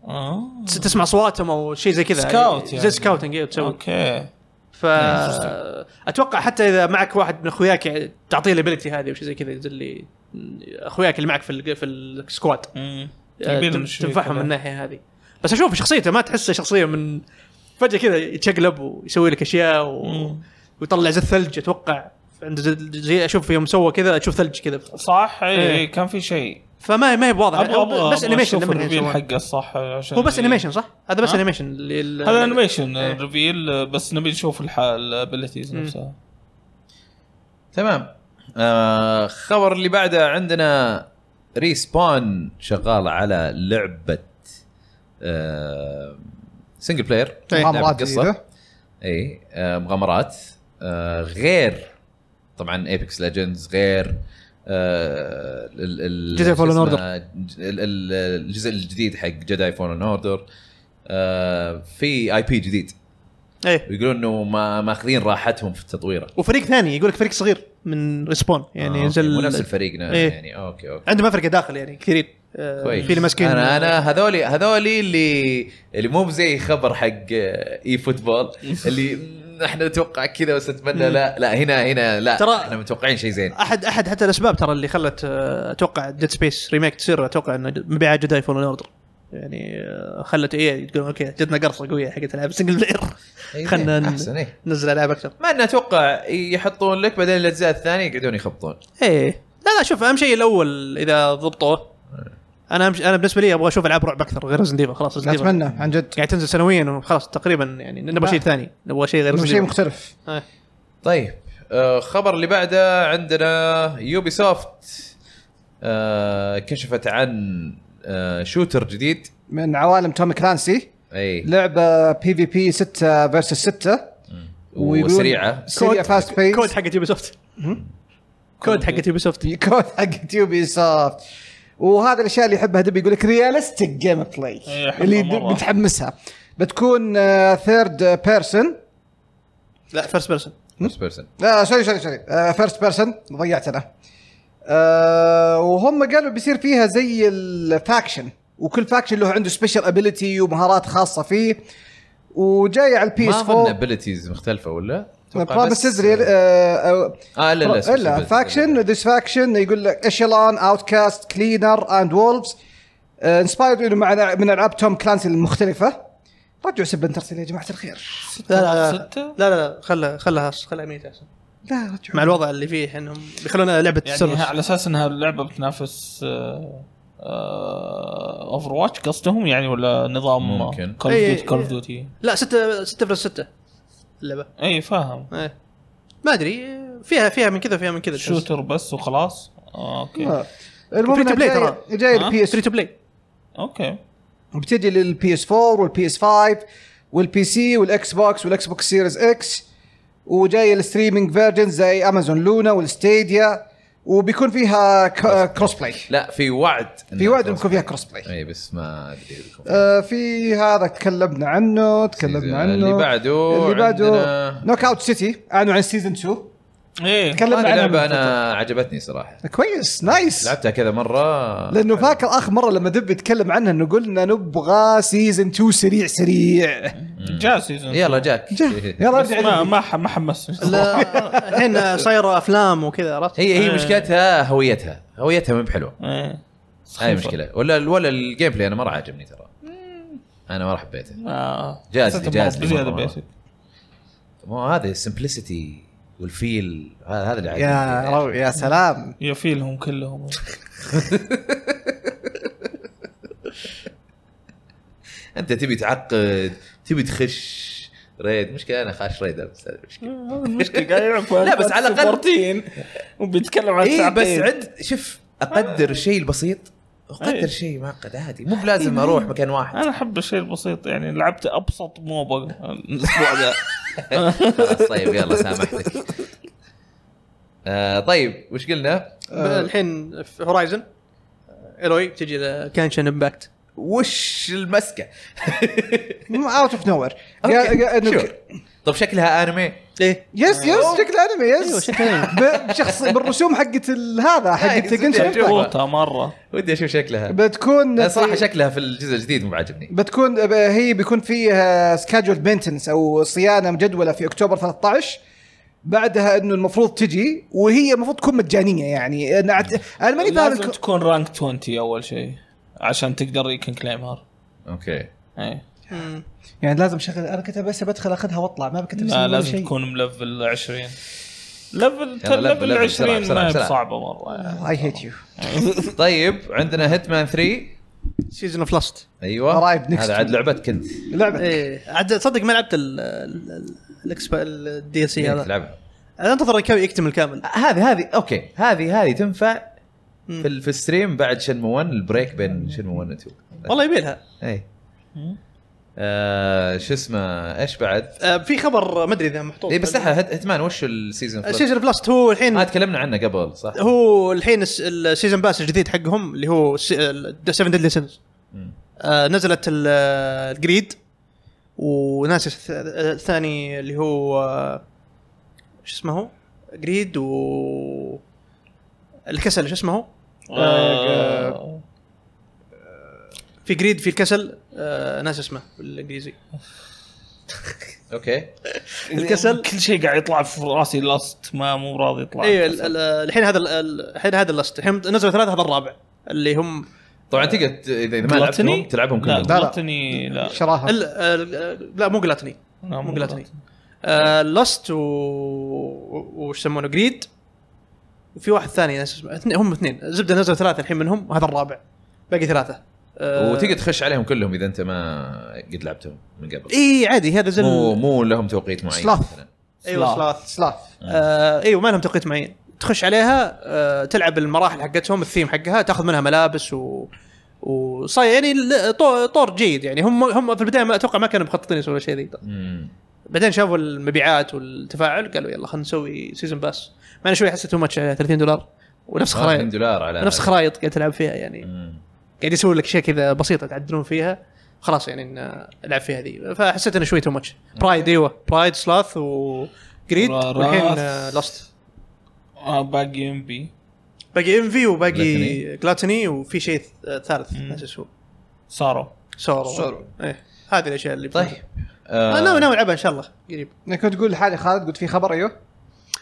آه.
تس- تسمع اصواتهم او شيء زي كذا
سكاوت
يعني. زي
يعني. إيه،
سكاوتنج ايوه تسوي
اوكي
ف اتوقع حتى اذا معك واحد من اخوياك يعني تعطيه الابيلتي هذه وشي زي كذا زي اللي اخوياك اللي معك في ال- في السكواد
مم.
آه،
تقريباً
تن-
شوي
تنفعهم
كذا.
من الناحيه هذه بس اشوف شخصيته ما تحسه شخصيه من فجاه كذا يتشقلب ويسوي لك اشياء و...
مم.
ويطلع زي الثلج اتوقع عنده زي- زي اشوف يوم سوى كذا اشوف ثلج كذا
صح اي
إيه.
إيه، كان في شيء
فما ما هي بواضح
ابغى ابغى
بس انيميشن لما
الريفيل
يسوونه.
حقه الصح عشان
هو بس
إيه.
انيميشن صح؟ هذا بس
ها؟
انيميشن اللي- اللي-
هذا انيميشن
إيه.
ريفيل بس نبي نشوف الابيلتيز نفسها
تمام آه خبر اللي بعده عندنا ريسبون شغال على لعبه آه سنجل بلاير
إيه.
لعبة
مغامرات جديدة.
اي آه مغامرات آه غير طبعا ايبكس ليجندز غير آه ال- ال-
جداي
شو
Fallen
اسمه؟
Order.
ج- ال- ال- الجزء الجديد حق جداي فولن اوردر آه في اي بي جديد
ايه
ويقولون انه ما ماخذين راحتهم في التطويره
وفريق ثاني يقول لك فريق صغير من ريسبون يعني
آه،
زي
أوكي، مو
ال-
نفس الفريق نعم،
إيه.
يعني اوكي اوكي
عندهم افرقه داخل يعني كثيرين آه،
كويس
في اللي ماسكين
انا انا هذولي هذولي اللي اللي مو زي خبر حق اي فوتبول اللي م- احنا نتوقع كذا بس اتمنى لا لا هنا هنا لا
ترى-
ترى احنا متوقعين شيء زين
احد احد حتى الاسباب ترى اللي خلت آه، اتوقع ديد سبيس ريميك تصير اتوقع انه مبيعات جداي فولن اوردر يعني آه، خلت ايه تقول اوكي جتنا قرصه قويه حقت العاب سنجل بلاير
إيه،
خلنا ن-
احسن ايه
ننزل العاب اكثر
مع اني اتوقع يحطون لك بعدين الاجزاء الثانيه يقعدون يخبطون
ايه لا لا شوف اهم شيء الاول اذا ضبطوه
إيه.
انا أهم- انا بالنسبه لي ابغى اشوف العاب رعب اكثر غير ريزن ديفل خلاص Resident Evil
اتمنى عن جد
قاعد تنزل سنويا وخلاص تقريبا يعني نبغى
لا.
شيء ثاني نبغى شيء غير
إنه
Resident
شيء
Evil.
مختلف
إيه.
طيب آه، خبر اللي بعده عندنا يوبي سوفت آه، كشفت عن آه، شوتر جديد
من عوالم توم كلانسي
اي
لعبه بي في بي 6 فيرسس 6 ويقولون-
وسريعه
سريعه
كود-
فاست بيس
كود حق يوبي سوفت كود حق يوبي سوفت
كود حق يوبي سوفت وهذا الاشياء اللي يحبها دبي يقول لك ريالستيك جيم بلاي
إيه، حلوة
اللي
مرة.
متحمسها بتكون آه، ثيرد بيرسون
لا فيرست بيرسون
فيرست بيرسون
لا سوري سوري سوري فيرست بيرسون ضيعت انا آه، وهم قالوا بيصير فيها زي الفاكشن وكل فاكشن له عنده سبيشال ابيلتي ومهارات خاصه فيه وجايه على البي
ما
اس
اظن
4
ابيلتيز مختلفه ولا؟ أتوقع
بروميسز اه
اه لا لا
لا
اسمه
الا
Abilities.
فاكشن ذيس فاكشن يقول لك اشيلون اوت كاست Uh, كلينر اند وولفز انسبايرد من العاب توم كلانسي المختلفه رجعوا سب ترسل يا جماعه الخير
لا لا لا
ستة؟
لا لا خلها خلها خلها ميت احسن
لا رجعوا
مع الوضع اللي فيه انهم بيخلونا لعبه
يعني ها-
سيرفس
على اساس انها اللعبه بتنافس اوفر واتش قصدهم يعني ولا نظام
ممكن.
كول
إي-
اوف دوتي كول اوف دوتي
لا 6 6 بلس 6 اللعبه
اي إيه، فاهم
ايه ما ادري فيها فيها من كذا فيها من كذا
شوتر بس وخلاص آه، اوكي
آه. المهم
Free to
إنها
play
جايه
ترى.
جايه
ها؟
البي اس
فري تو بلاي
اوكي
بتجي للبي اس 4 والبي اس 5 والبي سي والاكس بوكس والاكس بوكس سيريز اكس وجايه الستريمينج فيرجنز زي امازون لونا والستيديا وبيكون فيها كروس بلاي
لا في وعد
في وعد بيكون فيها كروس بلاي
اي بس ما ادري بيكون فيه.
آه في هذا تكلمنا عنه تكلمنا عنه
اللي بعده
اللي بعده
عندنا-
نوك اوت سيتي اعلنوا عن سيزون 2
ايه
تكلمنا
هذه
عنها من
لعبه
فترة.
انا عجبتني صراحه
كويس نايس
لعبتها كذا مره
لانه فاكر اخر مره لما دب يتكلم عنها انه قلنا نبغى سيزون 2 سريع سريع
جاء سيزون
يلا جاك إيه،
يلا
بس ما
ارجع
ما ح- ما حمسني
لا الحين صايره افلام وكذا عرفت
هي هي مشكلتها هويتها هويتها مو بحلوه
ايه
هاي مشكله ولا ولا الجيم بلاي انا مره عاجبني ترى انا مره حبيته
آه.
جاز لي،
حسيت
جاز لي
بزياده
مرة.
بيسك
مو هذا السمبlicity والفيل هذا هذا اللي
يا
عجبني
رو يا سلام
يفيلهم كلهم
انت تبي تعقد تبي تخش ريد مشكله انا خاش ريد أمس، هذه المشكله
المشكله قاعد يلعب
لا، بس على الأقل-
14 وبيتكلم عن
اي إيه، بس
ساعتين.
عد شوف اقدر الشيء البسيط اقدر
إيه.
شيء معقد عادي مو بلازم اروح مكان واحد
انا احب الشيء البسيط يعني لعبت ابسط موبا الاسبوع ذا
خلاص طيب يلا سامحتك آه طيب وش قلنا؟
أه.
الحين في هورايزن ايروي تجي لكانشن امباكت
وش المسكه؟
اوت اوف نو
شور.
وير
طب شكلها انمي
ايه
يس يس شكل انمي
ايوه
يس
شكلها أنمي.
ب- بشخص بالرسوم حقت ال- هذا حقت
يس،
Genshin
يس، يس.
Impact.
قوتها مره
ودي اشوف شكلها
بتكون
أنا صراحه
في-
شكلها في الجزء الجديد مو بعجبني
بتكون ب- هي بيكون آه، فيها سكاجول مينتنس او صيانه مجدوله في اكتوبر 13 بعدها انه المفروض تجي وهي المفروض تكون مجانيه يعني انا أعت- انا ماني فاهم
لازم
الك-
تكون رانك 20 اول شيء عشان تقدر يمكن كليمر
اوكي
اي
مم.
يعني لازم شغل انا كنت بس بدخل اخذها واطلع ما بكتب اسمي
لا
ولا
لازم
شيء.
تكون ملفل 20 ليفل
يلا، level-
ليفل
level،
20
بسرعة،
ما هي
بسرعة.
بصعبه مره يعني.
اي هيت يو
طيب عندنا هيتمان 3
سيزون اوف لاست
ايوه
Arrived next
هذا عاد
week.
لعبتك كنت
لعبه
ايه عاد تصدق ما لعبت ال- ال- ال- الاكسبا الدي اس اي
إنك
هذا
تلعبها
أنا انتظر الكامل يكتمل كامل
هذه هذه اوكي هذه هذه تنفع في, ال- في الستريم بعد شنمو 1 البريك بين شنمو 1 و 2
والله يبيلها
اي آه شو اسمه ايش بعد؟
آه، في خبر ما ادري اذا محطوط
اي إيه، بس لحظه هيت- هيتمان وش السيزون فلوت؟
سيزون اوف لاست هو الحين
ما آه، تكلمنا عنه قبل صح؟
هو الحين الس- السيزون باس الجديد حقهم اللي هو 7 ديدلي سينز آه، نزلت ال- الجريد وناس الث- الثاني اللي هو آه، شو اسمه هو؟ جريد و الكسل شو اسمه هو؟
آه،
في جريد في الكسل آه، ناس اسمه بالانجليزي
اوكي
الكسل
كل شيء قاعد يطلع في راسي لاست ما مو راضي يطلع
ايوه ال- ال- الحين هذا ال- ال- الحين هذا اللست الحين نزلوا ثلاثه هذا الرابع اللي هم
طبعا تقدر ت- اذا إذا ما لعبتهم
جلاتني
تلعبهم
لا
كلهم
لا.
جلاتني لا
شراها
ال- ال- لا مو جلاتني
لا،
مو جلاتني
جلاتني.
لست و و- وش يسمونه جريد وفي واحد ثاني ناس اسمه اثنين- هم اثنين زبده نزلوا ثلاثه الحين منهم وهذا الرابع باقي ثلاثه آه،
وتقدر تخش عليهم كلهم اذا انت ما قد لعبتهم من قبل
اي عادي هذا زي ال-
مو مو لهم توقيت معين
Sloth.
مثلا
ايوه
سلاح.
سلاث
سلاف
آه ايوه ما لهم توقيت معين تخش عليها آه تلعب المراحل حقتهم الثيم حقها تاخذ منها ملابس و وصاير يعني ل- طو- طور جيد يعني هم هم في البدايه ما اتوقع ما كانوا مخططين يسوون شيء ذي
مم.
بعدين شافوا المبيعات والتفاعل قالوا يلا خلينا نسوي سيزون باس مع اني شوي حسيت تو ماتش عليها 30 دولار ونفس
20
خرائط
دولار على
نفس خرائط قاعد تلعب فيها يعني
آه، مم.
قاعد يسوي لك شيء كذا بسيطه تعدلون فيها خلاص يعني ان العب فيها ذي فحسيت انه شوي تو ماتش برايد ايوه برايد سلاث وجريد
وراث.
والحين لاست
آه، باقي ام بي
باقي ام في وباقي
Gluttony.
جلاتني وفي شيء ث- آه، ثالث ناس اسمه
صاروا
سورو
Sorrow.
ايه هذه الاشياء اللي
طيب
آه. انا ناوي العبها ان شاء الله قريب
انا كنت تقول لحالي خالد قلت في خبر ايوه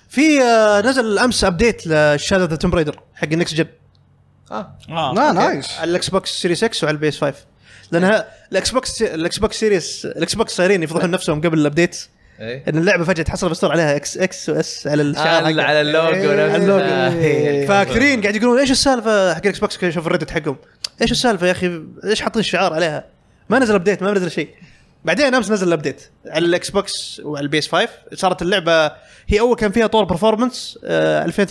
في آه، نزل امس ابديت لشادو ذا توم ريدر حق النكس جن
آه.
اه
لا نايس
على الاكس بوكس سيريس اكس وعلى البي اس 5 لان الاكس بوكس الاكس بوكس سيريس الاكس بوكس صايرين يفضحون نفسهم قبل الابديت
إيه.
ان اللعبه فجاه تحصل مصدر عليها اكس اكس واس على الشعار
على-
حقها. إيه.
على اللوجو
على اللوجو.
نفسه.
فكثيرين قاعد يقولون ايش السالفه حق الاكس بوكس كذا شوف الريدت حقهم ايش السالفه يا اخي ليش حاطين الشعار عليها؟ ما نزل ابديت ما نزل شيء بعدين امس نزل الابديت على الاكس بوكس وعلى البي اس 5 صارت اللعبه هي اول كان فيها طور آه، برفورمانس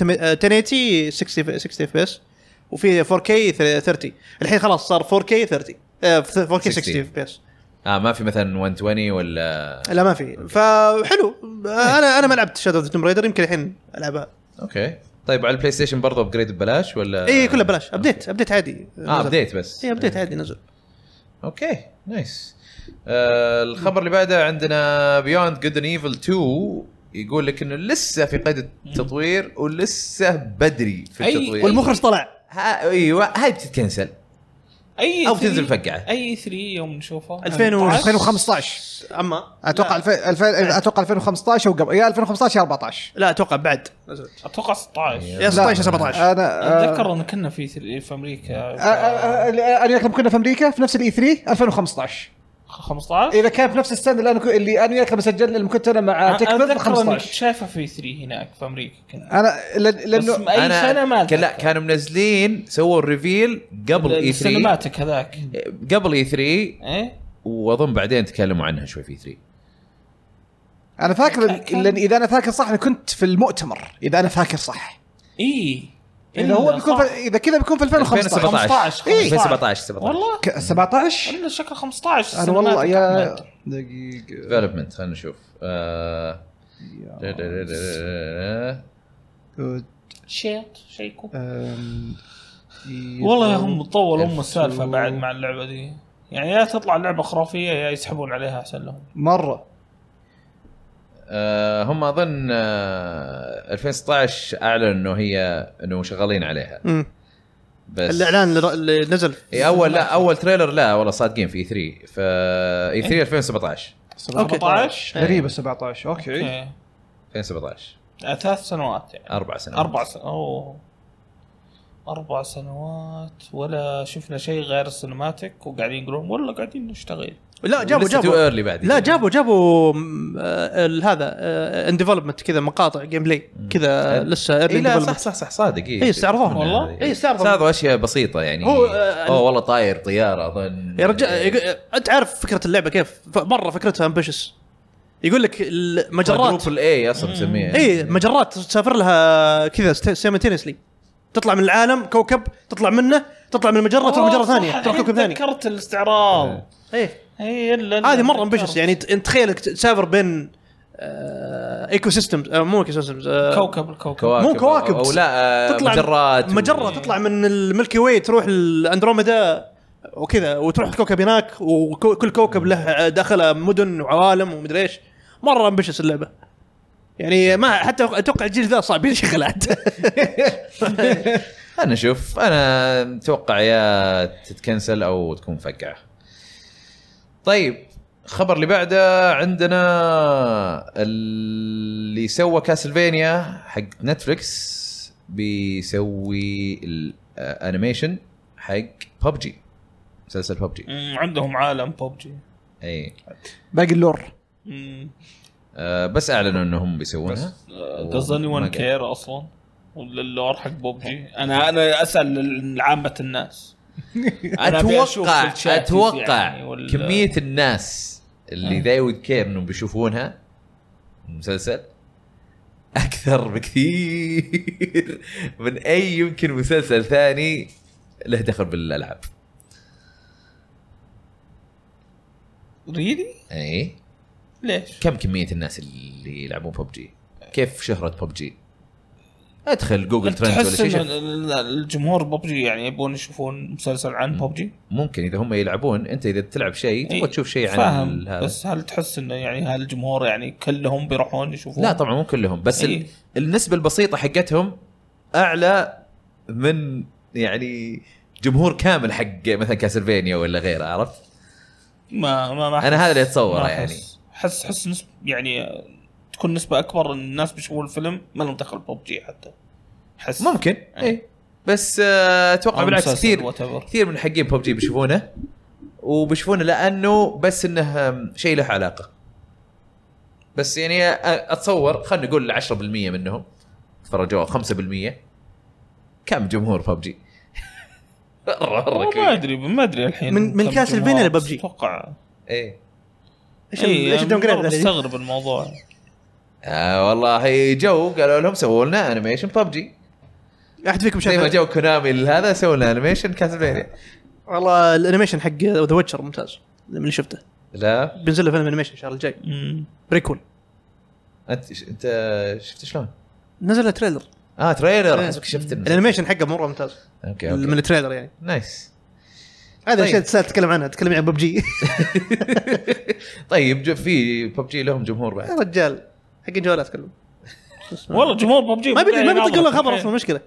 1080 60 60 اف اس وفي 4 كي 30 الحين خلاص صار 4 كي 30 آه، 4 كي 60 اف اس
اه ما في مثلا 120 ولا
لا ما في فحلو انا انا ما لعبت شادو اوف توم رايدر يمكن الحين العبها
اوكي طيب على البلاي ستيشن برضه ابجريد ببلاش ولا
اي إيه، كله إيه. بلاش ابديت ابديت عادي
اه ابديت بس
اي ابديت عادي نزل
اوكي نايس آه الخبر اللي بعده عندنا بيوند جود ايفل 2 يقول لك انه لسه في قيد التطوير ولسه بدري في
أي-
التطوير
والمخرج طلع
ها ايوه هاي بتتكنسل
اي
أو
3
تنزل فقعة.
اي 3 يوم نشوفه
2015
اما
اتوقع 2000 اتوقع 2015 او قبل يا 2015 يا 14
لا اتوقع بعد
اتوقع 16
أيوه.
يا 16 17
انا آه،
اتذكر ان كنا في ثري- في امريكا
آه، آه، آه، آه، انا وياك كنا في امريكا في نفس الاي 3 2015
15
اذا كان في نفس السنه اللي انا اللي انا وياك لما سجلنا لما كنت انا مع
أنا
تكبر
اتذكر انك
15
شايفها في 3 هناك في امريكا كنا
انا لأن-
بس
لانه
اي سنه ما
كان- لا
أتذكر.
كانوا منزلين سووا الريفيل قبل E اي 3
السينماتيك هذاك
قبل E اي 3
ايه
واظن بعدين تكلموا عنها شوي في 3
انا فاكر
كان-
لان اذا انا فاكر صح انا كنت في المؤتمر اذا انا فاكر صح
اي
اذا هو بيكون في-
إيه. صح.
اذا كذا بيكون في 2015
15
إيه.
2017 17
والله
ك- 17
انا شكله 15
انا والله
السينماتيك
يا
أحمد.
دقيقه
ديفلوبمنت خلينا نشوف آه، دا- دا- دا- دا- دا.
شيت شيكو والله يا هم طول ام السالفه بعد مع اللعبه دي يعني يا تطلع اللعبه خرافيه يا يسحبون عليها احسن لهم
مره
آه، هم اظن آه، 2016 اعلنوا انه هي انه شغالين عليها
مم.
بس
الاعلان اللي ر- اللي نزل
إي، اول لا اول تريلر لا والله صادقين في اي 3 ف إيه، اي
إيه.
3 2017
17
غريبه 17 اوكي
إيه.
2017
آه، ثلاث سنوات يعني
اربع سنوات
اربع سنوات اوه اربع سنوات ولا شفنا شيء غير السينماتيك وقاعدين يقولون والله قاعدين نشتغل
لا جابوا
تو
جابوا
ايرلي بعد
لا جابوا جابوا م- آه، ال- هذا ان ديفلوبمنت كذا مقاطع جيم بلاي كذا لسه
اي
early
إيه. لا
development.
صح صح صح صادق إيه، اي
إي، استعرضوها.
والله؟
إي، استعرضوها.
إيه. استعرضوا اشياء بسيطه يعني
إيه، هو،
هو
آه،
اوه والله طاير إيه. طياره اظن
يا رجال يق- انت عارف فكره اللعبه كيف ف- مره فكرتها امبيشس يقول لك المجرات
جروب الاي اصلا مسميها
اي مجرات تسافر لها كذا سيمتينيسلي تطلع من العالم كوكب تطلع منه تطلع من المجره تروح
آه،
مجره
أوه،
ثانيه
صح،
تروح
الحين
إيه،
كوكب ثاني
تذكرت الاستعراض
ايه
اي الا إلا
هذه مره
تذكرت.
مبشش يعني ت- انت تخيلك ت- تسافر بين ايكو سيستمز مو ايكو سيستمز
كوكب الكوكب
كواكب
مو كواكب.
او, أو لا آه،
تطلع
مجرات
مجره تطلع من الملكي واي تروح الاندروميدا وكذا وتروح الكوكب هناك وكل كوكب له داخله مدن وعوالم ومدري ايش مره امبشس اللعبه يعني ما حتى اتوقع الجيل ذا صعب يشغل حتى
خلينا نشوف انا متوقع يا تتكنسل او تكون فقعه طيب الخبر اللي بعده عندنا اللي سوى كاسلفينيا حق نتفلكس بيسوي الانيميشن حق ببجي مسلسل ببجي
مم، عندهم عالم ببجي
اي
باقي اللور
آه بس اعلنوا انهم بيسوونها
آه، does
ما
anyone
قال.
care اصلا ولا اللور حق ببجي انا انا اسال عامه الناس أنا أبي أشوف
اتوقع
الشات
اتوقع
يعني آه. ولا-
كميه الناس اللي ذا وود كير انهم بيشوفونها المسلسل اكثر بكثير من اي يمكن مسلسل ثاني له دخل بالالعاب
ريلي
اي
ليش؟
إيه؟ كم كميه الناس اللي يلعبون ببجي كيف شهره ببجي ادخل جوجل ترند ولا
تحس
شيء
ان
شوف.
ال- الجمهور ببجي يعني يبون يشوفون مسلسل عن ببجي
ممكن اذا هم يلعبون انت اذا تلعب شيء تبغى تشوف شيء عن
إيه. فاهم
ال- هذا
بس هل تحس انه يعني هالجمهور يعني كلهم بيروحون يشوفون
لا طبعا مو كلهم بس
إيه.
ال... النسبه البسيطه حقتهم اعلى من يعني جمهور كامل حق مثلا كاسلفينيا ولا غيره عرفت؟
ما ما, ما
أنا
أحس-
هذا اللي أتصوره
ما
يعني.
أحس- احس احس نسب يعني آه، تكون نسبه اكبر ان الناس بيشوفون الفيلم ما لهم دخل ببجي حتى احس
ممكن
إيه.
اي بس آه، اتوقع
أو
بالعكس
مسلسل
كثير
whatever.
كثير من حقين ببجي بيشوفونه وبيشوفونه لانه بس انه أم، شيء له علاقه بس يعني أ- اتصور خلينا نقول 10% منهم تفرجوا 5% كم جمهور ببجي؟
ما
يعني.
ادري ما ادري الحين
من- من
كم
كاسلفينيا
جمهور،
لببجي.
اتوقع
ايه
ايش
إيه،
ايش
يعني
الدون
مرة
جريد
مستغرب الموضوع
آه والله جو قالوا لهم سووا لنا انيميشن ببجي
احد فيكم
زي ما
شاف
جو كونامي لهذا سووا لنا انيميشن كاسلفينيا
والله الانيميشن حق ذا ويتشر ممتاز من اللي شفته
لا
بينزل له فيلم انيميشن الشهر الجاي
مم.
بريكول
انت انت شفت شلون؟
نزل له تريلر
اه تريلر
إيه.
حسبك شفت الم-
الانيميشن حقه مره ممتاز
اوكي اوكي
من التريلر يعني
نايس
هذا
طيب.
الشيء تسال تتكلم عنها تتكلم عن ببجي
طيب جو- في ببجي لهم جمهور بعد
يا رجال حق الجوالات كلهم
والله جمهور ببجي
ما بيدري ما بيطق له خبر اصلا مشكله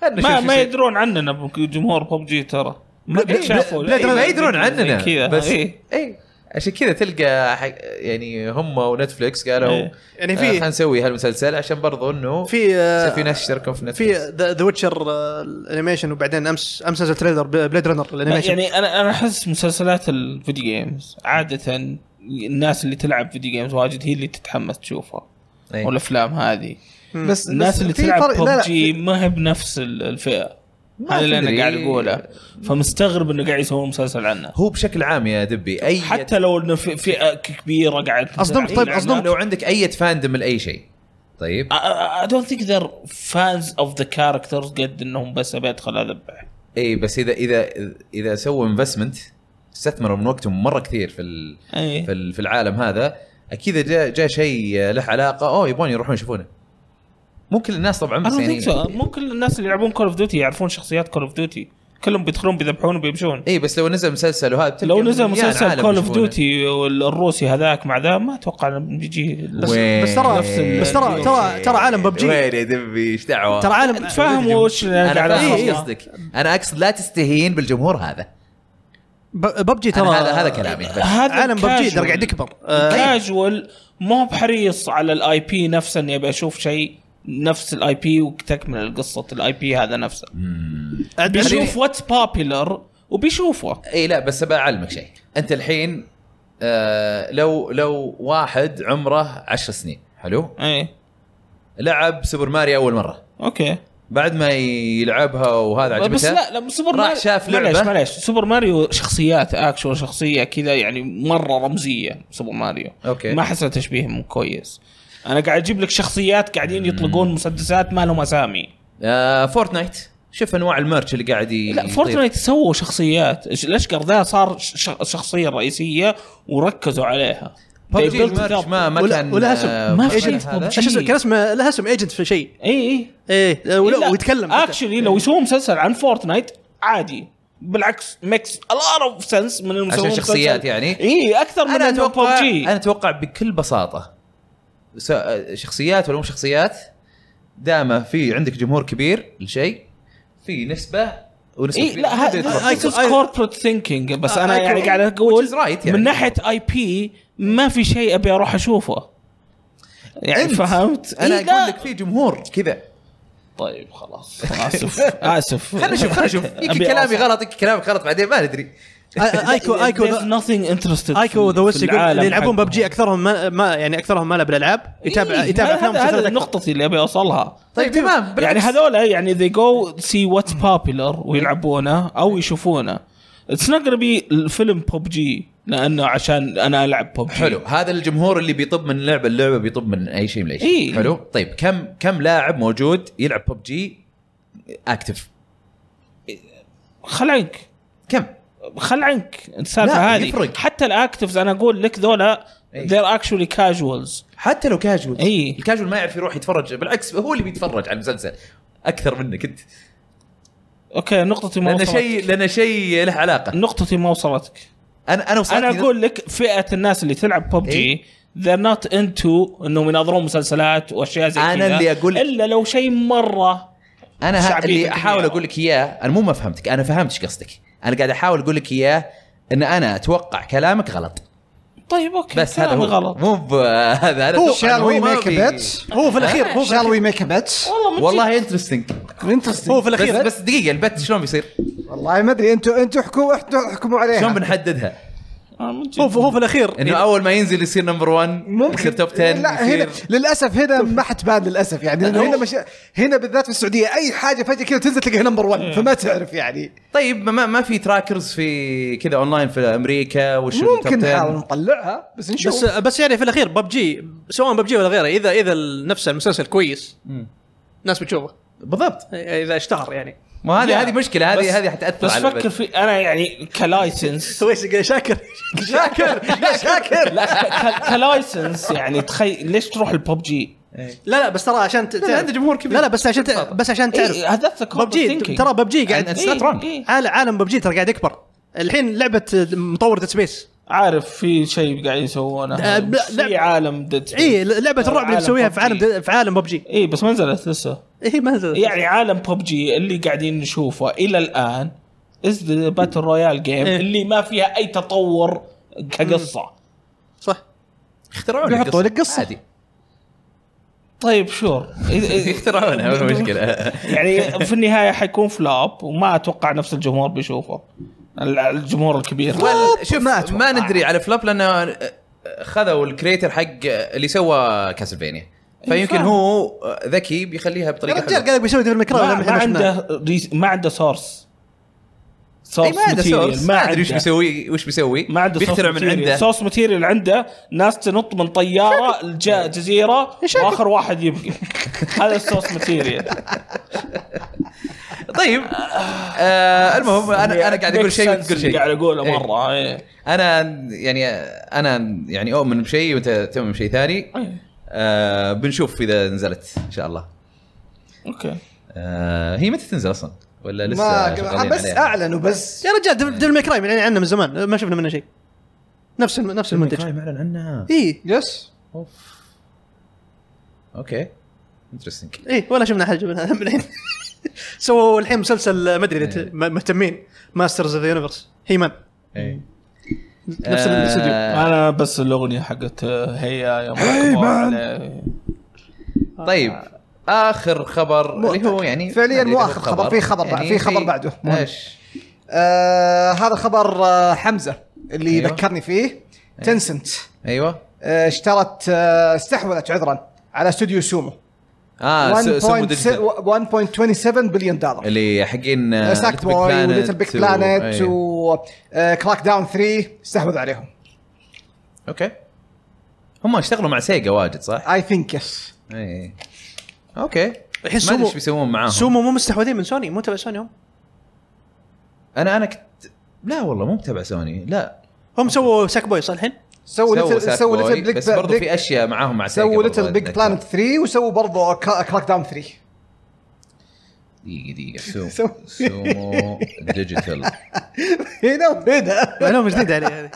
خلنا
ما
نشوف شو
ما
يصير.
يدرون عننا بك- جمهور ببجي ترى ما
بلا-
قد شافوا
بلا- بلا- ما يدرون
زي
عننا
إيه، كذا
بس
بس
اي إيه. عشان كذا تلقى حق يعني هم ونتفلكس قالوا
إيه.
يعني
آه، خلينا
في
نسوي هالمسلسل عشان برضو انه في
في آه،
في ناس يشتركون في
في
نتفلكس
ذا ويتشر الانيميشن وبعدين امس امس نزل تريلر بليد رانر الانيميشن
يعني انا انا احس مسلسلات الفيديو جيمز عاده الناس اللي تلعب فيديو جيمز واجد هي اللي تتحمس تشوفها
إيه.
والافلام هذه
بس
الناس
بس
اللي
في
تلعب
فرق- لا، لا،
ببجي ما هي بنفس ال- الفئه هذا اللي
تدري.
انا قاعد اقوله فمستغرب انه قاعد يسوون مسلسل عنه
هو بشكل عام يا دبي اي
حتى لو انه في- فئه كبيره قاعد
أصدمت، طيب، أصدمت.
لو عندك اي فاندم لاي شيء طيب
آه. اي دونت ثينك ذير فانز اوف ذا كاركترز قد انهم بس ابي ادخل اذبح
اي إيه، بس اذا اذا اذا سووا انفستمنت استثمروا من وقتهم مره كثير في ال-
اي
في ال- في العالم هذا اكيد جاء جاء شيء له علاقه اوه يبغون يروحون يشوفونه مو كل الناس طبعا بس
انا
يعني
مو كل الناس اللي يلعبون كول اوف ديوتي يعرفون شخصيات كول اوف ديوتي كلهم بيدخلون بيذبحون وبيمشون
اي بس لو نزل مسلسل وهذا بتلقى
لو نزل
مليان
مسلسل
إيه، عالم
كول اوف
يشوفونه.
ديوتي الروسي هذاك مع ذا ما اتوقع انه بيجي
بس
وين؟
بس ترى
نفس ال-
بس ترى ترى ترى عالم ببجي
وين يا دبي ايش دعوه؟
ترى عالم
تفهم وش اللي
انا
أنا قاعد
فاهم إيه،
أقصده.
قصدك انا اقصد لا تستهين بالجمهور هذا
ببجي
ترى
ترى
هذا هذا كلامي بس
هذا
عالم ببجي
الكاجوال-
ترى قاعد يكبر آه،
كاجوال ما هو بحريص على الاي بي نفسه اني ابي اشوف شيء نفس الاي بي وتكمل قصه الاي بي هذا نفسه بيشوف واتس بابيلر وبيشوفه
اي لا بس بعلمك شيء انت الحين آه لو لو واحد عمره 10 سنين حلو
اي
لعب سوبر ماريو اول مره
اوكي
بعد ما يلعبها وهذا عجبته
بس لا لا سوبر
راح
ماريو
شاف
معليش
لعبة.
معليش سوبر ماريو شخصيات اكشن شخصيه كذا يعني مره رمزيه سوبر ماريو
أوكي.
ما احسها تشبيه مو كويس انا قاعد اجيب لك شخصيات قاعدين يطلقون مسدسات ما لهم اسامي
آه فورتنايت شوف انواع الميرش اللي قاعد ي-
لا
يعني يطير.
فورتنايت سووا شخصيات إيش- الاشقر ذا صار ش- شخصيه رئيسيه وركزوا عليها They
PUBG
built it
الميرش
up.
ما ما
ولا-
كان
ولا اسم.
آه،
ما
ولا
في
هذا.
PUBG.
ايش اسمه؟ كان اسمه لها اسم ايجنت في شيء
اي اي
ايه آه، ولا-
لا،
ويتكلم
اكشلي إيه. لو يسوون مسلسل عن فورتنايت عادي بالعكس ميكس الار اوف سنس من المسوين
عشان شخصيات يعني؟
اي اكثر من
انا اتوقع
PUBG.
انا اتوقع بكل بساطه س- آه، شخصيات ولا مو شخصيات دامه في عندك جمهور كبير لشيء في نسبه ونسبه
اي
كبيرة
إيه، لا
تبدأ تروح.
هذا
I-
كوربريت ثينكينج بس انا
I-
يعني
I-
قاعد
which
اقول
is right يعني.
من ناحيه اي بي ما في شيء ابي اروح اشوفه يعني
أنت.
فهمت؟
انا
إي، لا.
اقول لك في جمهور كذا
طيب خلاص اسف اسف
خلينا نشوف خلينا نشوف يمكن كلامي غلط يمكن كلامك غلط بعدين ما ندري
آه، ايكو ايكو
There's nothing interested
ايكو
في-
ذا ويست
في
يقول
العالم
اللي يلعبون
حقهم.
ببجي اكثرهم ما, ما يعني اكثرهم ما له بالالعاب يتابع
إيه،
يتابع
هذا-
افلام
هذا-
ومسلسلات
هذه
أكثر.
النقطة اللي ابي اوصلها
طيب تمام
يعني
بالعكس.
هذول يعني ذي جو سي واتس بابيلر ويلعبونه او يشوفونه اتس نوت بي الفيلم ببجي لانه عشان انا العب ببجي
حلو هذا الجمهور اللي بيطب من لعبه لعبه بيطب من اي شيء من اي شيء
إيه.
حلو طيب كم كم لاعب موجود يلعب ببجي اكتف
خل عنك
كم
خل عنك السالفه
لا،
هذه
يفرق.
حتى الاكتفز انا اقول لك ذولا they're actually casuals
حتى لو كاجوال
إي.
الكاجوال ما يعرف يروح يتفرج بالعكس هو اللي بيتفرج على المسلسل اكثر منك انت
اوكي نقطتي ما
لان
وصلت
شيء لان شيء له علاقه
نقطتي ما وصلتك
انا انا وصلتني
انا اقول لك فئه الناس اللي تلعب
إيه؟
ببجي ذير نوت انتو انهم يناظرون مسلسلات واشياء زي
أنا
كذا
اللي أقول-
الا لو شيء مره
انا ها-
شعبية
اللي
الدنيا.
احاول اقول لك اياه انا مو ما فهمتك انا فهمت ايش قصدك انا قاعد احاول اقول لك اياه ان انا اتوقع كلامك غلط
طيب اوكي
بس هذا هو
غلط
مو ب- هذا هذا
هو
أتوقع
شال
إنه
وي
ما
ميك
بي-
بيت
هو في الاخير هو في
شال
الأخير.
وي ميك بيت
والله انترستنج
انترستنج
هو في
بس,
الاخير
بس دقيقه البت شلون
إيه.
بيصير؟
والله ما ادري انتم انتم احكموا احتوا- احكموا
شلون
عليها
بنحددها؟
آه، من جد.
هو في- هو في الاخير
إيه.
انه اول ما ينزل يصير نمبر 1 يصير توب 10
لا هنا
يصير
للاسف هنا ما حتبان للاسف يعني لانه هنا مش... هنا بالذات في السعوديه اي حاجه فجاه كذا تنزل تلقاها نمبر 1 فما تعرف يعني
طيب ما, ما في تراكرز في كذا اونلاين في امريكا وش
ممكن
الtop 10
نحاول نطلعها بس
بس
نشوف
بس يعني في الاخير ببجي سواء ببجي ولا غيره اذا اذا نفس المسلسل كويس الناس بتشوفه
بالضبط
اذا اشتهر يعني
ما هذه
لا.
هذه مشكله هذه هذه حتاثر
بس
على
فكر في انا يعني كلايسنس
سويش شاكر
شاكر لا شاكر
لا ك- ك- كلايسنس يعني تخيل ليش تروح الببجي؟
لا لا بس ترى عشان ت- تعرف-
عنده جمهور كبير.
لا لا بس عشان ت- بس عشان تعرف
إيه هذا
ببجي ترى ببجي
إيه،
قاعد
it's not wrong.
عالم عالم ببجي ترى قاعد يكبر الحين لعبه مطور ديد سبيس
عارف في شيء قاعدين يسوونه
آه، ب-
في
لعبة-
عالم ديد
اي لعبه الرعب اللي
عالم
مسويها في
PUBG.
عالم دي- في عالم ببجي
اي بس ما نزلت لسه
اي ما نزلت.
يعني عالم ببجي اللي قاعدين نشوفه الى الان از ذا باتل رويال جيم
إيه.
اللي ما فيها اي تطور كقصه
صح
يخترعون
بيحطوا لك قصة.
عادي
طيب شور إذا- إذا-
يخترعونها ما في مشكله
يعني في النهايه حيكون فلاب وما اتوقع نفس الجمهور بيشوفه ال- الجمهور الكبير
وال- شوف ما, آه، ما ندري على فلوب لانه خذوا الكريتر حق اللي سوى كاسلفينيا فيمكن
فاهم.
هو آه، ذكي بيخليها
يا
بطريقه
رجال قال
حلوه
لك بيسوي ديفل
ما,
مكراي
ما عنده ريس- ما عنده سورس
إي،
سورس
إيه، ما عنده
ماتيريال،
سورس ما ادري وش بيسوي وش بيسوي
ما عنده
بيخترع من عنده
سورس ماتيريال عنده ناس تنط من طياره لجا جزيره واخر واحد يبقى هذا السورس ماتيريال
طيب آه المهم انا انا قاعد اقول شيء وانت تقول شيء
قاعد اقوله
إيه.
مره إيه.
انا يعني انا يعني اؤمن بشيء وانت تؤمن بشيء ثاني
إيه.
آه بنشوف اذا نزلت ان شاء الله
اوكي
آه هي متى تنزل اصلا ولا لسه
ما آه،
شغالين
بس
عليها؟
اعلنوا بس
يا رجال ديفل- ديفل مكراي من عنه من زمان ما شفنا منه شيء نفس الم- نفس المنتج
معلن عنها
اي
يس
اوكي انترستنج
اي ولا شفنا حاجه منها من الحين سووا الحين مسلسل ما ادري اذا
إيه.
ت- م- مهتمين ماسترز اوف ذا يونيفرس هيمان
إيه.
نفس الاستوديو
آه،
انا بس الاغنيه حقت آه، هيا يا
إيه،
مرحبا
طيب اخر خبر
مو-
اللي هو يعني
فعلياً
ما أدري
مو
إذا هو
آخر خبر، في خبر
يعني
بعد- في خبر بعده. مهم.
ايش
آه هذا خبر آه حمزه اللي
أيوة.
أيوه. ذكرني فيه
أيوه.
تنسنت
ايوه
آه اشترت آه استحوذت عذرا على استوديو سومو
اه س- سمو ديجيتال
1.27 بليون دولار
اللي حقين آه،
ساكت
Little Big
بوي
Planet
وليتل بيك
و-
بلانت
أيوة.
وكراك داون 3 استحوذوا عليهم
اوكي هم اشتغلوا مع سيجا واجد صح؟
اي ثينك يس
اي اوكي ما ادري
الحين سومو
ايش بيسوون معاهم
سومو مو مستحوذين من سوني مو تبع سوني هم
انا انا كنت لا والله مو متابع سوني لا
هم سووا ساك بوي صح الحين؟
سووا
سووا
ليتل
ساك
سووا
بوي،
ليتل بيك
بس برضو في اشياء معاهم مع سيجا
سووا
برضو
ليتل بيج
أتذكر.
بلانت 3 وسووا برضه كراك داون 3
دقيقه دقيقه سومو
سووا-
سومو ديجيتال
هنا وهنا
معلومه جديده علي هذه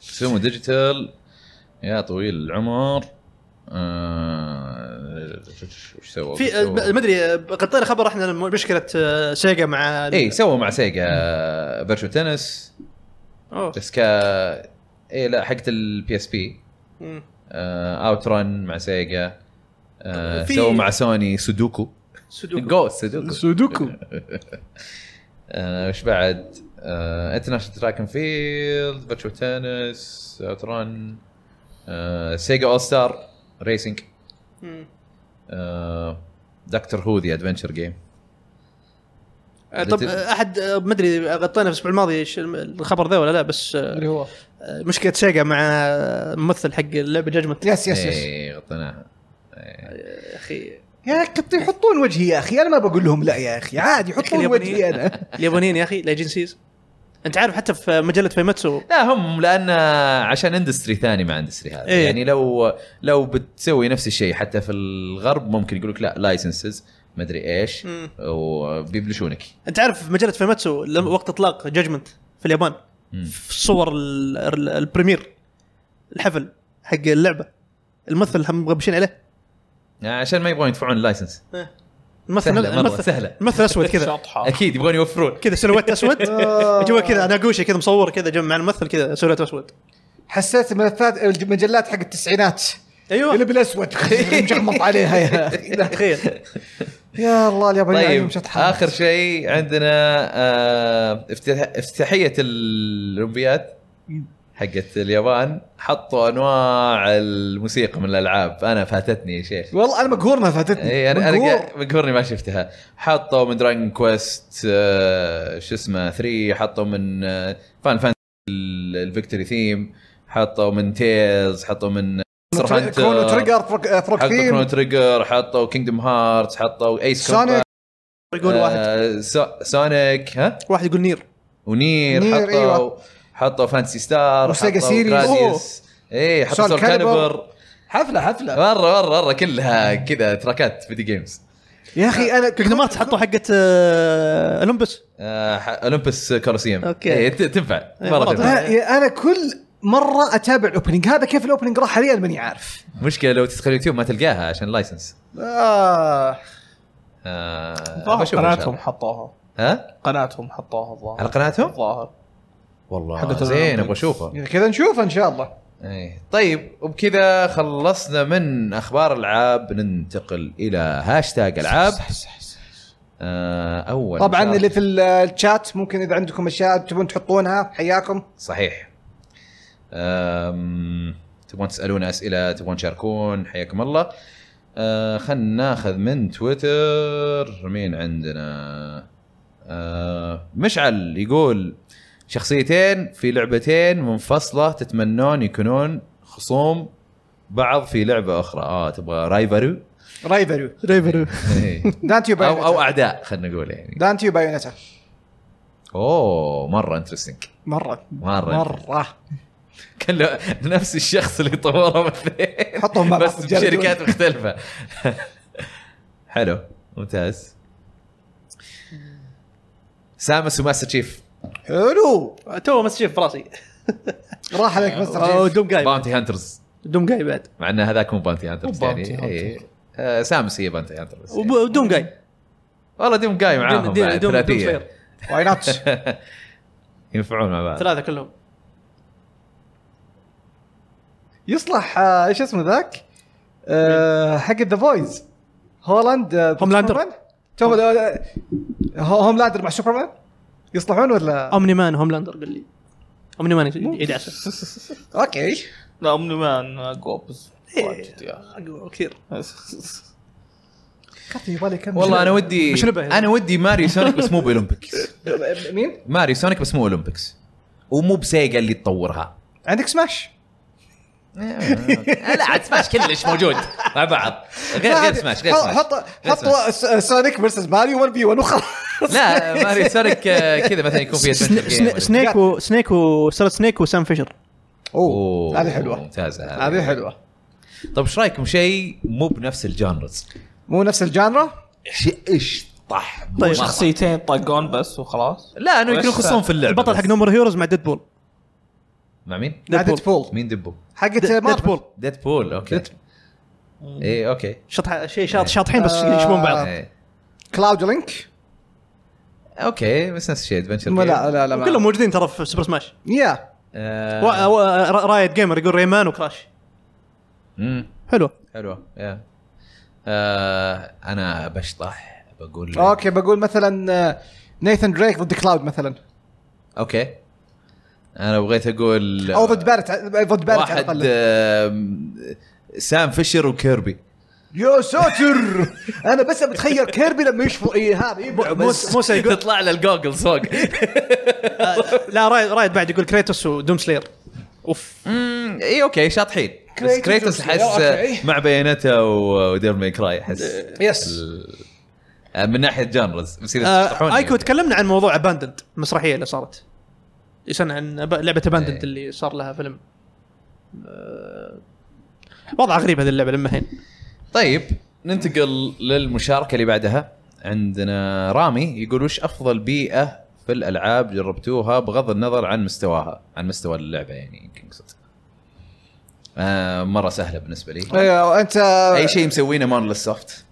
سومو ديجيتال يا طويل العمر آه، وش سووا؟
في آه،
سووا-
ما ادري غطينا خبر احنا الم- مشكله آه، سيجا مع
اي سووا إيه، مع سيجا فيرتشو تنس
أوه.
بس كا اي لا حقت البي اس بي
مم.
اوت رن آه، مع سيجا آه،
في-
سووا مع سوني سودوكو
سودوكو
جو سودوكو
سودوكو
آه، وش بعد؟ آه، انترناشونال تراك اند فيلد فيرتشوال تنس اوت رن سيجا اول ستار ريسنج
مم.
آه، دكتور هو ذا ادفنشر جيم
آه، طب آه، احد آه، ما ادري غطينا في الاسبوع الماضي إيش الم- الخبر ذا ولا لا بس آه،
اللي هو
آه، مشكله سيجا مع آه، ممثل حق اللعبه جاجمنت
يس يس يس
اي غطيناها إيه.
يا اخي
يا كنت يحطون وجهي يا اخي انا ما بقول لهم لا يا اخي عادي يحطون
اليابانيين.
وجهي انا
اليابانيين يا اخي لاجنسيز انت عارف حتى في مجله فيماتسو
لا هم لان عشان اندستري ثاني مع اندستري هذا
إيه.
يعني لو لو بتسوي نفس الشيء حتى في الغرب ممكن يقول لك لا لايسنسز مدري ايش
مم.
وبيبلشونك
انت عارف في مجله فيماتسو لما وقت اطلاق جاجمنت في اليابان
مم.
في صور ال- ال- البريمير الحفل حق اللعبه الممثل هم مغبشين عليه
عشان ما يبغون يدفعون اللايسنس
الممثل
سهلة مرة،
الممثل-
سهلة.
الممثل اسود كذا
شطحه
اكيد يبغون يوفرون
كذا سلوات اسود جوا كذا ناقوشه كذا مصور كذا جنب مع الممثل كذا سلوات اسود
حسيت ملفات المجلات حق التسعينات
ايوه
اللي بالاسود مشخمط عليها يا أخي.
لا خير
يا الله اليابانيين
طيب
عليهم شطحة.
اخر شيء عندنا آه افتتاح- افتتاحيه الاولمبياد حقت اليابان حطوا انواع الموسيقى من الالعاب انا فاتتني يا شيخ
والله انا مقهور ما فاتتني
اي انا انا
مقهور.
إيه، قاعد- مقهورني ما شفتها حطوا من دراجون كويست آه، شو اسمه 3 حطوا من آه، فان فان الفيكتوري ثيم حطوا من تيلز حطوا من Monster Hunter،
كرونو تريجر فروك- فروك
حطوا كرونو
ثيم
تريجر حطوا كينجدم هارت حطوا ايس
سونيك
يقول واحد
سونيك ها
واحد يقول نير
ونير
نير،
حطوا
أيوة.
حطوا فانسي ستار
وسيجا
حطوا
سيريز.
جراديوس. اي حطوا
سول
سول
كاليبر.
كاليبر
حفله حفله
مره مره مره كلها كذا تراكات فيديو جيمز
يا اخي انا
كينجدمات حطوا حقت آه، اولمبس
آه، ح- اولمبس كولوسيوم
أوكي.
إيه، ت- تنفع
إيه،
مره
مرة
تنفع
تنفع.
أنا- انا كل مره اتابع الاوبننج هذا كيف الاوبننج راح حاليا ماني عارف
مشكله لو تدخل اليوتيوب ما تلقاها عشان لايسنس
آه.
آه، أبغى أشوفها إن شاء
قناتهم
الله.
حطوها
ها
قناتهم حطوها الظاهر
على قناتهم
الظاهر
والله
حقت
زين
الأولمبيكس.
ابغى اشوفه
إذا يعني كذا نشوف ان شاء الله
إيه. طيب وبكذا خلصنا من اخبار العاب ننتقل الى هاشتاج العاب آه، اول
طبعا
إن شاء
اللي في ال- الشات ممكن اذا عندكم اشياء تبون تحطونها حياكم
صحيح أم... تبون تسالون اسئله تبون تشاركون حياكم الله أه خلنا ناخذ من تويتر مين عندنا أه مشعل يقول شخصيتين في لعبتين منفصله تتمنون يكونون خصوم بعض في لعبه اخرى اه تبغى رايفرو
رايفري
ريفرو
إيه.
دانتي
او
وبايونيتا
او اعداء خلينا نقول يعني
دانتي وبايونيتا
اوه مره انترستنج
مره
مره
مره
كله نفس الشخص اللي طورهم الاثنين
حطهم مع بعض
بس
الجردول.
بشركات مختلفه حلو ممتاز سامس وماستر تشيف
حلو
تو مس شيف براسي
راح عليك
أو
مستر شيف.
دوم جاي
باونتي هانترز
دوم جاي بعد
مع ان هذاك مو باونتي هانترز
مو Bounty
يعني إيه. آه، سامس هي باونتي هانتر بس يعني.
وب- ودوم جاي
والله دوم جاي معاهم
دوم- دوم-
بعد،
دوم
ثلاثيه
سلاير.
واي نوت
ينفعون مع بعض
ثلاثه كلهم
يصلح آه، ايش اسمه ذاك؟ آه، حق ذا فويز هولاند آه،
هوملاندر.
سوبرمان؟ توم آه، هو- هوملاندر مع سوبرمان يصلحون ولا
اومني مان هوملاندر قال لي اومني مان يدعس
اوكي
لا اومني مان جوبز
إيه.
واجد يعني. يا
كثير
أخي.
كاتي يبالي كم
والله انا ودي
بشنبه هنا.
انا ودي ماريو سونيك بس مو بالاولمبيكس
مين؟
ماريو سونيك بس مو اولمبيكس ومو بسيجا اللي تطورها
عندك سماش
لا عاد سماش كلش موجود مع بعض غير غير سماش غير سماش
حط
غير
حط سونيك فيرسز ماريو 1 في 1 وخلاص
لا ماريو سونيك آه، كذا مثلا يكون فيها adventure game ولا-
سنيك و سنيك وصارت سنيك وسام فيشر
أوه،
اوه هذه حلوه
ممتازه
هذه حلوه
طيب ايش رايكم شيء مو بنفس الجانرز
مو نفس الجانرا
شيء ايش طح
طيب.
مرة.
شخصيتين طقون بس وخلاص
لا انه يكونوا
وش
خصوم في اللعبه
البطل
بس.
حق نومر هيروز مع ديد بول
مع مين؟
ديدبول.
نادت بول
مين دبو؟
حقت
ديد
مارفل
بول
ديد بول اوكي اي اوكي
شطح شيء شاط شاطحين بس يشبهون
آه.
بعض
إيه.
كلاود لينك
اوكي بس نفس الشيء ادفنشر
لا لا
آه.
لا ما- آه،
كلهم موجودين ترى في سوبر سماش
يا
و- و- را- رايت جيمر يقول ريمان وكراش حلو
حلوه يا. آه، انا بشطح بقول
اوكي بقول مثلا نيثن دريك ضد كلاود مثلا
اوكي انا بغيت اقول
او ضد بارت آه، ضد بارت على
واحد
الاقل
آم، سام فيشر وكيربي
يا ساتر انا بس بتخيل كيربي لما يشوف إيه هذا يبلع بس
موسى يقول
تطلع له الجوجلز فوق
لا رايد رايد بعد يقول كريتوس ودوم سلير اوف
أمم، اي اوكي شاطحين بس
Kratos
كريتوس
وشو-
احس
أوكي.
مع بياناتا ودير ماي كراي احس
يس
ال- آه، من ناحيه جانرز بس إذا تشطحون
آه، ايكو
يعني.
تكلمنا عن موضوع اباندنت المسرحيه اللي صارت يسألنا عن أب- لعبه
إيه.
اباندنت اللي صار لها فيلم آه، وضع غريب هذه اللعبه لما هين
طيب ننتقل للمشاركه اللي بعدها عندنا رامي يقول وش افضل بيئه في الالعاب جربتوها بغض النظر عن مستواها عن مستوى اللعبه يعني يمكن يقصد آه مره سهله بالنسبه لي
ايوه انت
اي شيء مسوينه مارل سوفت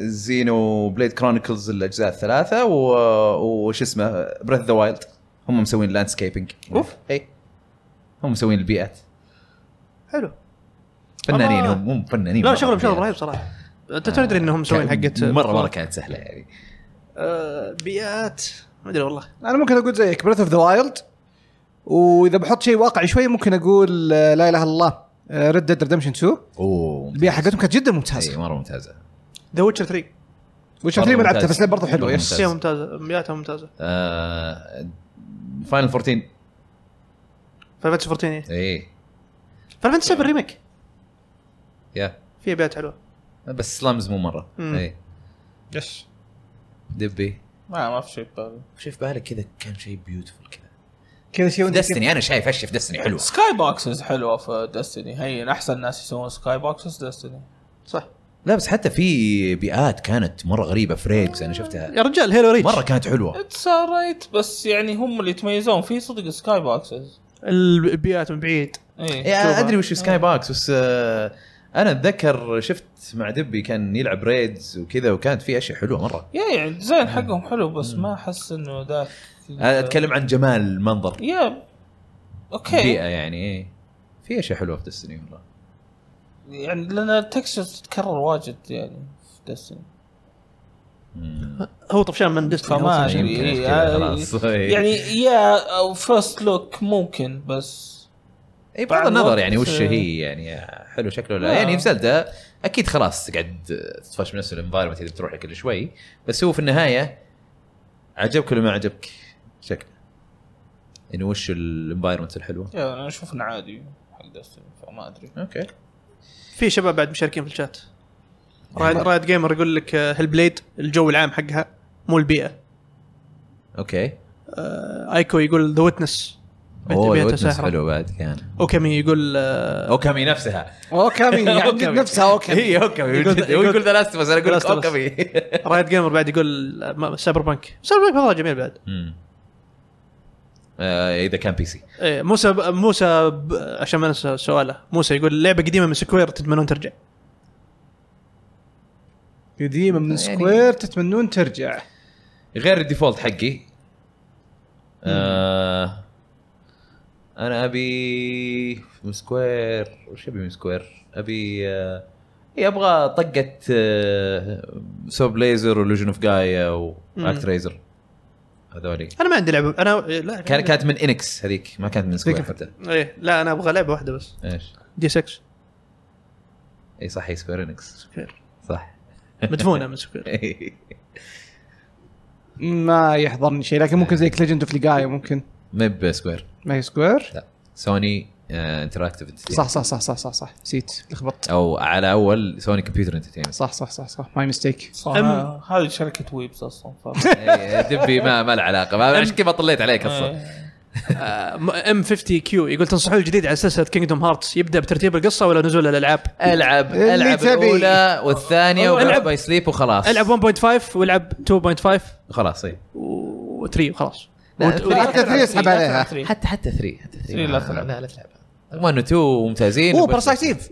زينو بليد كرونيكلز الاجزاء الثلاثه و- وش اسمه بريث ذا وايلد هم مسوين لاندسكيبنج اوف اي هم مسوين البيئات
حلو
فنانين
والله.
هم هم فنانين
آه. لا
مرة
شغلهم شغل
بالبيئات.
رهيب صراحه انت تو تدري انهم مسوين
كان-
حقت
مره مره كانت سهله يعني
آه، بيئات ما ادري والله
انا ممكن اقول زيك بريث اوف ذا وايلد واذا بحط شيء واقعي شوي ممكن اقول آه، لا اله الا الله آه، ريد ديد ريدمشن 2
اوه إيه،
البيئه حقتهم كانت جدا
اي
ممتازه
مره ممتازه
ذا ويتشر 3
وش ما
مرة
لعبتها
ممتاز.
بس برضه حلوه يس
ممتاز.
هي ممتازه بيئاتها ممتازه
آه، فاينل 14
فاينل 14 ايه
اي
فاينل 7 ريميك
يا
فيها بيئات حلوه
بس سلامز مو مره
مم.
اي
يس
دبي
ما ما في شيء ببالي
شوف بالك كذا كان شيء بيوتفل كذا
كذا شيء وانت
دستني انا شايف اشياء في دستني حلوه
سكاي بوكسز حلوه في دستني هي احسن ناس يسوون سكاي بوكسز دستني
صح
لا بس حتى في بيئات كانت مره غريبه فريكس انا شفتها
يا رجال هيلو ريتش
مره كانت حلوه
اتس رايت بس يعني هم اللي يتميزون فيه صدق سكاي بوكسز
البيئات من بعيد
اي
إيه، أنا ادري وش سكاي باكس بس آه، انا اتذكر شفت مع دبي كان يلعب ريدز وكذا وكانت في اشياء حلوه مره
يا يعني الديزاين حقهم حلو بس ما احس انه ذاك
انا اتكلم عن جمال المنظر
يا اوكي
بيئه يعني إيه. في اشياء حلوه في دستني والله
يعني لان التكستشرز تتكرر واجد يعني في دستني
مم.
هو طفشان من ديستني
فما
عشان
ادري
كذا
إيه،
كذا
آه،
خلاص.
يعني يا او فيرست لوك ممكن بس
اي بغض النظر يعني
بس-
وش هي يعني حلو شكله ولا
آه.
لا يعني في زلدة اكيد خلاص تقعد تطفش من نفس الانفايرمنت اللي بتروح له كل شوي بس هو في النهايه عجبك ولا ما عجبك شكله انه وش الانفايرمنت الحلوه
يا انا اشوف انه عادي حق دستني فما ادري
اوكي
في شباب بعد مشاركين في الشات رايد رايد جيمر يقول لك هيل بليد الجو العام حقها مو البيئه
اوكي
آه، ايكو يقول ذا ويتنس
اوه الوتنس حلو بعد كان
اوكمي يقول آه،
اوكامي نفسها
اوكامي يعني
أوكامي.
نفسها اوكامي
هي اوكامي
يقول-
جد- هو يقول
يقول-
ذا لاست بس انا اقول لك
The Last of Us.
اوكامي
رايد جيمر بعد يقول آه، ما- سايبر بانك سايبر بانك والله جميل بعد
مم. آه، اذا كان بي سي
إيه، موسى موسى ب- عشان ما انسى سؤاله موسى يقول لعبه قديمه من سكوير تتمنون ترجع
قديمه من سكوير تتمنون ترجع
غير الديفولت حقي آه انا ابي من سكوير وش ابي من سكوير؟ ابي آه إيه، ابغى طقه آه سوب ليزر ولوجن اوف جايا واكت ريزر هذولي
انا ما عندي لعبه انا إيه، لا
كان كانت من انكس هذيك ما كانت من سكوير حتى
ايه لا انا ابغى لعبه واحده بس
ايش؟
دي 6
اي إيه، صح هي سكوير انكس
سكوير
صح
مدفونه من سكوير
ما يحضرني شيء لكن ممكن زي ليجند اوف ليجايا ممكن
مب سكوير
ما هي سكوير
لا سوني آه، انتراكتيف
صح صح صح صح صح صح نسيت لخبطت
او على اول سوني كمبيوتر انترتينمنت
صح صح صح صح ماي ميستيك
صح
أم-
هذه شركه ويبس اصلا ف...
إيه، دبي ما ما له علاقه ما عشان كذا طليت عليك اصلا
ام 50 كيو آه، يقول تنصحون الجديد على سلسله كينجدوم هارتس يبدا بترتيب القصه ولا نزول الالعاب؟
العب
اللي
العب
تبي.
الاولى والثانيه
ألعب.
والعب باي سليب وخلاص
العب 1.5 والعب 2.5
خلاص اي
و 3 وخلاص
لا،
وت-
لا،
حتى ثري اسحب عليها
حتى حتى 3 حتى 3
ثري إيه، لا تلعب.
لا لا تلعب رغم انه 2 ممتازين
اوه
وبس-
باراسايت ايف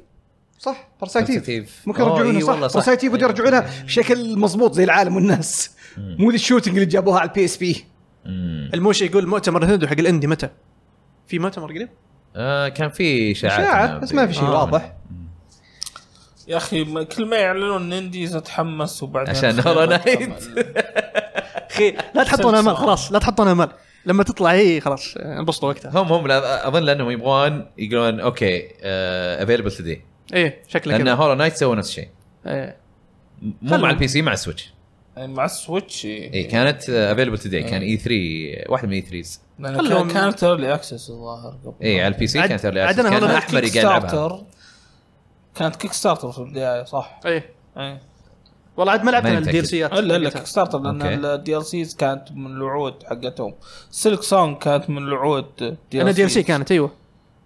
صح باراسايت
Parasite Eve.
ايف ممكن
أوه،
يرجعونها
إي
صح
والله صح.
باراسايت ايف يرجعونها بشكل مضبوط زي العالم والناس مو ذي الشوتنج اللي جابوها على البي اس بي
مم.
الموشي يقول مؤتمر نتندو حق الاندي متى؟ في مؤتمر قريب؟
آه، كان في اشاعات
شاعر بس ما في شيء
آه.
واضح
يا اخي ما- كل ما يعلنون نينديز اتحمس وبعدين
عشان
خير
هولو
ما
نايت.
أتحمل.
اخي لا تحطون امل خلاص لا تحطون امل لما تطلع هي خلاص انبسطوا وقتها
هم هم لا- اظن لانهم يبغون يقولون آه، اوكي افيلبل توداي
ايه شكله
لان
كذا
هولو نايت سوى نفس الشيء
إيه.
مو مع البي سي مع السويتش
يعني مع السويتش
اي
إيه.
كانت افيلبل توداي كان اي 3 واحده من E اي 3
لأن
خلهم-
كان- كانت ايرلي اكسس الظاهر قبل
اي إيه، على البي سي
عد-
كانت early access.
عدنا
كان
هولو نايت
احمر
كيك
قاعد يلعبها
ستارتر. كانت كيك ستارتر في البدايه صح
ايه
إيه.
والله عاد ما لعبت
ماني
انا الدي
متأكد.
ال سيات
الا الا كيك ستارتر لان
أوكي.
الدي ال سيز كانت من الوعود حقتهم سلك سونج كانت من الوعود DLC.
انا دي ال سي كانت ايوه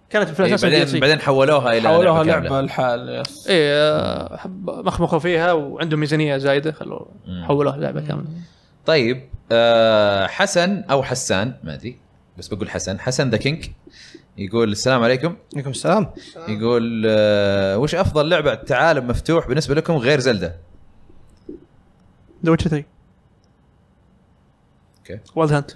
كانت في
إيه،
الاساس دي ال
بعدين
سي
بعدين حولوها الى
حولوها
كاملة.
لعبه الحال يس
ايه آه، حب- مخمخوا فيها وعندهم ميزانيه زايده خلوا حولوها لعبه كامله
طيب آه حسن او حسان ما ادري بس بقول حسن حسن ذا كينج يقول السلام عليكم
عليكم السلام
يقول آه وش افضل لعبه تعالم مفتوح بالنسبه لكم غير زلدة
ذا ويتشر 3
اوكي
والد هانت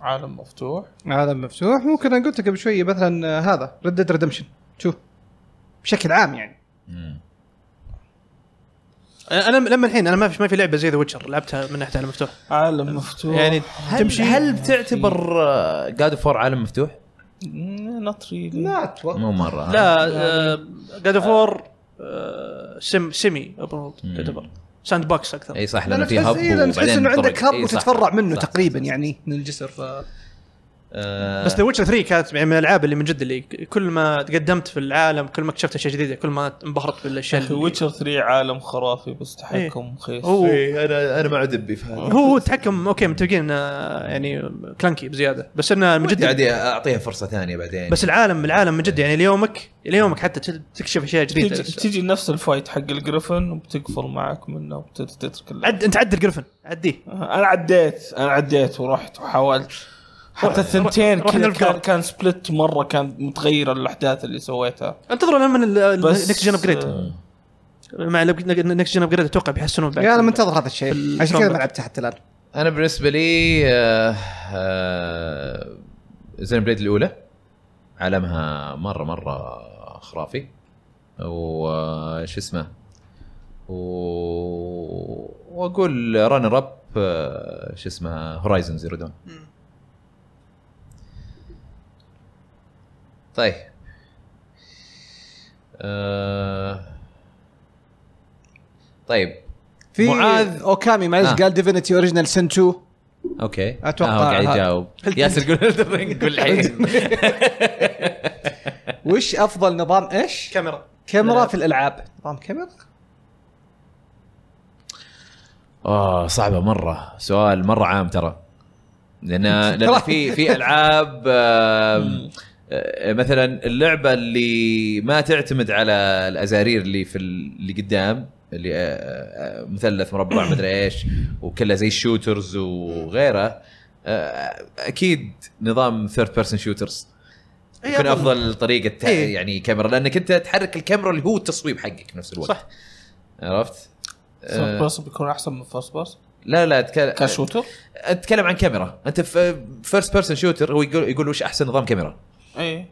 عالم مفتوح
عالم مفتوح ممكن انا قلت قبل شويه مثلا آه، هذا ردد ريدمشن شوف بشكل عام يعني
انا لما الحين انا ما في ما في لعبه زي ذا ويتشر لعبتها من ناحيه عالم مفتوح
عالم مفتوح
يعني
هل
تمشي
هل آه، بتعتبر جاد فور عالم مفتوح؟
نوت ريلي
لا اتوقع
مو مره
لا آه، جاد اوف وور سم سيمي اوبن وورلد
مم.
يعتبر ساند بوكس اكثر
اي صح
لانه
لانه في هب
تحس إيه، لأنه تحس
وبعدين
انه عندك
طرق.
هب
إي صح.
وتتفرع منه
صح، آه،
تقريبا يعني من الجسر ف
بس ذا ويتشر 3 كانت يعني من الالعاب اللي من جد اللي كل ما تقدمت في العالم كل ما اكتشفت اشياء جديده كل ما انبهرت بالاشياء
اخي
اللي-
ويتشر 3 عالم خرافي بس تحكم خيس
إيه. هو
انا انا مع دبي في هذا
هو التحكم اوكي متفقين انه يعني كلانكي بزياده بس انه من
ودي
جد
عادي اعطيها فرصه ثانيه بعدين
بس العالم العالم من جد يعني ليومك ليومك حتى تل- تكشف اشياء جديده
تجي, تجي نفس الفايت حق الجريفن وبتقفل معك منه وبتترك اللعبة.
عد انت عد القرفن عديه
انا عديت انا عديت ورحت وحاولت حتى الثنتين
روح
كذا
نلقى.
كان كان سبلت مره كانت متغيره الاحداث اللي سويتها
انتظروا لما
بس
النكست جن ابجريد
آه،
مع النكست جن ابجريد اتوقع بيحسنون بعد
يعني انا منتظر هذا الشيء
بال-
عشان كذا ما
combat.
لعبتها حتى الان
انا بالنسبه لي آه، آه، زين بليد الاولى عالمها مره مره خرافي وش اسمه و... واقول رانر اب آه، شو اسمه هورايزن زيرو دون طيب آه... طيب
في
معاذ.
معاذ اوكامي معلش
آه.
قال ديفينيتي اوريجنال سن 2
اوكي
أتوقع
آه، قاعد
ها-
يجاوب ياسر قول Elden Ring، قول الحين
وش افضل نظام ايش؟
كاميرا
كاميرا في الالعاب نظام كاميرا؟
اه صعبه مره سؤال مره عام ترى لان لان في في العاب آم، آه، مثلا اللعبه اللي ما تعتمد على الازارير اللي في ال- اللي قدام اللي آه، آه، مثلث مربع مدري ايش وكلها زي الشوترز وغيره آه، اكيد نظام ثيرد بيرسون شوترز يكون افضل طريقه تع-
إيه.
يعني كاميرا لانك انت تحرك الكاميرا اللي هو التصويب حقك في نفس الوقت
صح.
عرفت؟
ثيرد
آه،
بيرسون بيكون احسن من فيرست بيرسون
لا لا أتكلم
كشوتر
اتكلم عن كاميرا انت في فيرست بيرسون شوتر هو يقول يقول وش احسن نظام كاميرا
اي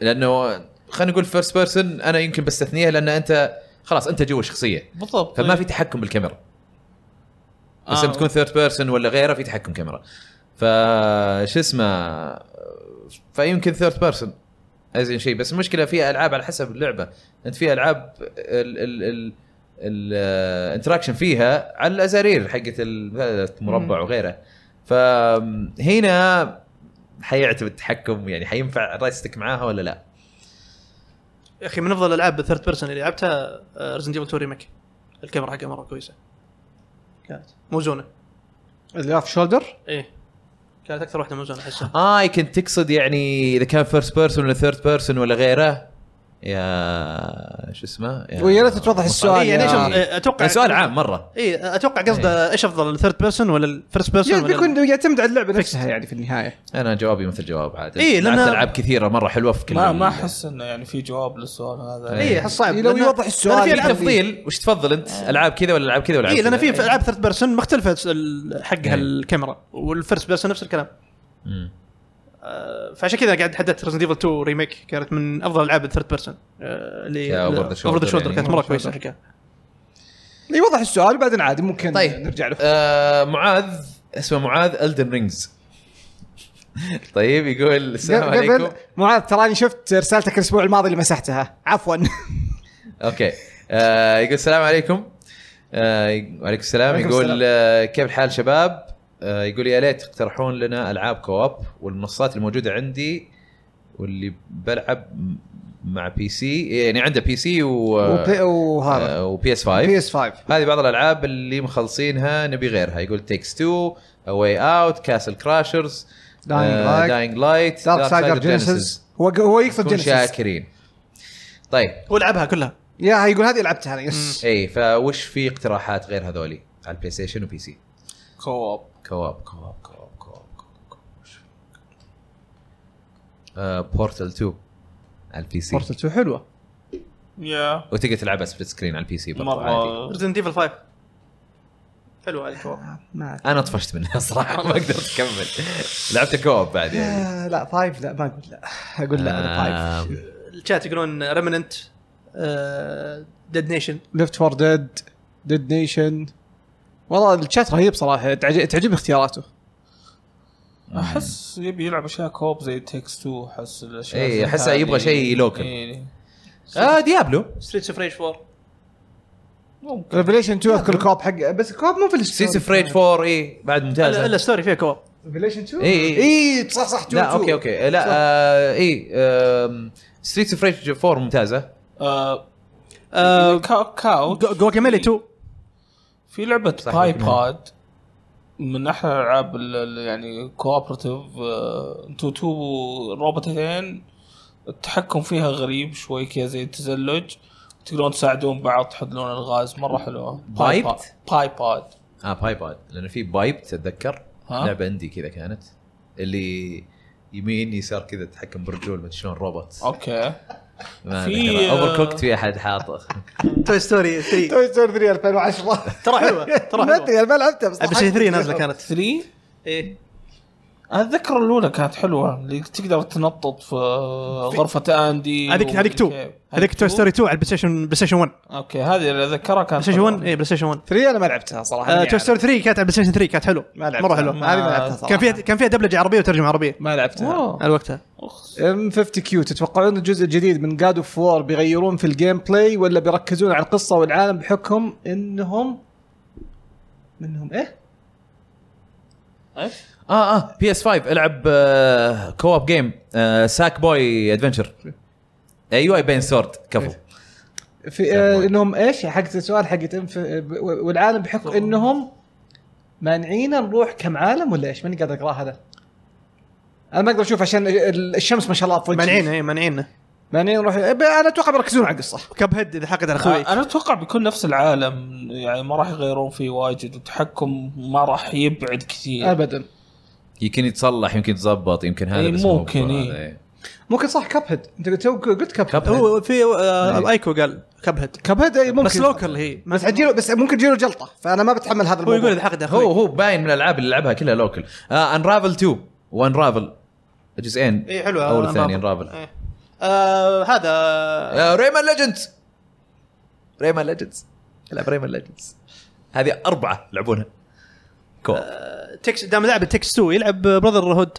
لانه خلينا نقول فيرست بيرسون انا يمكن بستثنيها لان انت خلاص انت جوا الشخصيه
بالضبط
فما
إيه.
في تحكم بالكاميرا بس
آه.
لما تكون ثيرد بيرسون ولا غيره في تحكم كاميرا فش اسمه فيمكن ثيرد بيرسون ازين شيء بس المشكله في العاب على حسب اللعبه انت في العاب ال ال ال الانتراكشن فيها على الازارير حقت المثلث مربع وغيره فهنا حيعتمد التحكم يعني حينفع رايستك معاها ولا لا
يا اخي من افضل الالعاب بالثيرد بيرسون اللي لعبتها آه، ريزنت ايفل 2 ريميك الكاميرا حقها مره كويسه كانت موزونه
اللي اوف شولدر
ايه كانت اكثر واحده موزونه احسها
اه يمكن تقصد يعني اذا كان فيرست بيرسون ولا ثيرد بيرسون ولا غيره يا شو اسمه
ويا ريت توضح السؤال
إيه، يعني ايش
يا-
أف- اتوقع
يعني سؤال عام إيه. مره
اي اتوقع إيه، قصده ايش افضل الثيرد بيرسون ولا الفيرست بيرسون
يعني
ولا ال-
بيكون يعتمد على اللعبه نفسها يعني في النهايه
انا جوابي مثل جواب عادل
إيه، لأن-
لعبت العاب كثيره مره حلوه في كل
ما ما
ال-
احس انه يعني في جواب للسؤال
إيه.
هذا
اي احس إيه، صعب
إيه، لو
لأن-
يوضح
لأن
السؤال
في تفضيل وش تفضل انت
آه.
العاب كذا ولا العاب كذا ولا
اي
إيه،
العاب
لان إيه، في
كذا؟
العاب ثيرد بيرسون مختلفه ال- حقها
إيه.
الكاميرا والفيرست بيرسون نفس الكلام
مم.
آه، فعشان كذا قاعد حددت ريزنت ايفل 2 ريميك كانت من افضل العاب الثيرد بيرسون آه، اللي
يا Over the Shoulder
اوفر ذا شولدر
يعني.
كانت مره كويسه حقها
يوضح السؤال وبعدين عادي ممكن
طيب.
نرجع له
آه معاذ اسمه معاذ الدن رينجز طيب يقول السلام عليكم
قبل معاذ تراني شفت رسالتك الاسبوع الماضي اللي مسحتها عفوا
أه، اوكي آه يقول السلام عليكم آه وعليكم السلام
وعليكم
يقول
السلام.
آه كيف الحال شباب آه يقول يا ليت تقترحون لنا العاب كواب والمنصات الموجوده عندي واللي بلعب م- مع بي سي يعني عنده بي سي و آه،
وبي- وهذا
وبي اس 5
بي اس 5
هذه بعض الالعاب اللي مخلصينها نبي غيرها يقول تيكس 2 اواي اوت كاسل كراشرز أه، داينج لايت
دارك سايدر جينيسيس هو هو يقصد
كن
جينيسيس
شاكرين طيب
هو لعبها كلها
يا يقول هذه لعبتها انا يس
اي إيه، فوش في اقتراحات غير هذولي على البلاي ستيشن وبي سي
كواب
كواب كواب كواب كواب كواب آه بورتل 2 على البي سي
بورتل 2 حلوه
يا
وتقدر تلعبها سبليت سكرين على البي سي برضه عادي
مره
ريزنت ايفل 5 حلو هذه كوب
ما
انا طفشت منها صراحه ما قدرت اكمل لعبت كوب بعد يعني
آه، لا فايف لا ما اقول لا اقول لا انا فايف
آم،
الشات يقولون آه، ريمننت ديد نيشن
ليفت فور ديد ديد نيشن والله الشات رهيب صراحه تعج- تعجبني اختياراته
احس يبي يلعب اشياء كوب زي تكس 2 احس الاشياء
إيه،
زي
أحسه
هذه.
يبغى شيء لوكال.
إيه.
اه ديابلو
ستريتس اوف ريج 4
ممكن
ريفليشن 2 اذكر كوب حق بس كوب مو في
سيس فريج 4 اي إيه، بعد
الا
ممتازه
إلا ستوري فيها كوب
ريفليشن 2
إي، إي.
اي صح صح 2
لا اوكي اوكي لا آه، اي ستريت فريج 4 ممتازه
آه
آه،
كا- كاوت
جوكاميلي 2
في لعبه
صحيح.
باي باد من احلى الالعاب ال- ال- يعني كوبرتيف انتوا تو روبوتين التحكم فيها غريب شوي كذا زي التزلج تقدرون تساعدون بعض تحلون الغاز مره حلوه باي
Piped؟
باي باد
اه بايباد لانه في بايب تتذكر
ها؟
لعبه عندي كذا كانت اللي يمين يسار كذا تتحكم برجول مدري شلون روبوت
اوكي آه، في- آه،
في اوفر كوكت في احد حاطه
توي ستوري 3
توي ستوري 3 2010
ترى حلوه ترى
ما
حلوه
ادري انا ما لعبتها بس
بس 3 نازله
كانت
كانت
3
ايه
انا اتذكر الاولى كانت حلوه اللي تقدر تنطط في غرفه اندي
هذيك هذيك 2 هذيك توي ستوري 2 على البلاي ستيشن بلاي ستيشن 1 بلاي
اوكي هذه اللي اتذكرها كانت
ستيشن
حلوة.
1 اي بلاي ستيشن 1
3 انا ما لعبتها صراحه
يعني.
ماني
توي
عارف.
ستوري 3 كانت على البلاي ستيشن 3 كانت حلوه
ما لعبتها
مره حلوه
ما- هذه ما لعبتها صراحه
كان فيها كان فيها دبلجه عربيه وترجمه عربيه
ما لعبتها
على وقتها
أخ.
ام 50 كيو تتوقعون الجزء الجديد من جاد اوف وور بيغيرون في الجيم بلاي ولا بيركزون على القصه والعالم بحكم انهم منهم ايه؟
اه اه بي اس 5 العب آه كواب جيم آه ساك بوي ادفنشر ايوه بين سورد كفو
إيه.
في آه انهم ايش؟ حقت السؤال حقت انف... والعالم بحكم انهم مانعين نروح كم عالم ولا ايش؟ ماني قادر اقراه هذا انا ما اقدر اشوف عشان ال- الشمس ما شاء الله في وجهي.
مانعين اي مانعين
مانعين نروح إيه، انا اتوقع بيركزون على القصه
كاب هيد اذا حقت على اخوي
انا اتوقع بيكون نفس العالم يعني ما راح يغيرون فيه واجد والتحكم ما راح يبعد كثير
ابدا
يمكن يتصلح يمكن يتظبط يمكن هذا
إيه،
بس مو
ممكن،
بالقوة
إيه.
هذا، إيه.
ممكن صح كاب هيد انت قلت- قلت كاب هيد
كاب
هو في آه، ايكو قال كاب هيد
كاب هيد إيه، ممكن
بس لوكال هي
بس تجيله بس ممكن تجيله جلطه فانا ما بتحمل هذا
هو
الموضوع
يقول اذا حقت على
آه، هو
اخوي
هو باين من الالعاب اللي لعبها كلها لوكل آه انرافل 2 وانرافل جزئين
إيه،
اي حلوه
اول
Unravel.
الثاني انرافل
إيه. آه، هذا
آه، ريمان ليجندز ريمان ليجندز العب ريمان ليجندز هذه اربعه يلعبونها كوب
آه،
تكس دام لعبه تكس 2 يلعب براذر هود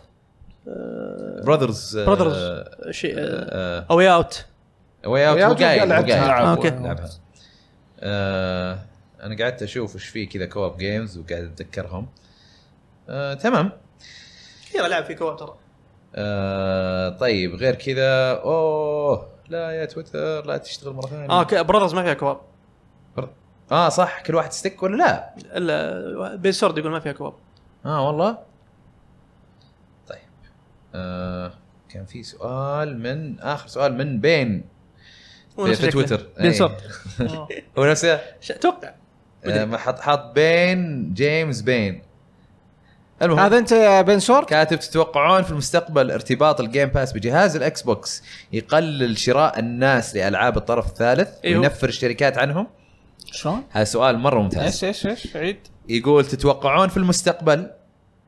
براذرز
براذرز شيء آه، اوي اوت
واي
Way Out
اوت
وقاعد لعبتها.
لعبها
أوكي.
لعبها. آه، انا قعدت اشوف وش في كذا كواب جيمز وقاعد اتذكرهم آه، تمام
كثير العاب في كواب ترى
آه، طيب غير كذا اوه لا يا تويتر لا تشتغل مره ثانيه
آه،
اه براذرز ما فيها كواب
اه صح كل واحد ستيك ولا لا؟
الا بين سورد يقول ما فيها كواب
اه والله طيب آه كان في سؤال من اخر سؤال من بين في, إيه.
ونفس
في
شكله.
تويتر
بين
أي.
سورد
هو نفسه
ش- اتوقع
آه، ما حط حط بين جيمس بين المهم
هذا انت يا بن سورد
كاتب تتوقعون في المستقبل ارتباط الجيم باس بجهاز الاكس بوكس يقلل شراء الناس لالعاب الطرف الثالث
أيوه.
وينفر الشركات عنهم
شلون؟
هذا سؤال مره ممتاز
ايش ايش ايش عيد
يقول تتوقعون في المستقبل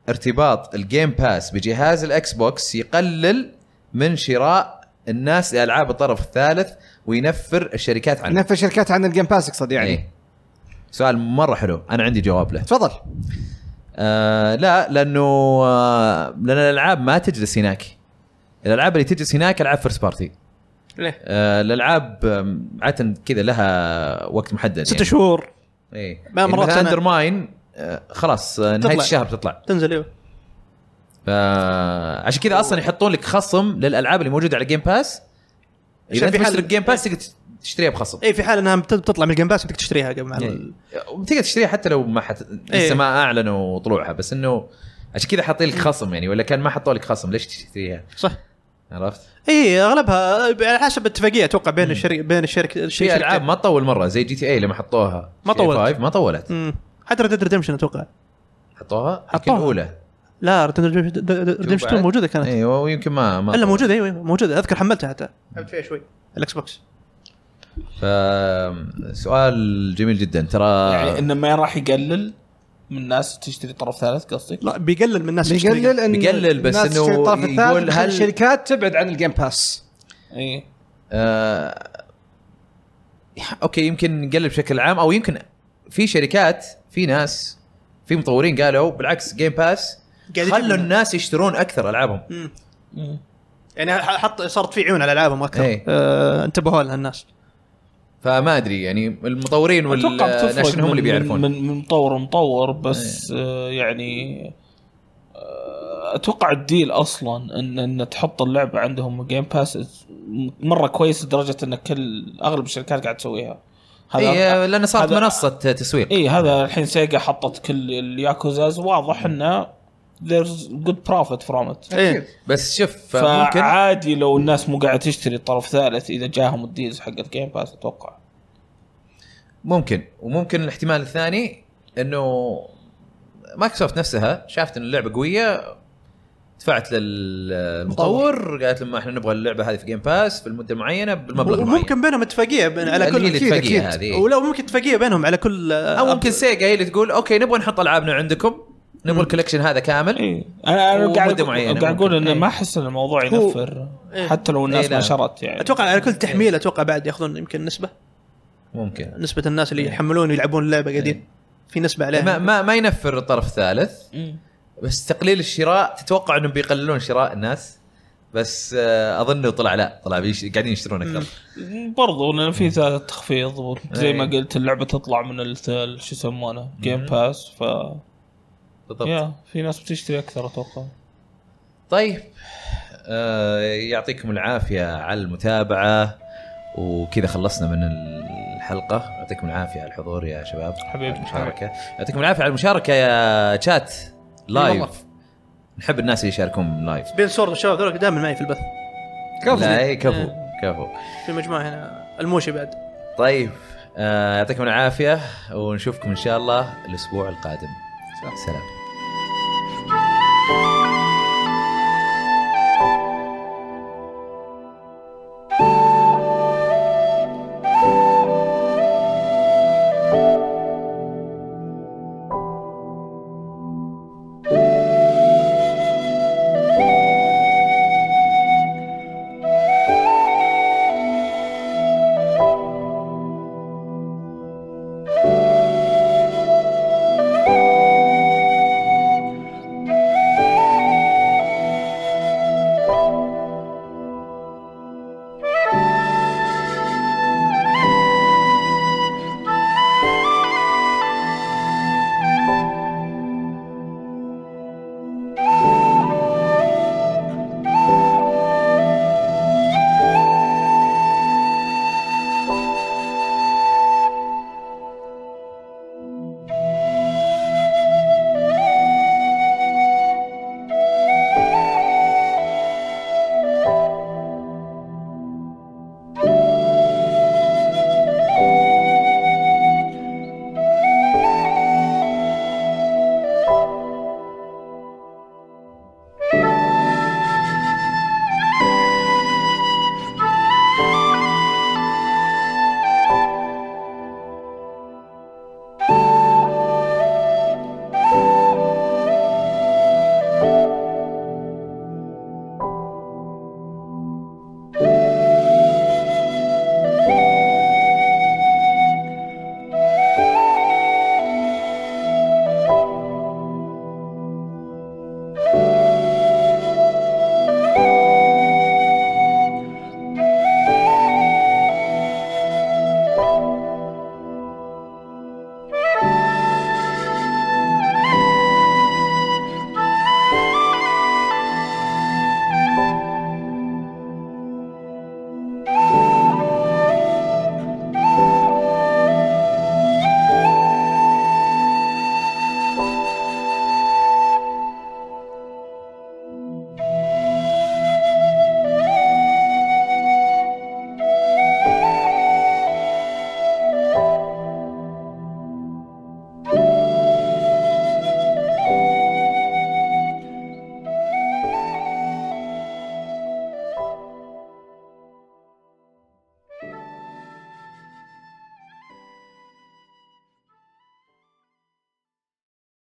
ارتباط الجيم باس بجهاز الاكس بوكس يقلل من شراء الناس لالعاب الطرف الثالث وينفر الشركات عنه
نفس الشركات عن الجيم باس اقصد يعني
إيه. سؤال مره حلو انا عندي جواب له
تفضل
آه لا لانه آه لان الالعاب ما تجلس هناك الالعاب اللي تجلس هناك العاب فيرست بارتي
ليه؟
آه الالعاب آم، عاده كذا لها وقت محدد يعني. إيه.
ست شهور
اي
ما مرات
مرات
أنا-
اندر ماين آه خلاص آه نهايه
تطلع.
الشهر بتطلع
تنزل ايوه
فعشان كذا اصلا يحطون لك خصم للالعاب اللي موجوده على جيم باس اذا
عشان
انت
في حل- إيه.
مشترك جيم باس تقدر تشتريها بخصم
اي في حال انها بت- بتطلع من الجيم باس بدك تشتريها قبل ما
إيه. وتقدر تشتريها حتى لو ما حت...
إيه.
لسه ما اعلنوا طلوعها بس انه عشان كذا حاطين لك خصم يعني ولا كان ما حطوا لك خصم ليش تشتريها
صح
عرفت؟
اي اغلبها إيه، على حسب اتفاقيه اتوقع بين الشركه بين الشركه
إيه. في العاب ما تطول مره زي جي تي اي لما حطوها
ما
GTA five
طولت.
ما طولت
مم. حتى ريد ريدمشن اتوقع
حطوها حطوها
حطوها.
الاولى
لا ريد ريدمشن 2
بعد.
موجوده كانت
ايوه ويمكن ما ما
الا
طولت.
موجوده ايوه أيوة، موجوده اذكر حملتها حتى لعبت فيها شوي الاكس بوكس
ف- سؤال جميل جدا ترى
آه.
يعني انه ما راح يقلل من الناس تشتري طرف ثالث قصدك؟
لا بيقلل من الناس اللي
بيقلل ان
بيقلل بس
الناس
إنه
تشتري الطرف الثالث
يقول
عشان
هل-
الشركات تبعد عن الجيم باس
اي
آه، اوكي يمكن نقلب بشكل عام او يمكن في شركات في ناس في مطورين قالوا بالعكس جيم باس
قاعد يجيب
خلوا
منها.
الناس يشترون اكثر العابهم
يعني حط صارت في عيون على العابهم اكثر
إيه.
آه، انتبهوا لها الناس
فما ادري يعني المطورين
اتوقع بتفرق
والناشن هم اللي
من-
بيعرفون إيه.
من من مطور مطور بس آه يعني آه، اتوقع الديل اصلا ان ان تحط اللعبه عندهم جيم باس مره كويس لدرجه ان كل اغلب الشركات قاعد تسويها
اي لان إيه، صارت
هذا- إيه.
منصه تسويق
اي هذا الحين سيجا حطت كل الياكوزاز واضح انه there's good profit from it
ايه
بس شوف فممكن
فعادي لو الناس مو قاعده تشتري طرف ثالث اذا جاهم الديلز حقت جيم باس اتوقع
ممكن وممكن الاحتمال الثاني انه مايكروسوفت نفسها شافت ان اللعبه قويه دفعت للمطور قالت لما احنا نبغى اللعبه هذه في جيم باس في المده المعينه بالمبلغ المعين
وممكن بينهم اتفاقيه بين على
اللي هي
كل اكيد
الاتفاقية
اكيد
هذه.
ولو ممكن اتفاقيه بينهم على كل
او ممكن سيجا هي اللي تقول اوكي نبغى نحط العابنا عندكم نبغى الكوليكشن هذا كامل
اي انا انا
ومدة
قاعد أقول-
معينة
قاعد اقول
ممكن.
انه
إيه.
ما احس ان الموضوع ينفر حتى لو الناس
إيه،
ما
لا.
شرت يعني
اتوقع على كل تحميل اتوقع بعد ياخذون يمكن نسبه
ممكن
نسبه الناس اللي يحملون ويلعبون اللعبه قاعدين في نسبه عليها
يعني ما ما, ما ينفر الطرف الثالث
مم.
بس تقليل الشراء تتوقع انهم بيقللون شراء الناس بس آه، اظنه طلع لا طلع بيش قاعدين يشترون اكثر
برضو لان في ثلاث تخفيض وزي ما
إيه.
قلت اللعبه تطلع من الث- شو يسمونه جيم باس ف
بالضبط
يا في ناس بتشتري اكثر اتوقع
طيب آه، يعطيكم العافيه على المتابعه وكذا خلصنا من الحلقه يعطيكم العافيه على الحضور يا شباب
حبيبي.
على المشاركه يعطيكم العافيه على المشاركه يا شات لايف نحب الناس اللي يشاركون لايف
بين سورد والشباب ذولك دائما معي في البث
لا إيه، كفو كفو
في مجموعه هنا الموشي بعد
طيب آه يعطيكم العافيه ونشوفكم ان شاء الله الاسبوع القادم سلام